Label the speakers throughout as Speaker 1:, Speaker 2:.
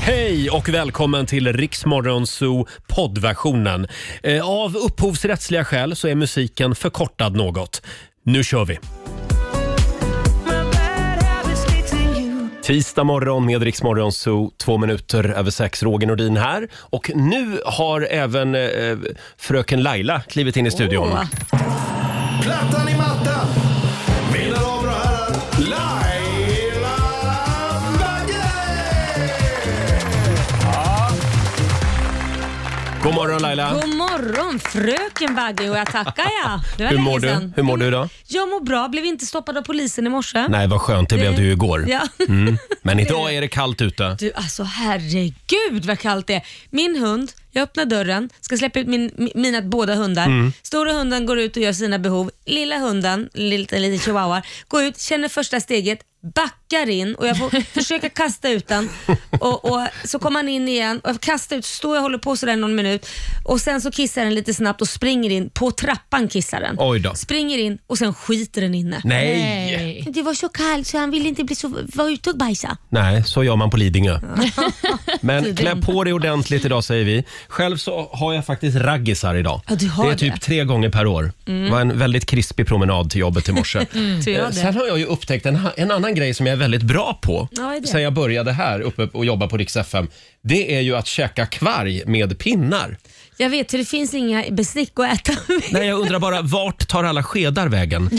Speaker 1: Hej och välkommen till Riksmorgon Zoo poddversionen. Eh, Av upphovsrättsliga skäl så är musiken förkortad något. Nu kör vi! Tisdag morgon med Rix Morgon Zoo, två minuter över sex. Roger Nordin här. Och nu har även eh, fröken Laila klivit in i studion.
Speaker 2: Plattan i mattan! Mina damer och herrar, Laila
Speaker 1: God morgon Laila!
Speaker 3: God morgon fröken Bagge och jag tackar ja. Det var
Speaker 1: Hur
Speaker 3: länge
Speaker 1: mår du?
Speaker 3: sedan.
Speaker 1: Hur mår du idag?
Speaker 3: Jag mår bra, blev inte stoppad av polisen i morse.
Speaker 1: Nej, vad skönt. Det blev
Speaker 3: Det-
Speaker 1: du ju igår.
Speaker 3: Ja.
Speaker 1: Mm. Men idag är det kallt ute.
Speaker 3: Du alltså herregud vad kallt det är. Min hund, jag öppnar dörren, ska släppa ut min, mi- mina båda hundar.
Speaker 1: Mm.
Speaker 3: Stora hunden går ut och gör sina behov. Lilla hunden, liten liten chihuahua, går ut, känner första steget, backar in och jag får försöka kasta ut den. Och, och Så kommer han in igen och jag kastar ut, står jag och håller på sådär någon minut och sen så kissar den lite snabbt och springer in, på trappan kissar den.
Speaker 1: Oj då.
Speaker 3: Springer in och sen skiter den inne.
Speaker 1: Nej. Nej.
Speaker 3: Det var så kallt så han ville inte bli så, vara ute och bajsa.
Speaker 1: Nej, så gör man på Lidingö. Men klä på dig ordentligt idag säger vi. Själv så har jag faktiskt raggisar idag.
Speaker 3: Ja, du har
Speaker 1: det är
Speaker 3: det.
Speaker 1: typ tre gånger per år.
Speaker 3: Mm.
Speaker 1: Det var en väldigt krispig promenad till jobbet i morse.
Speaker 3: Mm, tror jag
Speaker 1: Eh,
Speaker 3: det.
Speaker 1: Sen har jag ju upptäckt en, ha- en annan grej som jag är väldigt bra på
Speaker 3: Ja, vad är det?
Speaker 1: sen jag började här uppe och jobba på Rix FM. Det är ju att käka kvarg med pinnar.
Speaker 3: Jag vet, för det finns inga bestick att äta med.
Speaker 1: Nej, jag undrar bara vart tar alla skedar vägen?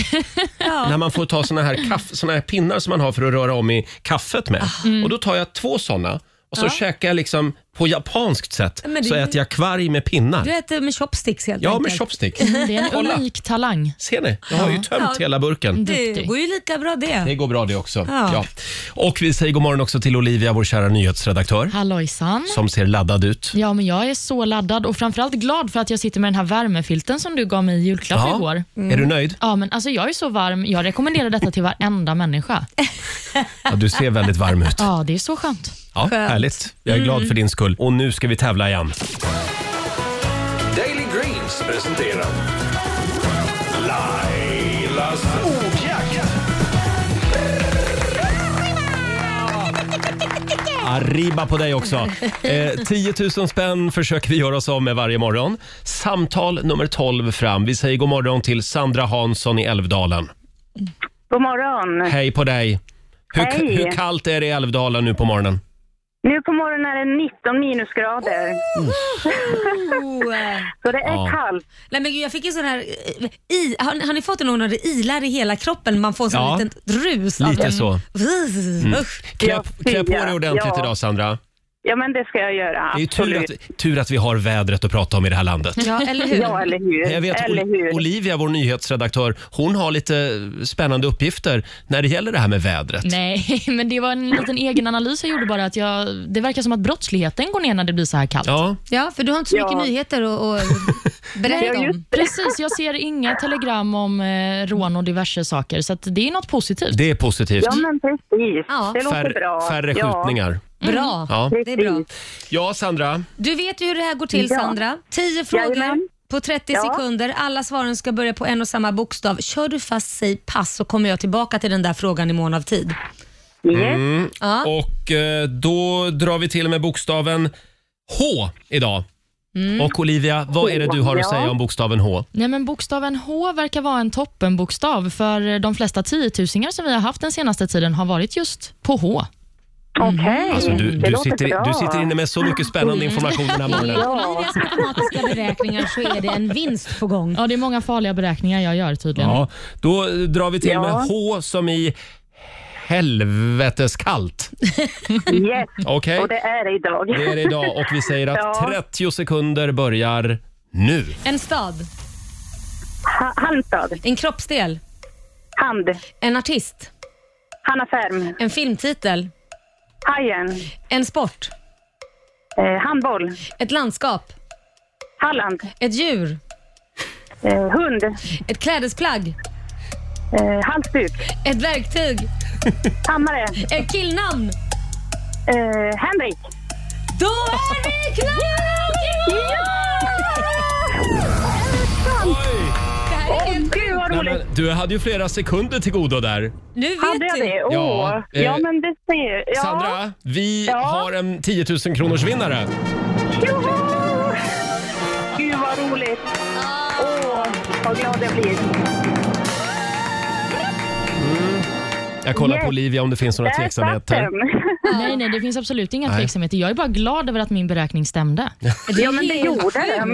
Speaker 1: När
Speaker 3: ja.
Speaker 1: man får ta såna här, kaff, såna här pinnar som man har för att röra om i kaffet med.
Speaker 3: Mm.
Speaker 1: Och då tar jag två såna och så
Speaker 3: Ja.
Speaker 1: käkar jag liksom på japanskt sätt.
Speaker 3: Men det-
Speaker 1: Så äter jag kvarg med pinnar.
Speaker 3: Du äter Mm, med chopsticks helt
Speaker 1: Ja,
Speaker 3: enkelt.
Speaker 1: med chopstick.
Speaker 4: Det är en
Speaker 1: Kolla.
Speaker 4: unik talang.
Speaker 1: Ser ni? Jag har ju tömt
Speaker 3: Ja.
Speaker 1: hela burken.
Speaker 3: Det går ju lika bra det.
Speaker 1: Det går bra det också. Ja.
Speaker 3: Ja.
Speaker 1: Och vi säger god morgon också till Olivia, vår kära nyhetsredaktör.
Speaker 4: Hallojsan.
Speaker 1: Som ser laddad ut.
Speaker 4: Ja, men jag är så laddad och framförallt glad för att jag sitter med den här värmefilten som du gav mig i julklapp
Speaker 1: Ja.
Speaker 4: igår.
Speaker 1: Mm. Är du nöjd?
Speaker 4: Ja, men alltså jag är så varm. Jag rekommenderar detta till varenda människa.
Speaker 1: Ja, du ser väldigt varm ut.
Speaker 4: Ja, det är så skönt.
Speaker 1: Ja, härligt. Jag är glad
Speaker 4: Mm.
Speaker 1: för din skull. Och nu ska vi tävla igen.
Speaker 2: Daily Greens presenterar Lailas ordjakt.
Speaker 1: Arriba Ah, på dig också. Eh, 10 000 spänn försöker vi göra oss av med varje morgon. Samtal nummer 12 fram. Vi säger god morgon till Sandra Hansson i Älvdalen.
Speaker 5: God morgon.
Speaker 1: Hej på dig. Hur,
Speaker 5: Hej.
Speaker 1: hur kallt är det i Älvdalen nu på morgonen?
Speaker 5: Nu på morgonen är det 19 minusgrader. Så det är
Speaker 1: Ja.
Speaker 5: kallt.
Speaker 3: Oh, eh. Nej men gud, jag fick en sån här... eh, I, har, ni- har ni fått någon när det ilar i hela kroppen? Man får en sån
Speaker 1: Ja.
Speaker 3: liten rus av
Speaker 1: Lite
Speaker 3: det.
Speaker 1: så.
Speaker 3: Vzz,
Speaker 1: Mm.
Speaker 3: Usch.
Speaker 1: Klä, klä på dig
Speaker 5: fia.
Speaker 1: ordentligt
Speaker 5: Ja.
Speaker 1: idag Sandra.
Speaker 5: Ja, men det ska jag göra.
Speaker 1: Det är ju tur
Speaker 5: absolut.
Speaker 1: att, tur att vi har vädret att prata om i det här landet.
Speaker 3: Ja, eller hur?
Speaker 5: Ja, eller hur.
Speaker 1: Jag vet
Speaker 5: Mm, eller
Speaker 1: Ol-
Speaker 5: hur.
Speaker 1: Olivia, vår nyhetsredaktör, hon har lite spännande uppgifter när det gäller det här med vädret.
Speaker 4: Nej, men det var en liten egen analys jag gjorde bara. Att jag, det verkar som att brottsligheten går ner när det blir så här kallt.
Speaker 1: Ja,
Speaker 3: Ja, för du har inte så mycket
Speaker 5: Ja.
Speaker 3: nyheter att att berätta om.
Speaker 4: Precis, jag ser inga telegram om eh, rån och diverse saker, så att det är något positivt.
Speaker 1: det är positivt.
Speaker 5: Ja, men precis.
Speaker 3: Ja.
Speaker 5: Det låter bra.
Speaker 1: Fär, färre
Speaker 5: Ja,
Speaker 1: skjutningar.
Speaker 3: Bra.
Speaker 1: Ja.
Speaker 3: Det är bra.
Speaker 1: Ja, Sandra.
Speaker 3: Du vet ju hur det här går till
Speaker 5: Ja.
Speaker 3: Sandra. 10 frågor
Speaker 5: Jajamän.
Speaker 3: på 30
Speaker 5: Ja.
Speaker 3: sekunder. Alla svaren ska börja på en och samma bokstav. Kör du fast, säg pass så kommer jag tillbaka till den där frågan i mån av tid.
Speaker 5: Yes.
Speaker 1: Mm.
Speaker 3: Ja.
Speaker 1: Och eh, då drar vi till med bokstaven H idag. Och Olivia, vad är det du har att
Speaker 5: Mm. Ja.
Speaker 1: säga om bokstaven H?
Speaker 4: Nej, men bokstaven H verkar vara en toppenbokstav för de flesta tiotusingar som vi har haft den senaste tiden har varit just på H.
Speaker 5: Okej.
Speaker 1: Alltså, du,
Speaker 5: Mm, det
Speaker 1: du,
Speaker 5: låter bra. Mm.
Speaker 1: sitter, du sitter inne med så mycket spännande information den här morgonen.
Speaker 5: Ja.
Speaker 3: Olivias matematiska beräkningar så är det en vinst på gång.
Speaker 4: Ja, det är många farliga beräkningar jag gör tydligen.
Speaker 1: Ja, då eh, drar vi till
Speaker 5: Ja.
Speaker 1: med H som i helveteskallt.
Speaker 5: Yes.
Speaker 1: Okej?
Speaker 5: Och det är det idag.
Speaker 1: Det är det idag och vi säger att
Speaker 5: Ja.
Speaker 1: 30 sekunder börjar nu.
Speaker 3: En stad,
Speaker 5: Ha- Halmstad.
Speaker 3: en kroppsdel,
Speaker 5: Hand.
Speaker 3: en artist,
Speaker 5: Hanna Färm.
Speaker 3: en filmtitel,
Speaker 5: Hajen.
Speaker 3: en sport,
Speaker 5: Eh, handboll.
Speaker 3: ett landskap,
Speaker 5: Halland.
Speaker 3: ett djur,
Speaker 5: Eh, hund.
Speaker 3: ett klädesplagg,
Speaker 5: Eh, halsduk.
Speaker 3: ett verktyg,
Speaker 5: Hammare.
Speaker 3: ett killnamn.
Speaker 5: Eh, Henrik.
Speaker 3: Då är det klart!
Speaker 5: Ja!
Speaker 3: Det här är
Speaker 5: Åh,
Speaker 3: helt
Speaker 5: Gud, vad vad
Speaker 1: Nej,
Speaker 5: roligt.
Speaker 1: men, du hade ju flera sekunder till godo där.
Speaker 3: Nu vet
Speaker 5: Hade jag
Speaker 3: du.
Speaker 5: det? Åh.
Speaker 1: Ja,
Speaker 5: Ja,
Speaker 1: eh,
Speaker 5: men det ser... Ja.
Speaker 1: Sandra, vi
Speaker 5: Ja.
Speaker 1: har en 10 000 kronors vinnare.
Speaker 5: Joho! Gud, vad roligt.
Speaker 3: Ah.
Speaker 5: Åh, vad glad jag blir.
Speaker 1: Jag kollar på
Speaker 5: Yes.
Speaker 1: Olivia om det finns några
Speaker 5: Där satt
Speaker 1: tveksamheter.
Speaker 5: den.
Speaker 4: Nej, nej, det finns absolut inga
Speaker 1: Nej.
Speaker 4: tveksamheter. Jag är bara glad över att min beräkning stämde.
Speaker 3: Det är
Speaker 5: Ja, men det
Speaker 3: helt
Speaker 5: gjorde
Speaker 3: sjukt.
Speaker 5: den.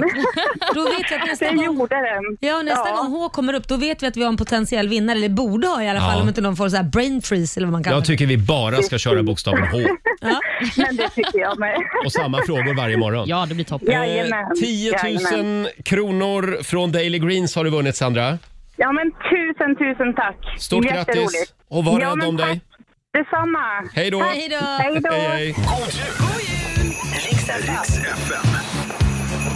Speaker 3: Då vet jag att nästa
Speaker 5: Det
Speaker 3: gång
Speaker 5: gjorde den.
Speaker 3: Ja, nästa
Speaker 5: Ja.
Speaker 3: gång H kommer upp då vet vi att vi har en potentiell vinnare, eller borde ha i alla fall
Speaker 1: Ja.
Speaker 3: om inte någon får så här brain freeze eller vad man kallar
Speaker 1: Jag
Speaker 3: det.
Speaker 1: tycker vi bara ska köra bokstaven H
Speaker 3: Ja.
Speaker 5: Men det tycker jag med.
Speaker 1: och samma frågor varje morgon.
Speaker 4: Ja, det blir toppen.
Speaker 5: Jajamän.
Speaker 1: Eh, 10
Speaker 5: Jajamän.
Speaker 1: 000 kronor från Daily Greens har du vunnit Sandra.
Speaker 5: Ja, men tusen, tusen tack.
Speaker 1: Stort
Speaker 5: Jätteroligt.
Speaker 1: grattis och var
Speaker 5: Ja,
Speaker 1: rädd
Speaker 5: men
Speaker 1: om dig.
Speaker 5: tack. Detsamma.
Speaker 1: Hej då!
Speaker 3: Hej då!
Speaker 5: Hej då.
Speaker 1: Hej, hej.
Speaker 2: Riks FM.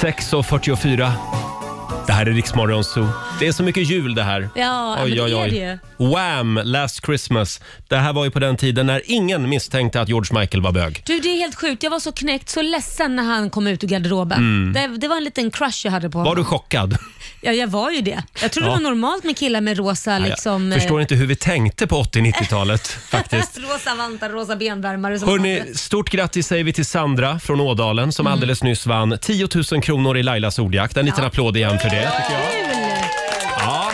Speaker 1: Sex och 44. Det här är Riksmorgon Zoo. Det är så mycket jul det här.
Speaker 3: Ja, men det är det ju.
Speaker 1: Wham! Last Christmas. Det här var ju på den tiden när ingen misstänkte att George Michael var bög.
Speaker 3: Du, det är helt sjukt. Jag var så knäckt, så ledsen när han kom ut ur garderoben. Det, det var en liten crush jag hade på honom.
Speaker 1: Mm. Var du chockad?
Speaker 3: Ja, jag var ju det. Jag trodde
Speaker 1: Ja.
Speaker 3: det var normalt med killar med rosa liksom...
Speaker 1: Jag förstår
Speaker 3: eh,
Speaker 1: inte hur vi tänkte på 80-90-talet faktiskt.
Speaker 3: rosa vantar, rosa benvärmare. som- Mm.
Speaker 1: Hörrni, stort grattis säger vi till Sandra från Ådalen som alldeles nyss vann 10 000 kronor i Lailas ordjakt. En liten applåd igen för det. tycker jag.
Speaker 3: Kul!
Speaker 1: Ja.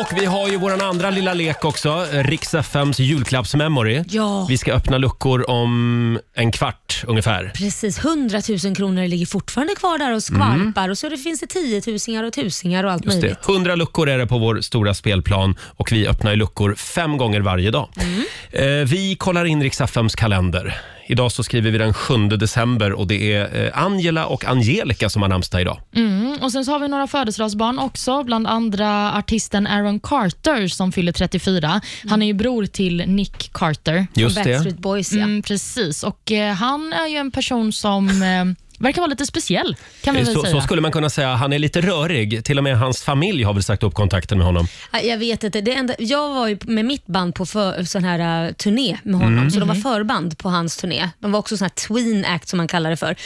Speaker 1: Och vi har ju vår andra lilla lek också, Rix FMs julklappsmemory.
Speaker 3: Ja.
Speaker 1: Vi ska öppna luckor om en kvart ungefär.
Speaker 3: Precis, 100 000 kronor ligger fortfarande kvar där och skvalpar och så det finns det tiotusingar och tusingar och allt
Speaker 1: Mm. Just
Speaker 3: möjligt.
Speaker 1: det. 100 luckor är det på vår stora spelplan och vi öppnar ju luckor fem gånger varje dag. Eh, vi kollar in Riksaffems kalender. Idag så skriver vi den 7 december och det är eh, Angela och Angelica som har namnsdag idag.
Speaker 4: Mm, och Sen så har vi några födelsedagsbarn också, bland andra artisten Aaron Carter som fyller 34. Han är ju bror till Nick Carter.
Speaker 1: Just det.
Speaker 3: Backstreet Boys ja.
Speaker 4: Mm, precis, och eh, han är ju en person som eh, verkar vara lite speciell, kan vi väl
Speaker 1: Eh, Så,
Speaker 4: säga.
Speaker 1: så skulle man kunna säga. Han är lite rörig. Till och med hans familj har väl sagt upp kontakten med honom.
Speaker 3: Ja, Jag vet inte. Det enda, jag var ju med mitt band på för, sån här eh, turné med honom,
Speaker 1: Mm.
Speaker 3: så
Speaker 1: Mhm.
Speaker 3: de var förband på hans turné. De var också sån här tween act som man kallar det för.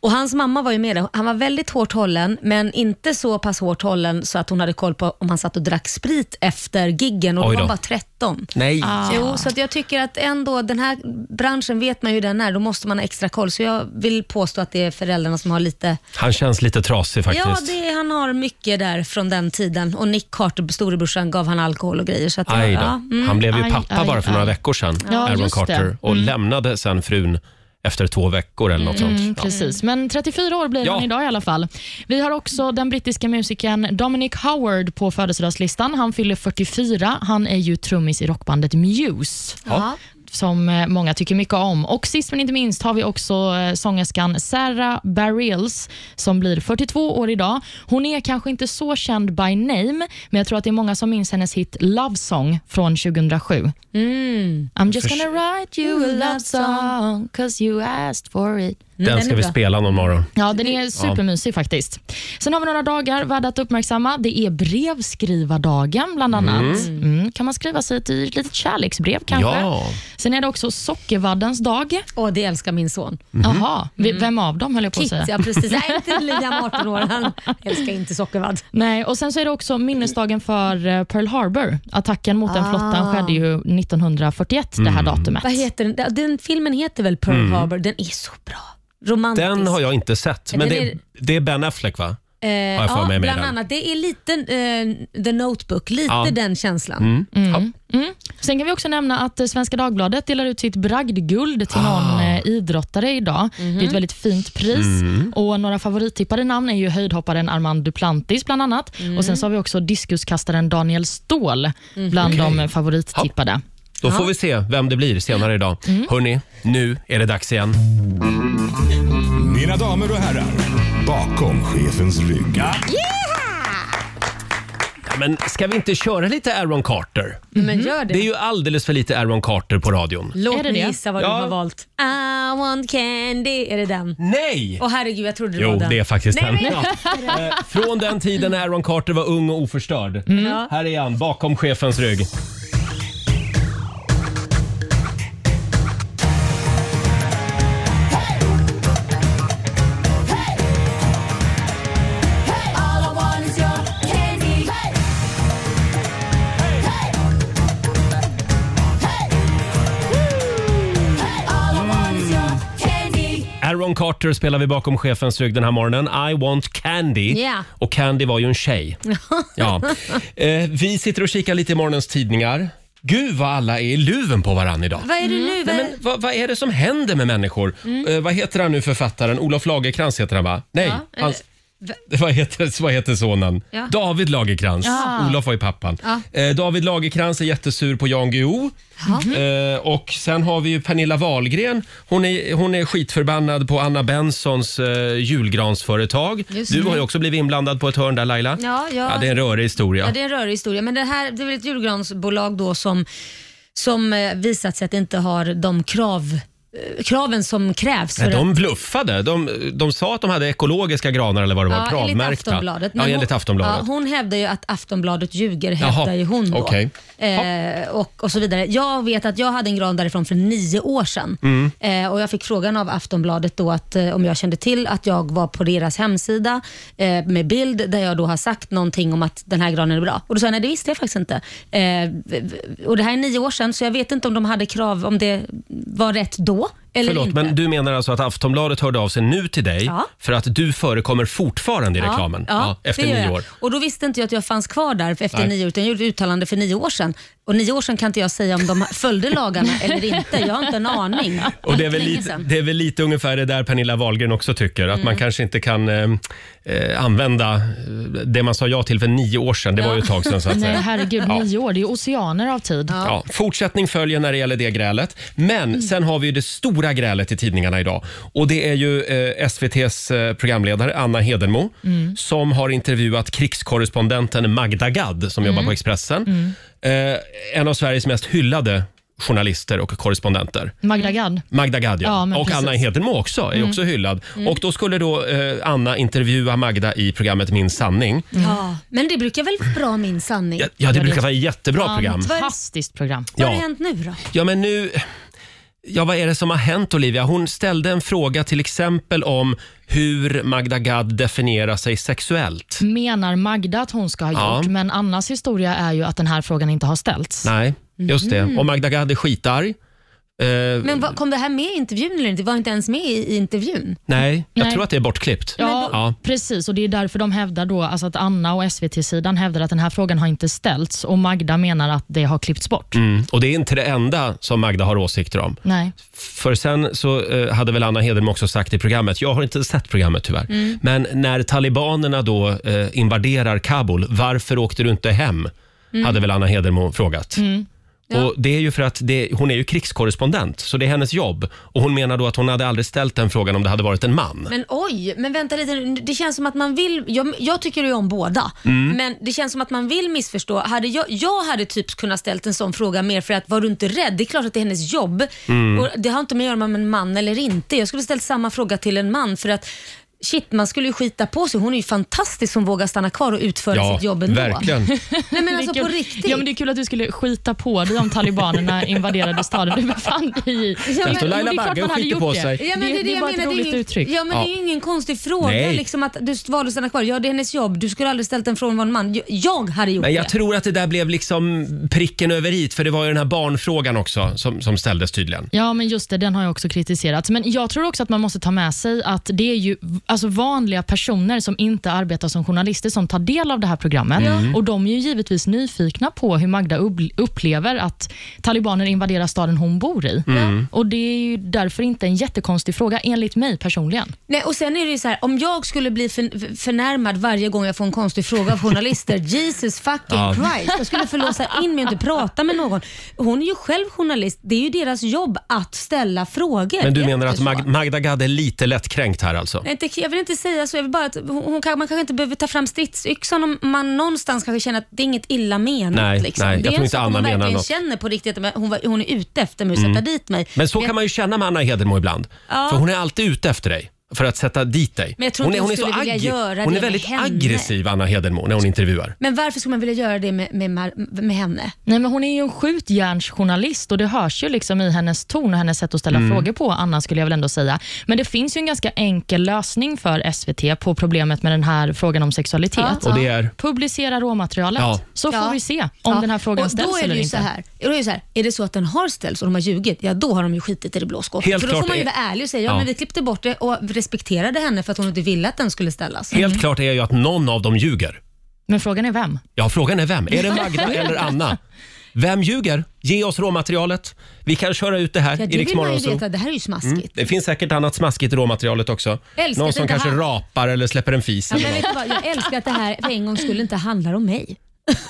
Speaker 3: Och Hans mamma var ju med där. Han var väldigt hårt hållen, men inte så pass hårt hållen så att hon hade koll på om han satt och drack sprit efter giggen och då
Speaker 1: Oj
Speaker 3: var han
Speaker 1: då.
Speaker 3: bara 13.
Speaker 1: Nej.
Speaker 3: Jo, så att jag tycker att ändå den här branschen vet man ju hur den är, då måste man ha extra koll. Så jag vill påstå att det är föräldrarna som har lite
Speaker 1: Han känns lite trasig faktiskt.
Speaker 3: Ja, det, han har mycket där från den tiden. Och Nick Carter, storebrorsan, gav han alkohol och grejer. Så att,
Speaker 1: Aj då.
Speaker 3: ja, mm.
Speaker 1: Han blev ju
Speaker 4: Aj,
Speaker 1: pappa
Speaker 4: aj,
Speaker 1: bara för
Speaker 4: aj.
Speaker 1: några veckor sedan,
Speaker 4: Ja,
Speaker 1: Aaron
Speaker 4: just det.
Speaker 1: Carter, och lämnade sen frun efter två veckor eller något sånt. Ja.
Speaker 4: Precis, men 34 år blir
Speaker 1: Ja.
Speaker 4: han idag i alla fall. Vi har också den brittiska musikern Dominic Howard på födelsedagslistan. Han fyller 44. Han är ju trummis i rockbandet Muse.
Speaker 1: Ja.
Speaker 4: som eh, många tycker mycket om. Och Sist men inte minst har vi också eh, sångerskan Sarah Bareilles som blir 42 år idag. Hon är kanske inte så känd by name, men jag tror att det är många som minns hennes hit Love Song från 2007. I'm just gonna write you a love song cause you asked for it.
Speaker 3: den
Speaker 1: Den
Speaker 3: är
Speaker 1: ska vi
Speaker 3: bra.
Speaker 1: spela någon morgon.
Speaker 4: Ja, den är supermysig faktiskt. Sen har vi några dagar värda att uppmärksamma. Det är brevskrivardagen bland annat. Mm. kan man skriva sig ett litet kärleksbrev kanske?
Speaker 1: Ja.
Speaker 4: Sen är det också sockervaddens dag.
Speaker 3: Åh, det älskar min son.
Speaker 4: Jaha, v- vem av dem höll jag på att
Speaker 3: Kit,
Speaker 4: säga.
Speaker 3: ja precis. Nej, inte Liam, 18 år. Han älskar inte sockervadd.
Speaker 4: Nej, och sen så är det också minnesdagen för eh, Pearl Harbor. Attacken mot den flottan skedde ju 1941, det här datumet.
Speaker 3: Ah. Vad heter den? den? Den filmen heter väl Pearl Harbor? Den är så bra. Romantisk.
Speaker 1: Mm. Den har jag inte sett, men
Speaker 3: Den
Speaker 1: det,
Speaker 3: är-
Speaker 1: det är Ben Affleck va?
Speaker 3: Eh,
Speaker 1: jag för
Speaker 3: ja,
Speaker 1: mig med
Speaker 3: bland
Speaker 1: den.
Speaker 3: annat. Det är lite eh, The Notebook, lite
Speaker 1: Ja. Mm.
Speaker 3: den känslan.
Speaker 4: Sen kan vi också nämna att eh, Svenska Dagbladet delar ut sitt bragdguld till någon
Speaker 1: Ah.
Speaker 4: eh, idrottare idag. Det är ett väldigt fint pris.
Speaker 1: Mm.
Speaker 4: Och Några favorittippade namn är ju höjdhopparen Armand Duplantis bland annat. Och Sen så har vi också diskuskastaren Daniel Ståhl bland de eh, favorittippade.
Speaker 1: Då får vi se vem det blir senare idag.
Speaker 3: Mm.
Speaker 1: Hörni, nu är det dags igen.
Speaker 2: Mina damer och herrar, bakom chefens rygg.
Speaker 1: Ja, men ska vi inte köra lite Aaron Carter?
Speaker 3: Men gör det.
Speaker 1: Det är ju alldeles för lite Aaron Carter på radion.
Speaker 3: Låt
Speaker 4: Är det
Speaker 3: mig
Speaker 4: det?
Speaker 3: gissa vad
Speaker 1: Ja.
Speaker 3: du har valt. I want candy. Är det den?
Speaker 1: Nej!
Speaker 3: Åh herregud, jag trodde det var
Speaker 1: Jo,
Speaker 3: den.
Speaker 1: det är faktiskt
Speaker 3: Nej,
Speaker 1: den.
Speaker 3: men-
Speaker 1: Ja. Eh, Från den tiden när Aaron Carter var ung och oförstörd.
Speaker 3: Ja.
Speaker 1: Här är han, bakom chefens rygg. Sharon Carter spelar vi bakom chefens rygg den här morgonen. I want candy.
Speaker 4: Ja.
Speaker 1: Och Candy var ju en tjej. Ja. Eh, vi sitter och kikar lite i morgonens tidningar. Gud vad alla är i luven på varann idag.
Speaker 3: Vad är det nu? Vad
Speaker 1: Nej,
Speaker 3: är-
Speaker 1: men vad, vad är det som händer med människor? Eh, vad heter han nu författaren? Olof Lagerkrans heter han va? Nej,
Speaker 6: Mm. Ja,
Speaker 1: hans,
Speaker 6: eller-
Speaker 1: vad, heter, vad heter sonen?
Speaker 6: Ja.
Speaker 1: David Lagerkrans.
Speaker 4: Ja.
Speaker 1: Olof var ju pappan.
Speaker 6: Ja.
Speaker 1: Eh, David Lagerkrans är jättesur på Jan Guillou. Eh, och sen har vi ju Pernilla Wahlgren. Hon är, hon är skitförbannad på Anna Bensons eh, julgransföretag.
Speaker 6: Just
Speaker 1: Du
Speaker 6: det.
Speaker 1: har ju också blivit inblandad på ett hörn där Laila.
Speaker 3: Ja, ja.
Speaker 1: det är en rörig historia.
Speaker 3: Ja, det är en rörig historia. Men det här det är väl ett julgransbolag då som, som eh, visat sig att inte har de krav, eh, kraven som krävs.
Speaker 1: Nej,
Speaker 3: för
Speaker 1: de bluffade. De, de sa att de hade ekologiska granar eller vad det var,
Speaker 3: att- ja, enligt
Speaker 1: Kravmärkta.
Speaker 3: Aftonbladet.
Speaker 1: Ja,
Speaker 3: Men
Speaker 1: enligt
Speaker 3: hon-
Speaker 1: Aftonbladet.
Speaker 3: Ja, hon hävdar ju att Aftonbladet ljuger,
Speaker 1: Jaha,
Speaker 3: hävdar ju hon då.
Speaker 1: okej.
Speaker 3: Eh, och, och så vidare. Jag vet att jag hade en gran därifrån för nio år sedan.
Speaker 1: Mm.
Speaker 3: Eh, och jag fick frågan av Aftonbladet då att, eh, om jag kände till att jag var på deras hemsida eh, med bild där jag då har sagt någonting om att den här granen är bra. Och då sa jag nej, det visste jag faktiskt inte. Eh, v- v- och det här är nio år sedan så jag vet inte om de hade krav, om det var rätt då eller
Speaker 1: Förlåt,
Speaker 3: inte.
Speaker 1: men du menar alltså att Aftonbladet hörde av sig nu till dig
Speaker 3: Ja.
Speaker 1: för att du förekommer fortfarande i reklamen
Speaker 3: Ja, ja,
Speaker 1: efter
Speaker 3: det gör
Speaker 1: nio
Speaker 3: jag.
Speaker 1: år?
Speaker 3: Och då visste inte jag att jag fanns kvar där efter
Speaker 1: Nej.
Speaker 3: nio år, utan jag gjorde ett uttalande för nio år sedan. Och nio år sedan kan inte jag säga om de följde lagarna eller inte. Jag har inte en aning.
Speaker 1: Och det är, väl
Speaker 3: Länge
Speaker 1: lite,
Speaker 3: sedan. Mm.
Speaker 1: det är väl lite ungefär det där Pernilla Wahlgren också tycker, att man kanske inte kan eh, eh, använda eh, det man sa ja till för nio år sedan. Det var ju ett tag sedan så att
Speaker 4: Nej,
Speaker 1: säga.
Speaker 4: herregud, nio år. Det är oceaner av tid.
Speaker 1: Ja, Mm. fortsättning följer när det gäller det grälet. Men sen har vi ju det stora grälet i tidningarna idag. Och det är ju eh, SVTs eh, programledare Anna Hedenmo som har intervjuat krigskorrespondenten Magda Gad som jobbar på Expressen. Eh, en av Sveriges mest hyllade journalister och korrespondenter.
Speaker 4: Magda Gad.
Speaker 1: Magda Gad,
Speaker 4: Ja,
Speaker 1: ja. Mm.
Speaker 4: men
Speaker 1: och
Speaker 4: precis.
Speaker 1: Anna Hedenmo också, är också hyllad. Och då skulle då eh, Anna intervjua Magda i programmet Min sanning.
Speaker 3: Ja, men det brukar väl vara bra min sanning?
Speaker 1: Ja, Mm. ja det brukar vara ett jättebra program.
Speaker 4: Fantastiskt program.
Speaker 3: Vad har
Speaker 1: ja.
Speaker 3: det hänt nu då?
Speaker 1: Ja, men nu... Ja, vad är det som har hänt Olivia? Hon ställde en fråga till exempel om hur Magda Gad definierar sig sexuellt.
Speaker 4: Menar Magda att hon ska ha
Speaker 1: Ja.
Speaker 4: gjort, men Annas historia är ju att den här frågan inte har ställts.
Speaker 1: Nej, just
Speaker 4: Mm-hmm.
Speaker 1: det. Och Magda Gad är skitarg. Eh,
Speaker 3: Men vad, kom det här med i intervjun eller inte? Det var inte ens med i, i intervjun.
Speaker 1: nej, jag
Speaker 4: Nej.
Speaker 1: tror att det är bortklippt.
Speaker 4: Ja,
Speaker 1: Ja.
Speaker 4: precis. Och Det är därför de hävdar då, alltså att Anna och SVT-sidan hävdar att den här frågan har inte ställts och Magda menar att det har klippts bort.
Speaker 1: Mm. Och det är inte det enda som Magda har åsikter om.
Speaker 4: Nej.
Speaker 1: För sen så eh, hade väl Anna Hedenmo också sagt i programmet, jag har inte sett programmet tyvärr,
Speaker 3: Mm.
Speaker 1: men när talibanerna då eh, invaderar Kabul, varför åkte du inte hem?
Speaker 3: Mm.
Speaker 1: Hade väl Anna Hedenmo frågat. Och det är ju för att det, hon är ju krigskorrespondent, så det är hennes jobb. Och hon menar då att hon hade aldrig ställt den frågan om det hade varit en man.
Speaker 3: Men oj, men vänta lite nu. Det känns som att man vill, jag, jag tycker ju om båda, men det känns som att man vill missförstå. Hade jag, jag hade typ kunnat ställt en sån fråga mer för att var du inte rädd? Det är klart att det är hennes jobb. Och det har inte med att göra med om en man eller inte. Jag skulle ställt samma fråga till en man för att Shit, man skulle ju skita på sig. Hon är ju fantastisk som vågar stanna kvar och utföra sitt jobb ändå.
Speaker 1: verkligen.
Speaker 3: Nej men alltså på
Speaker 4: Vilken-
Speaker 3: riktigt.
Speaker 4: Ja, men det är kul att du skulle skita på dig om talibanerna invaderade staden du befann dig i.
Speaker 3: men-
Speaker 4: Jo, det är
Speaker 1: Laila
Speaker 4: klart
Speaker 1: Bagge
Speaker 4: man hade
Speaker 1: skiter
Speaker 4: gjort
Speaker 1: på
Speaker 4: det.
Speaker 1: sig.
Speaker 3: Ja, men
Speaker 4: det,
Speaker 3: det,
Speaker 4: det,
Speaker 3: är det
Speaker 4: är
Speaker 3: jag
Speaker 4: bara ett
Speaker 3: menar, det är
Speaker 4: roligt
Speaker 3: ingen,
Speaker 4: uttryck.
Speaker 3: Ja, men
Speaker 1: Ja.
Speaker 3: Det är ju ingen konstig fråga.
Speaker 1: Nej.
Speaker 3: Liksom att du valde att stanna kvar. Ja, det är hennes jobb. Du skulle aldrig ställt en fråga om en man. Jag- Jag hade gjort
Speaker 1: Men
Speaker 3: det.
Speaker 1: jag tror att det där blev liksom pricken över hit, för det var ju den här barnfrågan också som, som ställdes tydligen.
Speaker 4: Ja, men just det, den har jag också kritiserat. Men jag tror också att man måste ta med sig att det är ju alltså vanliga personer som inte arbetar som journalister som tar del av det här programmet. Och De är ju givetvis nyfikna på hur Magda upp- upplever att talibaner invaderar staden hon bor i. Och Det är ju därför inte en jättekonstig fråga, enligt mig personligen.
Speaker 3: Nej, och sen är det ju så här, om jag skulle bli för, förnärmad varje gång jag får en konstig fråga av journalister, Jesus fucking
Speaker 1: Ja.
Speaker 3: Christ. Jag skulle förlåsa in mig och inte prata med någon. Hon är ju själv journalist. Det är ju deras jobb att ställa frågor.
Speaker 1: Men
Speaker 3: Är
Speaker 1: du
Speaker 3: det
Speaker 1: menar att
Speaker 3: inte så?
Speaker 1: Mag- Magda Gad är lite lättkränkt här alltså?
Speaker 3: Nej, inte- Jag vill inte säga så. Jag vill bara att hon, hon, kan- man kanske inte behöver ta fram stridsyxan om man någonstans kanske känner att det är inget illa menat.
Speaker 1: Nej,
Speaker 3: liksom.
Speaker 1: nej, jag
Speaker 3: det är
Speaker 1: tror
Speaker 3: en
Speaker 1: inte
Speaker 3: sak
Speaker 1: Anna
Speaker 3: hon
Speaker 1: menar
Speaker 3: verkligen
Speaker 1: något. Mm.
Speaker 3: känner på riktigt. Men hon, var, hon är ute efter mig och sätta dit mig.
Speaker 1: Men så kan man ju känna med Anna Hedenmo ibland. För hon är alltid ute efter dig. för att sätta dit dig.
Speaker 3: Men jag tror
Speaker 1: hon, är,
Speaker 3: inte hon
Speaker 1: hon är så
Speaker 3: skulle vilja
Speaker 1: aggr-
Speaker 3: göra det
Speaker 1: Hon är
Speaker 3: med
Speaker 1: väldigt
Speaker 3: henne.
Speaker 1: aggressiv, Anna Hedenmo, när hon intervjuar.
Speaker 3: Men varför skulle man vilja göra det med, med, Mar- med henne?
Speaker 4: Nej, men hon är ju en skjutjärnsjournalist och det hörs ju liksom i hennes ton och hennes sätt att ställa
Speaker 1: Mm.
Speaker 4: frågor på, Anna skulle jag väl ändå säga. Men det finns ju en ganska enkel lösning för SVT på problemet med den här frågan om sexualitet.
Speaker 3: Ja.
Speaker 1: Och det är...
Speaker 4: Publicera råmaterialet,
Speaker 1: Ja.
Speaker 4: så får
Speaker 3: Ja.
Speaker 4: vi se om
Speaker 3: Ja.
Speaker 4: den här frågan
Speaker 3: och då
Speaker 4: ställs
Speaker 3: är det
Speaker 4: eller
Speaker 3: ju
Speaker 4: inte.
Speaker 3: Så här, då är det ju så här, är det så att den har ställts och de har ljugit, ja då har de ju skitit i det blå skåpet.
Speaker 1: Helt
Speaker 3: För då
Speaker 1: klart
Speaker 3: får man ju
Speaker 1: är-
Speaker 3: vara ärlig och säga, ja,
Speaker 1: Ja.
Speaker 3: men vi klippte bort det och respekterade henne för att hon inte ville att den skulle ställas.
Speaker 1: Helt klart är ju att någon av dem ljuger.
Speaker 4: Men frågan är vem?
Speaker 1: Ja, frågan är vem? Är det Magda eller Anna? Vem ljuger? Ge oss råmaterialet. Vi kan köra ut det här
Speaker 3: Ja,
Speaker 1: i
Speaker 3: det
Speaker 1: Rix
Speaker 3: vill man ju
Speaker 1: Morgonzoo. Mm.
Speaker 3: veta, det här är ju smaskigt.
Speaker 1: Det finns säkert annat smaskigt i råmaterialet också.
Speaker 3: Jag älskar
Speaker 1: Någon
Speaker 3: att
Speaker 1: som
Speaker 3: inte
Speaker 1: kanske
Speaker 3: han-
Speaker 1: rapar eller släpper en fis.
Speaker 3: Ja,
Speaker 1: Eller
Speaker 3: men vet
Speaker 1: något.
Speaker 3: du vad, jag älskar att det här för en gång skulle inte handlar om mig.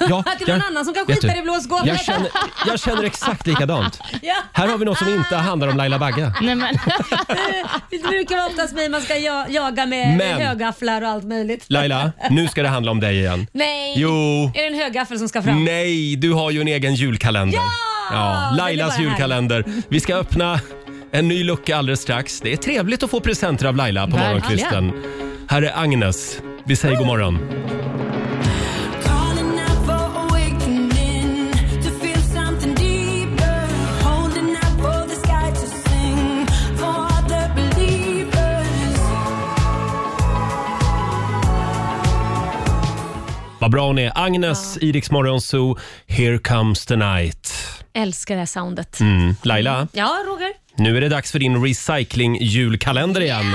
Speaker 1: Ja,
Speaker 3: Att det är någon
Speaker 1: jag-
Speaker 3: annan som kan
Speaker 1: vet
Speaker 3: skita
Speaker 1: du,
Speaker 3: i det blå skåpet.
Speaker 1: Jag känner, jag känner exakt likadant.
Speaker 3: Ja.
Speaker 1: Här har vi något som inte handlar om Laila Bagge.
Speaker 4: Nej, men,
Speaker 3: Det brukar vara oftast mig man ska ja, jaga med
Speaker 1: Men-
Speaker 3: högafflar och allt möjligt.
Speaker 1: Laila, nu ska det handla om dig igen.
Speaker 3: Nej!
Speaker 1: Jo.
Speaker 3: Är det en högaffel som ska fram?
Speaker 1: Nej, du har ju en egen julkalender.
Speaker 3: Ja!
Speaker 1: ja
Speaker 3: Den är
Speaker 1: Lailas
Speaker 3: bara
Speaker 1: julkalender. Vi ska öppna en ny lucka alldeles strax. Det är trevligt att få presenter av Laila på
Speaker 4: Verkligen.
Speaker 1: morgonkvisten. Här är Agnes. Vi säger god morgon. Vad bra hon är. Agnes, ja. Iriks morgonzoo. Here comes the night.
Speaker 3: Älskar det här soundet.
Speaker 1: Mm. Laila,
Speaker 3: Ja, Roger.
Speaker 1: nu är det dags för din recycling-julkalender igen.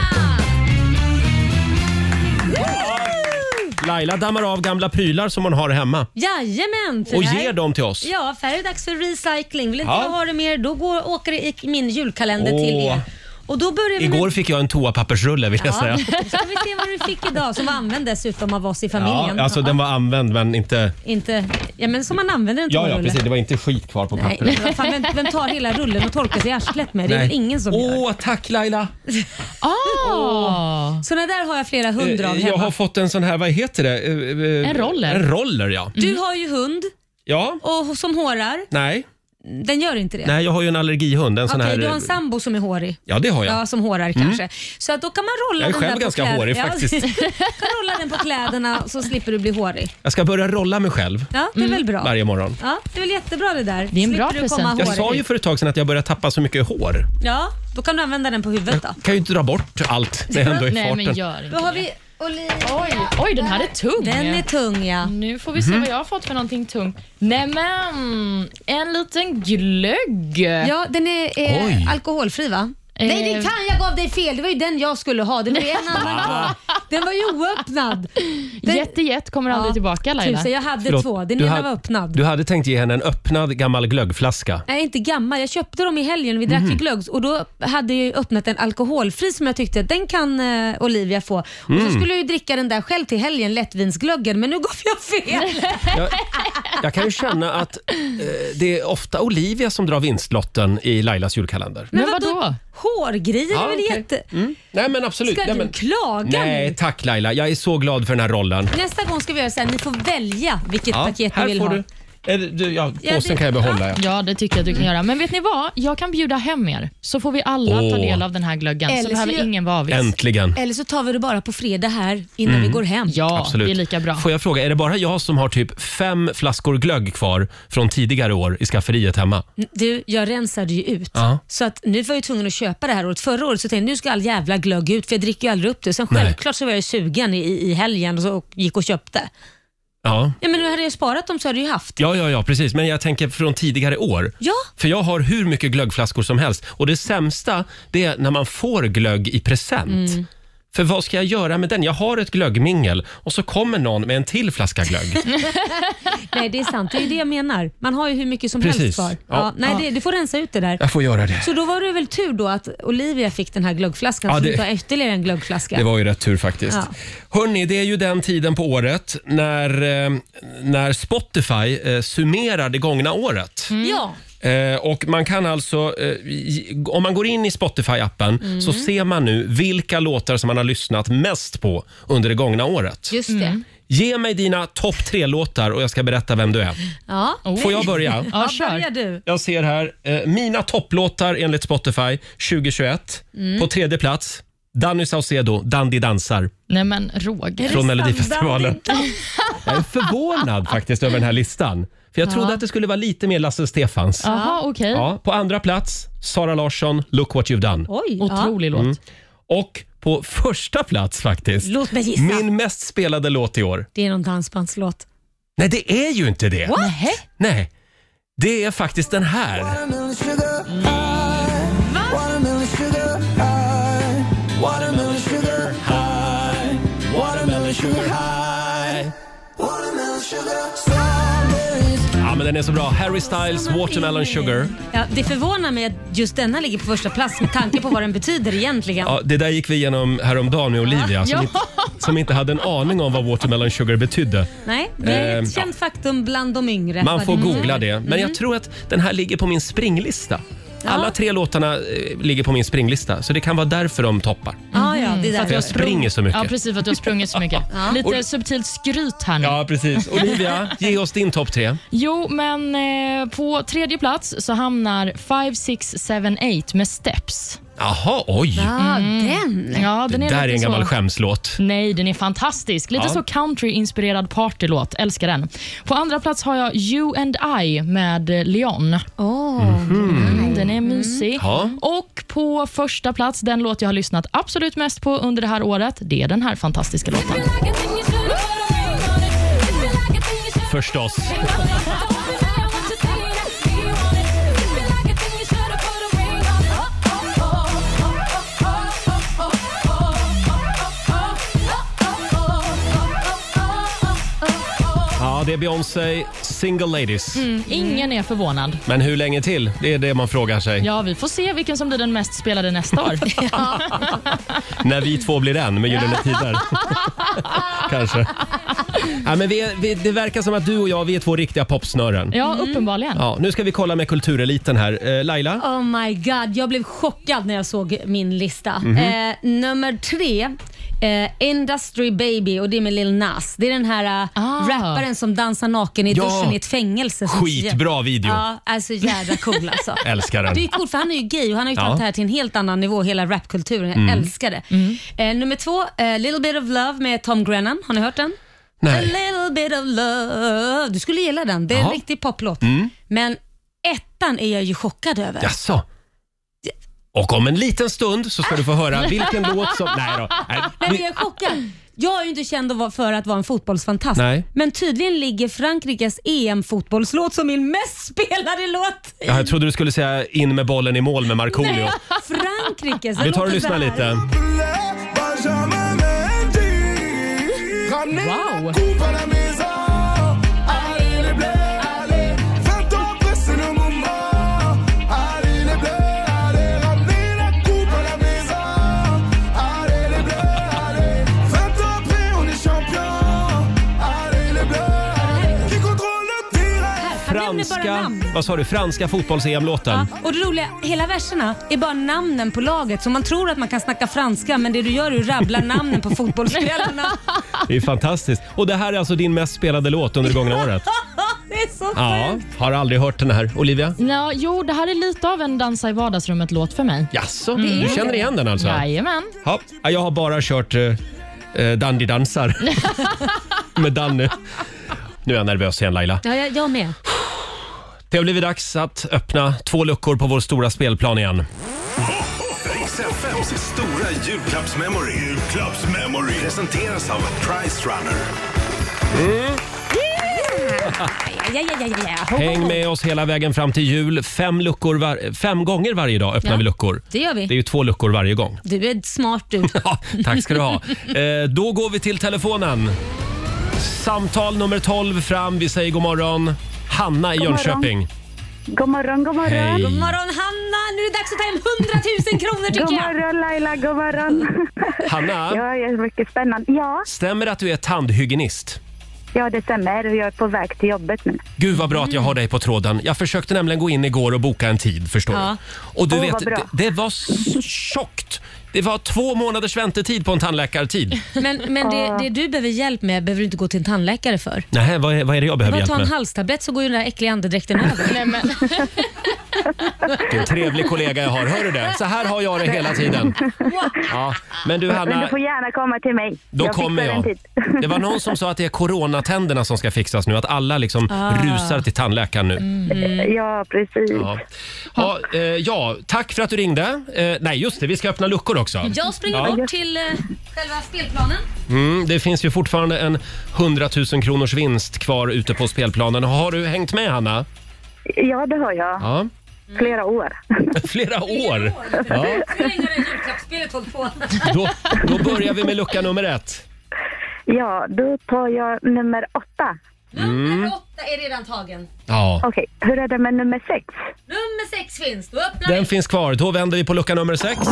Speaker 1: Laila dammar av gamla prylar som hon har hemma
Speaker 3: Jajamän! för
Speaker 1: och
Speaker 3: det här-
Speaker 1: ger dem till oss.
Speaker 3: Ja, för här är det dags för recycling. Vill inte
Speaker 1: Ja.
Speaker 3: jag ha det mer, då går, åker det i min julkalender till
Speaker 1: Åh.
Speaker 3: er. Och då börjar vi med-
Speaker 1: Igår fick jag en toapappersrulle vill jag
Speaker 3: Ja,
Speaker 1: säga.
Speaker 3: då ska vi se vad du fick idag som var använd dessutom av oss i
Speaker 1: Ja,
Speaker 3: familjen.
Speaker 1: alltså den var använd men inte...
Speaker 3: Inte, ja men som man använder en
Speaker 1: Ja, ja
Speaker 3: toarulle.
Speaker 1: precis. Det var inte skit kvar på
Speaker 3: Nej,
Speaker 1: pappret.
Speaker 3: vad fan, vem, vem tar hela rullen och torkar sig i arslet med? Det är väl ingen som gör.
Speaker 1: Åh, tack Laila!
Speaker 4: ah,
Speaker 3: Såna där har jag flera hundra av
Speaker 1: Eh, Jag
Speaker 3: hemma.
Speaker 1: har fått en sån här, vad heter det? Eh, eh,
Speaker 4: En roller.
Speaker 1: En roller, ja.
Speaker 3: Du har ju hund
Speaker 1: Ja,
Speaker 3: och, som hårar.
Speaker 1: nej.
Speaker 3: Den gör inte det.
Speaker 1: Nej, jag har ju en allergihund. En sån
Speaker 3: Okej,
Speaker 1: här...
Speaker 3: du har en
Speaker 1: eh,
Speaker 3: sambo som är hårig.
Speaker 1: Ja, det har jag.
Speaker 3: Ja, som hårar kanske. Så att då kan man rolla
Speaker 1: Jag är
Speaker 3: den
Speaker 1: själv
Speaker 3: där
Speaker 1: ganska
Speaker 3: på kläder-
Speaker 1: hårig
Speaker 3: Ja,
Speaker 1: faktiskt.
Speaker 3: kan rolla den på kläderna så slipper du bli hårig.
Speaker 1: Jag ska börja rolla mig själv
Speaker 3: Ja, det är väl bra.
Speaker 1: Mm. varje morgon.
Speaker 3: Ja, det är väl jättebra det där.
Speaker 4: Det är en bra
Speaker 3: slipper du komma
Speaker 4: present.
Speaker 1: Jag
Speaker 3: hårig.
Speaker 1: sa ju för ett tag sedan att jag börjar tappa så mycket hår.
Speaker 3: Ja, då kan du använda den på huvudet då.
Speaker 1: Kan ju inte dra bort allt när jag ändå är i
Speaker 4: nej men
Speaker 1: farten.
Speaker 4: gör
Speaker 3: Då
Speaker 4: inte
Speaker 3: har
Speaker 4: det.
Speaker 3: vi Olivia.
Speaker 4: Oj, den här är tung.
Speaker 3: Den är tung ja.
Speaker 4: Nu får vi
Speaker 1: Mhm.
Speaker 4: se vad jag har fått för någonting tungt. Nämen, en liten glögg.
Speaker 3: Ja, den är
Speaker 1: Oj.
Speaker 3: eh, alkoholfri va? Nej det
Speaker 4: Eh.
Speaker 3: kan jag gav dig fel. Det var ju den jag skulle ha. Det var ju en annan kvar. Den var ju oöppnad. Den,
Speaker 4: Jätte, jätte kommer aldrig
Speaker 3: Ja,
Speaker 4: tillbaka Laila.
Speaker 3: Tusen, jag hade
Speaker 1: Förlåt,
Speaker 3: två. Den
Speaker 1: du
Speaker 3: ena
Speaker 1: hade-
Speaker 3: var öppnad.
Speaker 1: Du hade tänkt ge henne en öppnad gammal glöggflaska.
Speaker 3: Nej, inte gammal. Jag köpte dem i helgen. Vi drack
Speaker 1: Mhm.
Speaker 3: ju glöggs och då hade jag ju öppnat en alkoholfri som jag tyckte den kan eh, Olivia få. Och
Speaker 1: Mm.
Speaker 3: så skulle jag ju dricka den där själv till helgen, lättvinsglöggen, men nu gav jag fel.
Speaker 1: Jag, jag kan ju känna att eh, det är ofta Olivia som drar vinstlotten i Lailas julkalender.
Speaker 4: Men
Speaker 3: vadå?
Speaker 4: vadå?
Speaker 3: Hårgrejer
Speaker 1: Ja,
Speaker 3: är väl
Speaker 1: okej.
Speaker 3: jätte...
Speaker 1: Nej men absolut.
Speaker 3: Ska
Speaker 1: nej,
Speaker 3: du
Speaker 1: men...
Speaker 3: klaga
Speaker 1: Nej
Speaker 3: nu?
Speaker 1: tack Laila, jag är så glad för den här rollen.
Speaker 3: Nästa gång ska vi göra så här, ni får välja vilket paket ni
Speaker 1: här
Speaker 3: vill
Speaker 1: får
Speaker 3: ha.
Speaker 1: du. Eller, du ja,
Speaker 3: Ja,
Speaker 1: påsen
Speaker 3: det-
Speaker 1: kan jag behålla. Ja.
Speaker 4: Ja, det tycker jag du kan göra. Men vet ni vad? Jag kan bjuda hem er, så får vi alla ta
Speaker 1: Åh.
Speaker 4: del av den här glöggen.
Speaker 3: Eller
Speaker 4: så
Speaker 3: så
Speaker 4: behöver
Speaker 3: gör-
Speaker 4: ingen vara avis.
Speaker 1: Äntligen.
Speaker 3: Eller så tar vi det bara på fredag här innan
Speaker 1: Mm.
Speaker 3: vi går hem.
Speaker 4: Ja,
Speaker 1: Absolut.
Speaker 4: det är lika bra.
Speaker 1: Får jag fråga, är det bara jag som har typ fem flaskor glögg kvar från tidigare år i skafferiet hemma?
Speaker 3: Du, jag rensade ju ut.
Speaker 1: Ja.
Speaker 3: Så att nu var jag ju tvungen att köpa det här året. Förra året så tänkte jag nu ska all jävla glögg ut för jag dricker ju aldrig upp det. Sen
Speaker 1: Nej.
Speaker 3: självklart så var jag ju sugen i, i helgen och, så, och gick och köpte.
Speaker 1: Ja.
Speaker 3: Ja, men nu hade jag sparat dem så hade jag ju haft.
Speaker 1: ja, ja, ja, precis. Men jag tänker från tidigare år.
Speaker 3: Ja,
Speaker 1: För jag har hur mycket glöggflaskor som helst. Och det sämsta, det är när man får glögg i present. För vad ska jag göra med den? Jag har ett glöggmingel och så kommer någon med en till flaska glögg.
Speaker 3: nej det är sant. Det är ju det jag menar. Man har ju hur mycket som
Speaker 1: Precis.
Speaker 3: helst kvar. Ja.
Speaker 1: Ja.
Speaker 3: nej, det, du får rensa ut det där.
Speaker 1: Jag får göra det.
Speaker 3: Så då var det väl tur då att Olivia fick den här glöggflaskan
Speaker 1: Ja,
Speaker 3: så
Speaker 1: det-
Speaker 3: du tar ytterligare en glöggflaska.
Speaker 1: Det var ju rätt tur faktiskt.
Speaker 3: Ja.
Speaker 1: Hörni, det är ju den tiden på året när, eh, när Spotify eh, summerar det gångna året.
Speaker 3: Mm. Ja,
Speaker 1: Eh, och man kan alltså, eh, i- om man går in i Spotify-appen
Speaker 3: Mm.
Speaker 1: så ser man nu vilka låtar som man har lyssnat mest på under det gångna året. Mm.
Speaker 3: just det.
Speaker 1: Ge mig dina topp tre-låtar och jag ska berätta vem du är.
Speaker 3: Ja.
Speaker 1: Får jag börja?
Speaker 4: Ja,
Speaker 3: Ja,
Speaker 4: kör.
Speaker 3: börjar du.
Speaker 1: Jag ser
Speaker 3: Mm.
Speaker 1: här, eh, mina topplåtar enligt Spotify 2021. På tredje plats, Danny Saucedo, Dandy dansar
Speaker 4: Nej men Roger.
Speaker 1: från
Speaker 3: det sant?
Speaker 1: Melodifestivalen.
Speaker 3: Dandy dansar.
Speaker 1: Jag är förvånad faktiskt över den här listan. För jag trodde att det skulle vara lite mer Lasse Stefans.
Speaker 4: Jaha, okej.
Speaker 1: Ja, på andra plats, Sara Larsson, Look what you've done.
Speaker 3: Oj. Ja.
Speaker 4: Otrolig låt.
Speaker 1: Mm, Och på första plats faktiskt,
Speaker 3: Låt mig gissa.
Speaker 1: min mest spelade låt i år.
Speaker 3: Det är någon dansbandslåt.
Speaker 1: Nej, det är ju inte det.
Speaker 4: Nähä?
Speaker 1: Nej, det är faktiskt den här. Ja, men den är så bra. Harry Styles, Watermelon Sugar.
Speaker 3: Ja, det förvånar mig att just denna ligger på första plats med tanke på vad den betyder egentligen.
Speaker 1: Ja, det där gick vi igenom häromdagen med Olivia som,
Speaker 4: Ja.
Speaker 1: inte, som inte hade en aning om vad Watermelon Sugar betydde.
Speaker 3: Nej, det är
Speaker 1: Ehm,
Speaker 3: ett känt faktum bland de yngre. Mm.
Speaker 1: Man
Speaker 3: Vad
Speaker 1: får
Speaker 3: det-
Speaker 1: googla det. Men
Speaker 4: Mm.
Speaker 1: jag tror att den här ligger på min springlista. Alla tre låtarna eh, ligger på min springlista, så det kan vara därför de toppar.
Speaker 3: Ja, ja, det är
Speaker 1: För jag
Speaker 3: därför.
Speaker 1: springer så mycket.
Speaker 4: Ja, precis för att du har sprungit så mycket. Lite subtilt skryt här nu.
Speaker 1: Ja, precis. Olivia, ge oss din topp tre.
Speaker 4: Jo, men eh, på tredje plats så hamnar 5678 med Steps.
Speaker 1: Jaha, oj.
Speaker 3: Ja, den.
Speaker 4: Ja, Ah, den
Speaker 1: Det
Speaker 4: är
Speaker 1: där är
Speaker 4: lite
Speaker 1: en gammal
Speaker 4: så.
Speaker 1: skämslåt.
Speaker 4: Nej, den är fantastisk. Lite
Speaker 1: Ja.
Speaker 4: så country-inspirerad partylåt. Älskar den. På andra plats har jag You and I med eh, Leon.
Speaker 3: Åh.
Speaker 4: Mm, Den är mysig.
Speaker 1: Ja.
Speaker 4: Och på första plats, den låt jag har lyssnat absolut mest på under det här året, det är den här fantastiska låten.
Speaker 1: Förstås.
Speaker 7: Oh,
Speaker 1: Ja, det är Beyoncé, Single Ladies.
Speaker 4: Mm. Ingen är förvånad.
Speaker 1: Men hur länge till? Det är det man frågar sig.
Speaker 4: Ja, vi får se vilken som blir den mest spelade nästa år.
Speaker 1: När vi två blir en med Gyllene Tider. Kanske. Ja, men vi är, vi, det verkar som att du och jag, vi är två riktiga popsnören.
Speaker 4: Ja, uppenbarligen.
Speaker 1: Ja, nu ska vi kolla med kultureliten här. Eh, Laila?
Speaker 3: Oh my god, jag blev chockad när jag såg min lista.
Speaker 1: Mhm.
Speaker 3: eh, nummer tre, eh, Industry Baby och det är med Lil Nas. Det är den här eh,
Speaker 4: Ah.
Speaker 3: rapparen som dansar naken i
Speaker 1: Ja.
Speaker 3: duschen i ett fängelse. som-
Speaker 1: Skitbra video.
Speaker 3: Ja, alltså jävla cool alltså.
Speaker 1: Älskar den.
Speaker 3: Det är coolt för han är ju gay och han har ju
Speaker 1: Ja. Mm.
Speaker 3: tagit det här till en helt annan nivå, hela rapkulturen. Jag älskar det. Eh, nummer två, eh, Little Bit of Love med Tom Grennan. Har ni hört den? A
Speaker 1: Nej.
Speaker 3: little bit of love. Du skulle gilla den. Det är
Speaker 1: Jaha. Mm.
Speaker 3: en riktig poplåt. Men ettan är jag ju chockad över.
Speaker 1: Jaså? Och om en liten stund så ska du få höra vilken låt som... Nej då. Nej,
Speaker 3: Nej, men
Speaker 1: vi-
Speaker 3: jag är chockad. Jag är ju inte känd att vara- för att vara en fotbollsfantast,
Speaker 1: Nej.
Speaker 3: men tydligen ligger Frankrikes EM-fotbollslåt som min mest spelade låt.
Speaker 1: Ja, jag trodde du skulle säga in med bollen i mål med Markoolio.
Speaker 3: Frankrikes. den
Speaker 1: Vi tar och
Speaker 3: låter så
Speaker 1: lyssnar
Speaker 3: här.
Speaker 1: lite.
Speaker 4: Wow.
Speaker 3: Han nämner bara
Speaker 1: Franska,
Speaker 3: namn.
Speaker 1: vad sa du, franska fotbolls-EM-låten.
Speaker 3: Ja, och det roliga, hela verserna är bara namnen på laget, så man tror att man kan snacka franska, men det du gör är att rabbla namnen på fotbollsspelarna.
Speaker 1: Det är fantastiskt. Och det här är alltså din mest spelade låt under det gångna året.
Speaker 3: det är så
Speaker 1: Ja, har aldrig hört den här. Olivia?
Speaker 4: Ja, jo, det här är lite av en dansa i vardagsrummet-låt för mig.
Speaker 1: Jaså, du känner igen den alltså?
Speaker 4: Jajamän.
Speaker 1: Ja, jag har bara kört eh, eh, Dandy dansar med Danny. Nu är jag nervös igen Laila.
Speaker 3: Ja, jag, jag med.
Speaker 1: Det har blivit dags att öppna två luckor på vår stora spelplan igen.
Speaker 2: Riks FMs stora julklappsmemory. Julklappsmemory. Presenteras av Price Runner.
Speaker 3: Ja, ja, ja, ja, ja.
Speaker 1: Häng med oss hela vägen fram till jul. Fem, luckor var- fem gånger varje dag öppnar
Speaker 3: Ja,
Speaker 1: vi luckor.
Speaker 3: det gör vi.
Speaker 1: Det är ju två luckor varje gång.
Speaker 3: Du är smart du.
Speaker 1: Ja, tack ska du ha. Eh, då går vi till telefonen. Samtal nummer 12 fram. Vi säger god morgon. Hanna i
Speaker 5: God morgon.
Speaker 1: Jönköping.
Speaker 5: God morgon, god morgon.
Speaker 1: Hej.
Speaker 3: God morgon Hanna, nu är det dags att ta hem 100 000 kronor
Speaker 5: God
Speaker 3: tycker jag.
Speaker 5: morgon Laila, god morgon.
Speaker 1: Hanna?
Speaker 5: Ja, det är mycket spännande. Ja,
Speaker 1: Stämmer det att du är tandhygienist?
Speaker 5: ja det stämmer. Jag är på väg till jobbet nu.
Speaker 1: Gud vad bra att jag har dig på tråden. Jag försökte nämligen gå in igår och boka en tid förstår
Speaker 3: Ja.
Speaker 1: du. Och du
Speaker 5: Åh,
Speaker 1: vet,
Speaker 5: vad bra.
Speaker 1: det, det var s- tjockt Det var två månaders väntetid på en tandläkartid.
Speaker 3: Men, men det, det du behöver hjälp med behöver du inte gå till en tandläkare för.
Speaker 1: Nej, vad, är- vad är det jag behöver
Speaker 3: Bara
Speaker 1: hjälp
Speaker 3: ta en
Speaker 1: med?
Speaker 3: halstablett så går ju den där äckliga andedräkten över.
Speaker 4: Nej, men,
Speaker 1: Vilken trevlig kollega jag har. Hör du det? Så här har jag det hela tiden. Ja. Men du
Speaker 5: Men du
Speaker 1: Hanna,
Speaker 5: får gärna komma till mig.
Speaker 1: då
Speaker 5: jag
Speaker 1: kommer
Speaker 5: fixar en
Speaker 1: jag.
Speaker 5: tid.
Speaker 1: Det var någon som sa att det är coronatänderna som ska fixas nu. Att alla liksom
Speaker 5: Ah.
Speaker 1: rusar till tandläkaren nu.
Speaker 5: Mm.
Speaker 3: Mm.
Speaker 5: Ja, precis.
Speaker 1: Ja. Ja, eh, ja, tack för att du ringde. Eh, nej, just det, vi ska öppna luckor också.
Speaker 3: Jag springer
Speaker 1: Ja.
Speaker 3: bort till eh, själva spelplanen.
Speaker 1: Mm, det finns ju fortfarande en 100 000 kronors vinst kvar ute på spelplanen. Har du hängt med, Hanna?
Speaker 5: Ja, det har jag.
Speaker 1: Ja.
Speaker 5: Flera år.
Speaker 1: Flera år. Ja.
Speaker 3: Hur länge har det här julklappsspelet hållit på?
Speaker 1: Då, då börjar vi med lucka nummer ett.
Speaker 5: Ja, då tar jag nummer åtta.
Speaker 1: Mm.
Speaker 3: Nummer åtta är redan tagen.
Speaker 1: Ja.
Speaker 5: Okej, hur är det med nummer sex?
Speaker 3: Nummer sex finns. Då öppnar vi
Speaker 1: Den finns kvar. Då vänder vi på lucka nummer sex.
Speaker 3: 10 000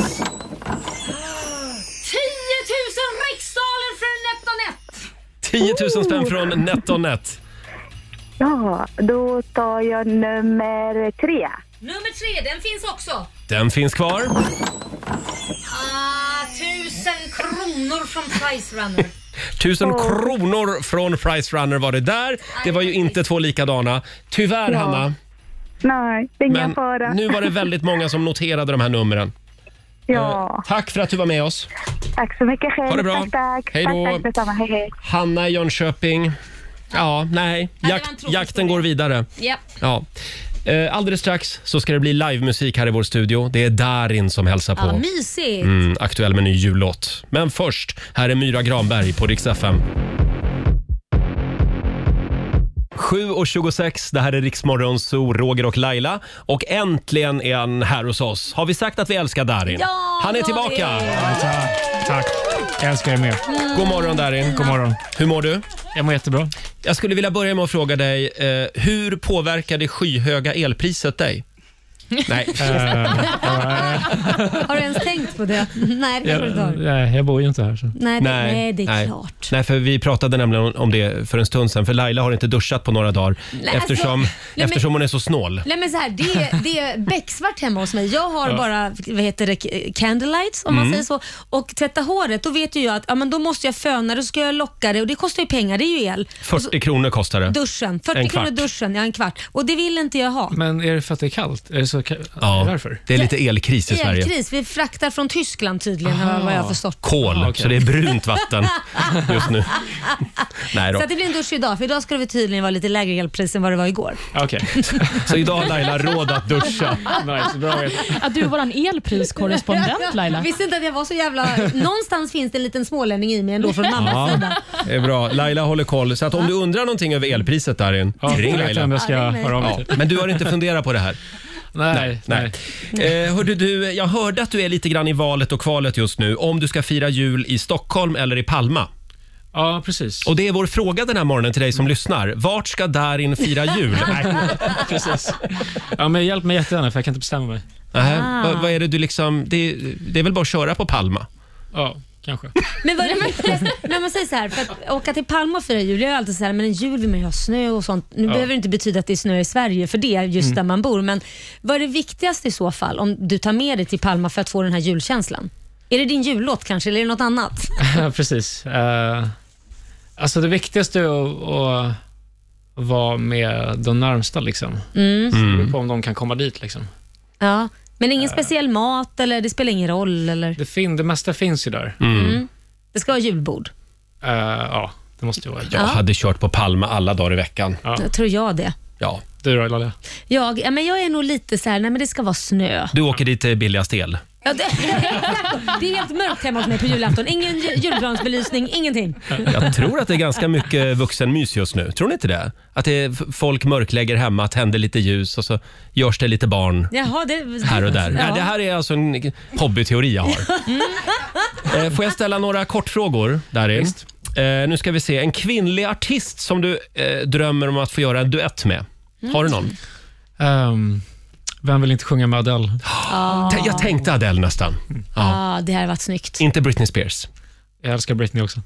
Speaker 3: riksdaler för en
Speaker 1: 10
Speaker 3: Neptonet.
Speaker 1: 000 spänn från NetOnNet.
Speaker 5: Ja, då tar jag nummer tre.
Speaker 3: Nummer tre, den finns också.
Speaker 1: Den finns kvar.
Speaker 3: Ah, 1000 kronor från Price Runner.
Speaker 1: 1000 kronor från Price Runner var det där. Det var ju inte två likadana. Tyvärr, Hanna.
Speaker 5: Nej, det är ingen
Speaker 1: Men
Speaker 5: fara.
Speaker 1: nu var det väldigt många som noterade de här numren. Eh,
Speaker 5: Ja,
Speaker 1: Tack för att du var med oss.
Speaker 5: tack så mycket själv.
Speaker 1: Ha det bra.
Speaker 5: Tack, tack.
Speaker 1: Hej då.
Speaker 5: Tack, tack detsamma. Hej, hej.
Speaker 1: Hanna i Jönköping. Ja, nej.
Speaker 3: det var
Speaker 1: Jak-
Speaker 3: en tråkig
Speaker 1: jakten
Speaker 3: historia.
Speaker 1: går vidare.
Speaker 3: Japp.
Speaker 1: Ja. Eh, Alldeles strax så ska det bli livemusik här i vår studio. Det är Darin som hälsar
Speaker 3: Ja,
Speaker 1: på.
Speaker 3: mysigt.
Speaker 1: Mm, aktuell med ny jullåt. Men först, här är Myra Granberg på Rix FM. 7.26, det här är Riksmorgon Zoo, Roger och Laila. Och äntligen är han här hos oss. Har vi sagt att vi älskar Darin?
Speaker 3: Ja,
Speaker 1: han är
Speaker 3: ja,
Speaker 1: tillbaka!
Speaker 3: det är-
Speaker 6: Tack. Jag älskar er med.
Speaker 1: God morgon Darin.
Speaker 6: God morgon.
Speaker 1: Hur mår du?
Speaker 6: Jag mår jättebra.
Speaker 1: Jag skulle vilja börja med att fråga dig, eh, hur påverkar det skyhöga elpriset dig? Nej,
Speaker 3: Har du ens tänkt på det? Nej, det kanske du inte har.
Speaker 6: Nej, jag bor ju inte här. Så.
Speaker 3: Nej, det-
Speaker 1: nej,
Speaker 3: nej, det är
Speaker 1: nej.
Speaker 3: klart.
Speaker 1: Nej, för vi pratade nämligen om det för en stund sedan, för Laila har inte duschat på några dagar
Speaker 3: alltså,
Speaker 1: eftersom,
Speaker 3: nej, men-
Speaker 1: eftersom hon är så snål.
Speaker 3: Nej men så här, det, är- det är becksvart hemma hos mig. Jag har bara vad heter det, k- candlelights om
Speaker 1: Mm.
Speaker 3: man säger så. Och tvätta håret, då vet ju jag att ja, men då måste jag föna det, så ska jag locka det och det kostar ju pengar, det är ju el. Och så,
Speaker 1: 40 kronor kostar det.
Speaker 3: duschen, 40
Speaker 1: En kvart.
Speaker 3: kronor duschen, ja en kvart. Och det vill inte jag ha.
Speaker 6: Men är det för att det är kallt? Är det så kallt?
Speaker 1: Ja,
Speaker 6: Är det därför?
Speaker 1: det är lite elkris i Sverige.
Speaker 3: Elkris, vi fraktar från Tyskland tydligen vad jag har förstått.
Speaker 1: Kol,
Speaker 6: Ah, okej.
Speaker 1: så det är brunt vatten just nu. Nej då.
Speaker 3: Så att det blir en dusch idag, för idag ska det tydligen vara lite lägre elpris än vad det var igår.
Speaker 6: Okej.
Speaker 1: Så idag har Laila råd att duscha.
Speaker 6: Nice, bra vet.
Speaker 4: att du är vår elpriskorrespondent Laila.
Speaker 3: Visste inte att jag var så jävla... Någonstans finns det en liten smålänning i mig ändå från mammas
Speaker 1: Ja,
Speaker 3: sida.
Speaker 1: det är bra. Laila håller koll. Så att om du undrar någonting över elpriset Darin,
Speaker 6: Ja,
Speaker 1: ring
Speaker 6: jag vet vem
Speaker 1: Laila.
Speaker 6: jag ska
Speaker 3: Ja, ring mig.
Speaker 6: höra av mig
Speaker 1: Ja,
Speaker 6: till.
Speaker 1: men du har inte funderat på det här?
Speaker 6: Nej,
Speaker 1: Nej.
Speaker 6: nej.
Speaker 1: Eh, hörde du, jag hörde att du är lite grann i valet och kvalet just nu om du ska fira jul i Stockholm eller i Palma.
Speaker 6: Ja, precis.
Speaker 1: Och Det är vår fråga den här morgonen till dig som lyssnar. Vart ska Darin fira jul?
Speaker 6: precis. Ja, men hjälp mig jättegärna för jag kan inte bestämma mig.
Speaker 1: Nähä,
Speaker 6: Ah.
Speaker 1: vad, vad är det du liksom... Det, det är väl bara att köra på Palma?
Speaker 6: Ja, kanske.
Speaker 3: Men vad är det viktigaste? När man säger så här, för att åka till Palma och fira jul, jag är alltid så här, men en jul vill man ju ha snö och sånt. Nu behöver det inte betyda att det är snö i Sverige, för det är just
Speaker 1: Mm.
Speaker 3: där man bor. Men vad är det viktigaste i så fall, om du tar med dig till Palma för att få den här julkänslan? Är det din jullåt kanske, eller är det något annat?
Speaker 6: Ja, precis. Eh, alltså det viktigaste är att, att vara med de närmsta. Liksom. Så det beror på om de kan komma dit. Liksom.
Speaker 3: Ja. Men
Speaker 1: Äh.
Speaker 3: ingen speciell mat, eller det spelar ingen roll? Eller?
Speaker 6: Det, fin- det mesta finns ju där.
Speaker 3: Det ska vara julbord.
Speaker 6: Eh, ja, det måste ju vara.
Speaker 1: Jag hade kört på Palma alla dagar i veckan.
Speaker 6: Ja.
Speaker 3: Jag tror jag det.
Speaker 1: Ja.
Speaker 6: Du då, Laila?
Speaker 3: Jag, ja, men jag är nog lite så här, nej men det ska vara snö.
Speaker 1: Du åker dit det är billigast el.
Speaker 3: Ja, det, det är helt mörkt hemma hos mig på julafton. Ingen ju- julgransbelysning, ingenting.
Speaker 1: Jag tror att det är ganska mycket vuxenmys just nu. Tror ni inte det? Att det är, f- folk mörklägger hemma, tänder lite ljus och så görs det lite barn.
Speaker 3: Jaha, det,
Speaker 1: här och där.
Speaker 3: Ja. Mm.
Speaker 1: Nej, det här är alltså en hobbyteori jag har. Eh, Får jag ställa några kortfrågor, Darin?
Speaker 6: Visst.
Speaker 1: Eh, nu ska vi se. En kvinnlig artist som du eh, drömmer om att få göra en duett med.
Speaker 3: Mm.
Speaker 1: Har du någon?
Speaker 6: Ehm, vem vill inte sjunga med Adele?
Speaker 3: Ah.
Speaker 1: T- Jag tänkte Adele nästan.
Speaker 3: Mm.
Speaker 1: Ja.
Speaker 3: Ja, det här har varit snyggt.
Speaker 1: Inte Britney Spears.
Speaker 6: Jag älskar Britney också.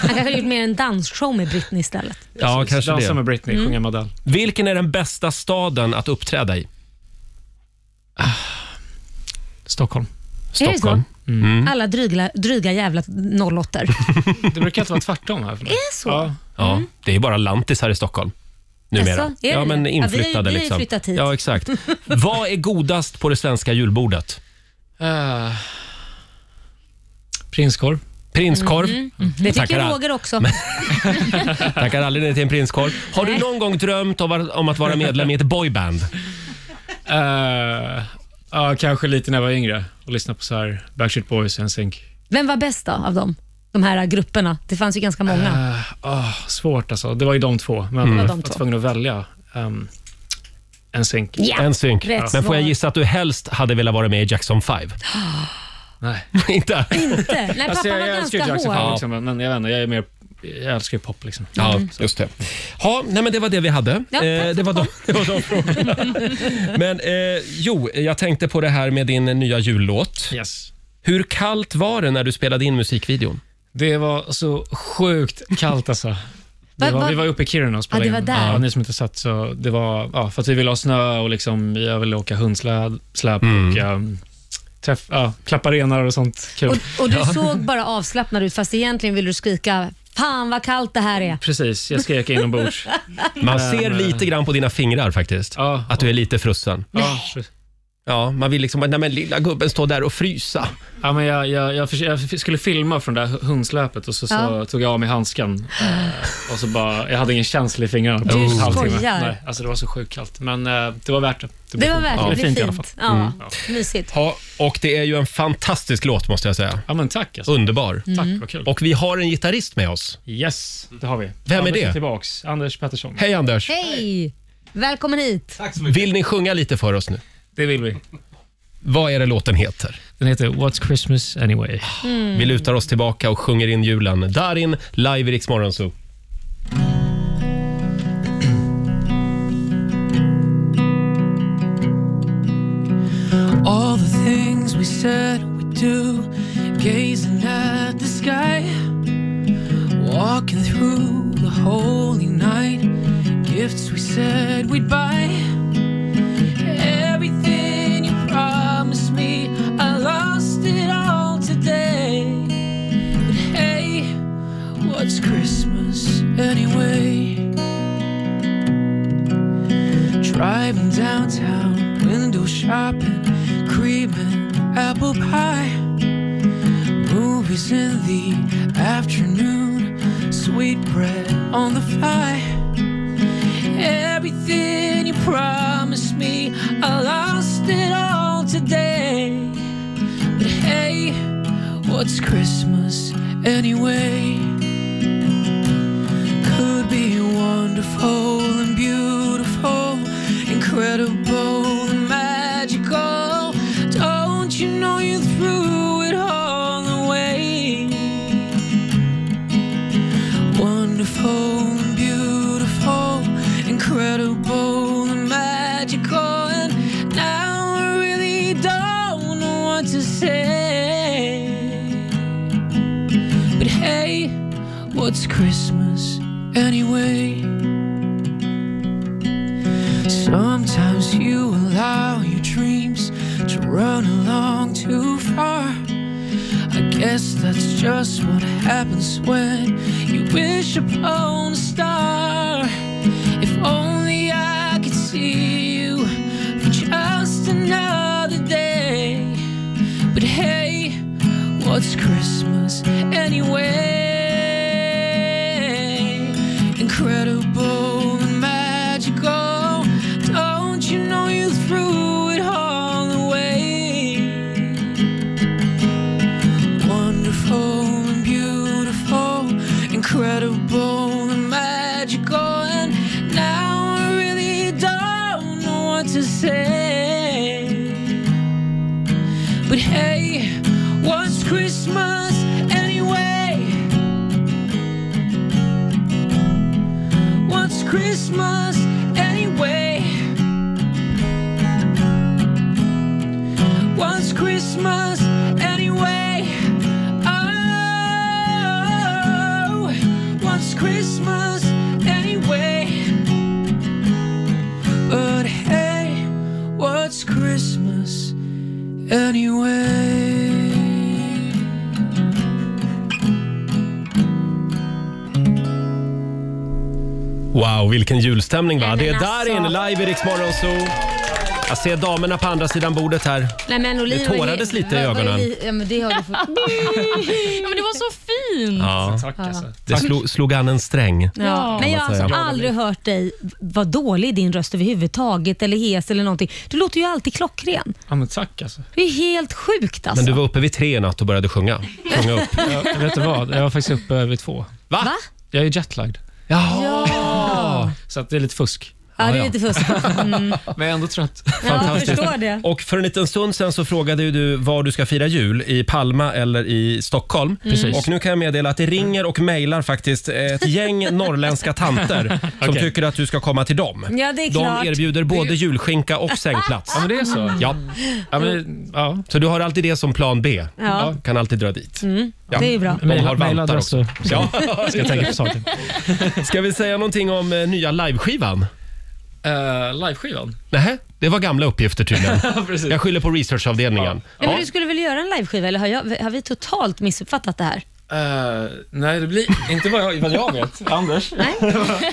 Speaker 3: Han kanske har gjort mer en dansshow med Britney istället.
Speaker 1: Ja, kanske
Speaker 6: Alltså, Dansa
Speaker 1: det.
Speaker 6: med Britney, sjunga
Speaker 3: Mm.
Speaker 6: med Adele.
Speaker 1: Vilken är den bästa staden att uppträda i?
Speaker 6: Stockholm.
Speaker 3: det så?
Speaker 1: Stockholm. Mm.
Speaker 3: Alla dryga, dryga jävla nollotter.
Speaker 6: Det brukar alltid vara tvärtom här för mig.
Speaker 3: Är så?
Speaker 6: Ja.
Speaker 1: Ja, det är bara lantis här i Stockholm. Numera.
Speaker 3: Mm. Jaså, är det
Speaker 1: ja,
Speaker 3: det?
Speaker 1: men
Speaker 3: Ja, vi har ju-
Speaker 1: inflyttade
Speaker 3: vi har ju
Speaker 1: liksom.
Speaker 3: flyttat hit.
Speaker 1: Ja, exakt. Vad är godast på det svenska julbordet?
Speaker 6: Eh, prinskorv.
Speaker 1: Prinskorv.
Speaker 3: Mm, Det
Speaker 1: Tackar
Speaker 3: tycker
Speaker 1: all-
Speaker 3: Roger också.
Speaker 1: Tackar aldrig nej till en prinskorv. Har du någon gång drömt om att- om att vara medlem i ett boyband?
Speaker 6: Eh, Ja, kanske lite när jag var yngre och lyssnade på så här Backstreet Boys och NSYNC.
Speaker 3: Vem var bäst då av dem? De här grupperna. Det fanns ju ganska många.
Speaker 6: Eh, ah, svårt alltså. Det var ju de två, men
Speaker 1: Mm.
Speaker 3: var
Speaker 6: jag
Speaker 3: de
Speaker 6: var
Speaker 3: två.
Speaker 6: tvungen att välja um, NSYNC.
Speaker 3: Ja,
Speaker 1: Äh, En synk.
Speaker 3: rätt
Speaker 1: Men får
Speaker 3: svar.
Speaker 1: jag gissa att du helst hade velat vara med i Jackson 5?
Speaker 6: Nej.
Speaker 1: Inte?
Speaker 3: Inte. Nej,
Speaker 6: Alltså,
Speaker 3: pappa
Speaker 6: jag,
Speaker 3: var
Speaker 6: jag älskar ju
Speaker 3: ganska
Speaker 6: Jackson
Speaker 3: hård.
Speaker 6: 5, liksom, men jag vet inte, jag, är mer, jag älskar ju pop. Liksom.
Speaker 1: Ja, Mm. just det. Ja, nej, men det var det vi hade. Eh,
Speaker 3: Ja, tack
Speaker 1: det,
Speaker 3: för
Speaker 1: var de, det var de frågorna. Men eh, jo, jag tänkte på det här med din nya jullåt.
Speaker 6: Yes.
Speaker 1: Hur kallt var det när du spelade in musikvideon?
Speaker 6: Det var så sjukt kallt alltså.
Speaker 3: Va-
Speaker 6: Det
Speaker 3: va-
Speaker 6: var, vi var uppe i Kiruna och spelade
Speaker 3: Ja, det var
Speaker 6: in.
Speaker 3: där.
Speaker 6: Ja, ni som inte sett så det var ja, för att vi ville ha snö och liksom, jag ville åka hundsläp släp och um, träff, ja, klappa renar och sånt kul.
Speaker 3: Och, och du såg bara avslappnad ut fast egentligen ville du skrika Fan vad kallt det här är.
Speaker 6: Precis, jag skrek inombords.
Speaker 1: Man ser
Speaker 6: eh,
Speaker 1: lite grann på dina fingrar faktiskt.
Speaker 6: Ja,
Speaker 1: Att du är lite frusen.
Speaker 6: ja, precis.
Speaker 1: Ja, man vill liksom, nej men lilla gubben står där och frysa.
Speaker 6: ja, men jag, jag, jag, förs- jag skulle filma från det där hundsläpet och så, så
Speaker 3: Ja.
Speaker 6: tog jag av mig handsken. eh, Och så bara, jag hade ingen känsla i fingrarna. på
Speaker 3: Du
Speaker 6: en halvtimme.
Speaker 3: skojar.
Speaker 6: Nej, alltså det var så sjukt kallt. Men eh, det var värt det.
Speaker 3: Det var värt
Speaker 6: Det
Speaker 3: det. Det
Speaker 6: är
Speaker 3: blev fint.
Speaker 6: fint i alla fall.
Speaker 3: Ja, Mysigt.
Speaker 1: Ja, och det är ju en fantastisk låt måste jag säga.
Speaker 6: Ja, men tack alltså.
Speaker 1: Underbar.
Speaker 6: Tack,
Speaker 3: Mm.
Speaker 6: vad kul.
Speaker 1: Och vi har en gitarrist med oss.
Speaker 6: Yes, det har vi.
Speaker 1: Vem är
Speaker 6: Anders
Speaker 1: det?
Speaker 6: tillbaks. Anders Pettersson.
Speaker 1: Hej Anders!
Speaker 3: Hej! Välkommen hit.
Speaker 1: Vill ni sjunga lite för oss nu?
Speaker 6: Det vill vi.
Speaker 1: Vad är det låten heter?
Speaker 6: Den heter What's Christmas Anyway.
Speaker 1: Vi lutar oss tillbaka och sjunger in julen. Darin, live i Rix Morgon Zoo.
Speaker 8: All the things we said we do, gazing at the sky, walking through the holy night, gifts we said we'd buy. Everything you promised me, I lost it all today. But hey, what's Christmas anyway? Driving downtown, window shopping, creeping apple pie. Movies in the afternoon, sweet bread on the fly. Everything you promised me, I lost it all today. But hey, what's Christmas anyway? could be wonderful and beautiful, incredible and magical. Don't you know you threw it all away? Wonderful and beautiful, incredible and magical, and now I really don't know what to say. But hey, What's Christmas anyway? Sometimes you allow your dreams to run along too far. I guess that's just what happens when you wish upon a star. If only I could see you for just another day. But hey, What's Christmas anyway? Incredible and magical. Don't you know you threw it all away? Wonderful and beautiful, incredible and magical. And now I really don't know what to say. But hey, what's Christmas anyway? What's Christmas anyway? What's Christmas anyway? Oh, what's Christmas anyway? But hey, what's Christmas? anyway.
Speaker 1: Wow, vilken julstämning va?
Speaker 3: Nej,
Speaker 1: Det är
Speaker 3: men
Speaker 1: Darin
Speaker 3: alltså.
Speaker 1: live i Rix Morgon Zoo. Jag ser damerna på andra sidan bordet här.
Speaker 3: Nej, men Olivia
Speaker 1: Det tårades
Speaker 3: var-
Speaker 1: lite i
Speaker 3: var- var-
Speaker 1: ögonen.
Speaker 3: Ja, men det har du fått.
Speaker 4: Ja, men det var så fint!
Speaker 1: Ja.
Speaker 6: Tack alltså.
Speaker 1: Det slog, slog an en sträng.
Speaker 3: Ja. Men jag har alltså
Speaker 1: säga.
Speaker 3: aldrig hört dig vara dålig i din röst överhuvudtaget eller hes eller någonting. Du låter ju alltid klockren.
Speaker 6: Ja, men tack alltså.
Speaker 3: Det är helt sjukt alltså.
Speaker 1: Men du var uppe vid tre i natt och började sjunga. sjunga upp.
Speaker 6: Jag, vet du vad? Jag var faktiskt uppe vid två.
Speaker 1: Va?
Speaker 3: Va?
Speaker 6: Jag är jetlagd,
Speaker 1: Ja.
Speaker 6: så att det är lite fusk.
Speaker 3: Ja, det är lite fusk. Mm.
Speaker 6: Ah. Men jag är ändå trött.
Speaker 3: Ja, jag förstår det.
Speaker 1: Och för en liten stund sen så frågade ju du var du ska fira jul, i Palma eller i Stockholm.
Speaker 6: Mm. Precis.
Speaker 1: Och nu kan jag meddela att det ringer och mejlar faktiskt ett gäng norrländska tanter som
Speaker 6: Okej.
Speaker 1: tycker att du ska komma till dem.
Speaker 3: Ja, det är klart.
Speaker 1: De erbjuder både julskinka och sängplats.
Speaker 6: Ja, men det är så.
Speaker 1: Ja,
Speaker 6: Ja, men, ja.
Speaker 1: så du har alltid det som plan B.
Speaker 3: Ja. Mm.
Speaker 1: Kan alltid dra dit. Ja.
Speaker 3: Det är ju bra.
Speaker 1: De har vantar
Speaker 6: mailadress
Speaker 1: också.
Speaker 6: och-
Speaker 1: Ja.
Speaker 6: Ska jag tänka på saken.
Speaker 1: Ska vi säga någonting om eh, nya liveskivan?
Speaker 6: Uh, Liveskivan?
Speaker 1: Nej, det var gamla uppgifter tydligen.
Speaker 6: Ja, precis.
Speaker 1: Jag skyller på researchavdelningen.
Speaker 3: Nej,
Speaker 1: Ja.
Speaker 3: men du skulle väl göra en liveskiva eller har, jag, har vi totalt missuppfattat det här?
Speaker 6: Eh, nej, det blir inte vad jag, vad jag vet. Anders? Nej.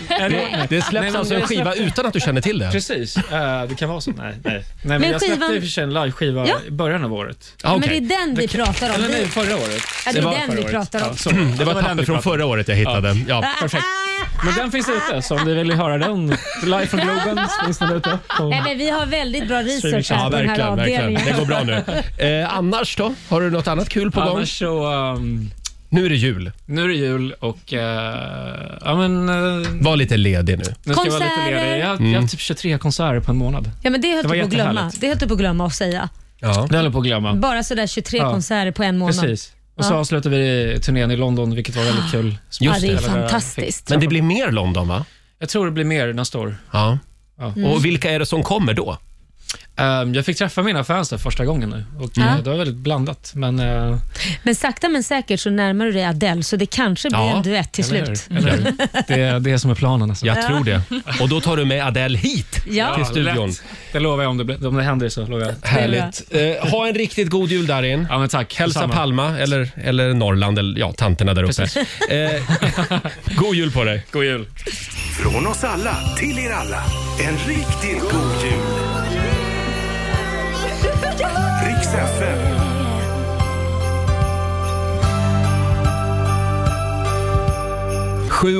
Speaker 1: Det
Speaker 6: Nej,
Speaker 1: släpps
Speaker 6: men
Speaker 1: alltså en
Speaker 6: det
Speaker 1: skiva utan att du känner till det?
Speaker 6: Precis, eh, det kan vara så. Nej, nej. nej men,
Speaker 3: Men
Speaker 6: jag släppte
Speaker 3: skivan-
Speaker 6: i och för sig en liveskiva
Speaker 3: Ja.
Speaker 6: i början av året.
Speaker 1: Ah,
Speaker 3: Men
Speaker 1: okej.
Speaker 3: det är den vi pratar om.
Speaker 6: Eller nej,
Speaker 3: Vi,
Speaker 6: förra året.
Speaker 3: ja, det
Speaker 1: det var
Speaker 3: är den vi
Speaker 6: förra året.
Speaker 3: pratar om.
Speaker 6: Ja, sorry. Ja,
Speaker 1: Det var ett
Speaker 6: den
Speaker 1: papper
Speaker 6: vi
Speaker 1: från
Speaker 6: pratade om.
Speaker 1: förra året jag hittade. Ja.
Speaker 6: Perfekt. Men den finns ute, så om ni vill höra den live från Globen så finns den ute. Så-
Speaker 3: Nej, men vi har väldigt bra research här
Speaker 1: Ja,
Speaker 3: på den här
Speaker 1: verkligen, verkligen.
Speaker 3: avdelningen.
Speaker 1: Det går bra nu. Eh, annars då? Har du något annat kul på gång?
Speaker 6: Annars så, ehm,
Speaker 1: Nu är det jul.
Speaker 6: nu är det jul och eh, ja, men, eh,
Speaker 1: Var lite ledig nu.
Speaker 6: nu ska jag vara lite
Speaker 3: Konserter.
Speaker 6: ledig. Jag, jag har typ 23 konserter på en månad.
Speaker 3: Ja, men det höll
Speaker 6: Det
Speaker 3: du
Speaker 6: var
Speaker 3: på att glömma.
Speaker 6: jättehärligt.
Speaker 3: Det höll du på att glömma att säga.
Speaker 1: Ja.
Speaker 6: Det håller jag på att glömma.
Speaker 3: Bara sådär 23
Speaker 6: Ja.
Speaker 3: konserter på en månad.
Speaker 6: Precis. Och så
Speaker 3: Ja.
Speaker 6: avslutade vi turnén i London, vilket var väldigt kul.
Speaker 3: Ja,
Speaker 1: Just
Speaker 3: det är
Speaker 1: det.
Speaker 3: fantastiskt.
Speaker 1: Men det blir mer London, va?
Speaker 6: Jag tror det blir mer nästa år.
Speaker 1: Ja.
Speaker 6: Ja.
Speaker 1: Och vilka är det som kommer då?
Speaker 6: Ehm, jag fick träffa mina fans där första gången nu och eh, det var väldigt blandat. Men, eh,
Speaker 3: Men sakta men säkert så närmar du dig Adele så det kanske blir
Speaker 1: Ja,
Speaker 3: en duett till
Speaker 6: eller
Speaker 3: slut.
Speaker 6: hur? Eller hur? Det, är- det är som är planen. Alltså.
Speaker 1: Jag tror det. Och då tar du med Adele hit
Speaker 3: Ja.
Speaker 1: till studion.
Speaker 6: lätt. Det lovar jag om det, blir- om det händer. så lovar jag.
Speaker 1: Härligt. Eh, ha en riktigt god jul, Darin.
Speaker 6: Ja, men tack.
Speaker 1: Hälsa
Speaker 6: Detsamma.
Speaker 1: Palma eller, eller Norrland, eller ja, tanterna där uppe. Eh, god jul på dig.
Speaker 6: God jul.
Speaker 2: Från oss alla till er alla. En riktigt god jul. Riks FM.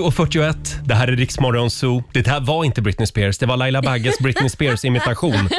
Speaker 1: och 7.41, det här är Riksmorgon Zoo. Det här var inte Britney Spears, det var Laila Bagges Britney Spears-imitation.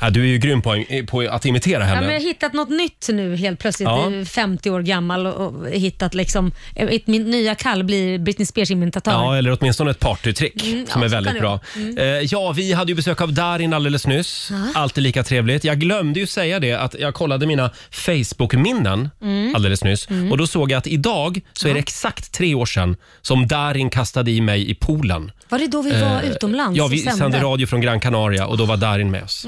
Speaker 1: Ja. du är ju grym på, på att imitera
Speaker 3: Ja, men jag
Speaker 1: henne.
Speaker 3: har hittat något nytt nu helt plötsligt.
Speaker 1: Ja.
Speaker 3: Jag är 50 år gammal och, och hittat liksom, ett, mitt nya kall blir Britney Spears imitatör.
Speaker 1: Ja, eller åtminstone ett partytrick
Speaker 3: Mm, ja,
Speaker 1: som är
Speaker 3: så
Speaker 1: väldigt
Speaker 3: kan det
Speaker 1: bra.
Speaker 3: vara. Mm.
Speaker 1: Eh, ja, vi hade ju besök av Darin alldeles nyss. Alltid lika trevligt. Jag glömde ju säga det att jag kollade mina Facebook-minnen
Speaker 3: Mm.
Speaker 1: alldeles nyss och då såg jag att idag så är det exakt tre år sedan som Darin kastade i mig i poolen.
Speaker 3: Var det då vi var utomlands
Speaker 1: Eh, Ja,
Speaker 3: och
Speaker 1: vi sände radio från Gran Canaria och då var Darin med oss.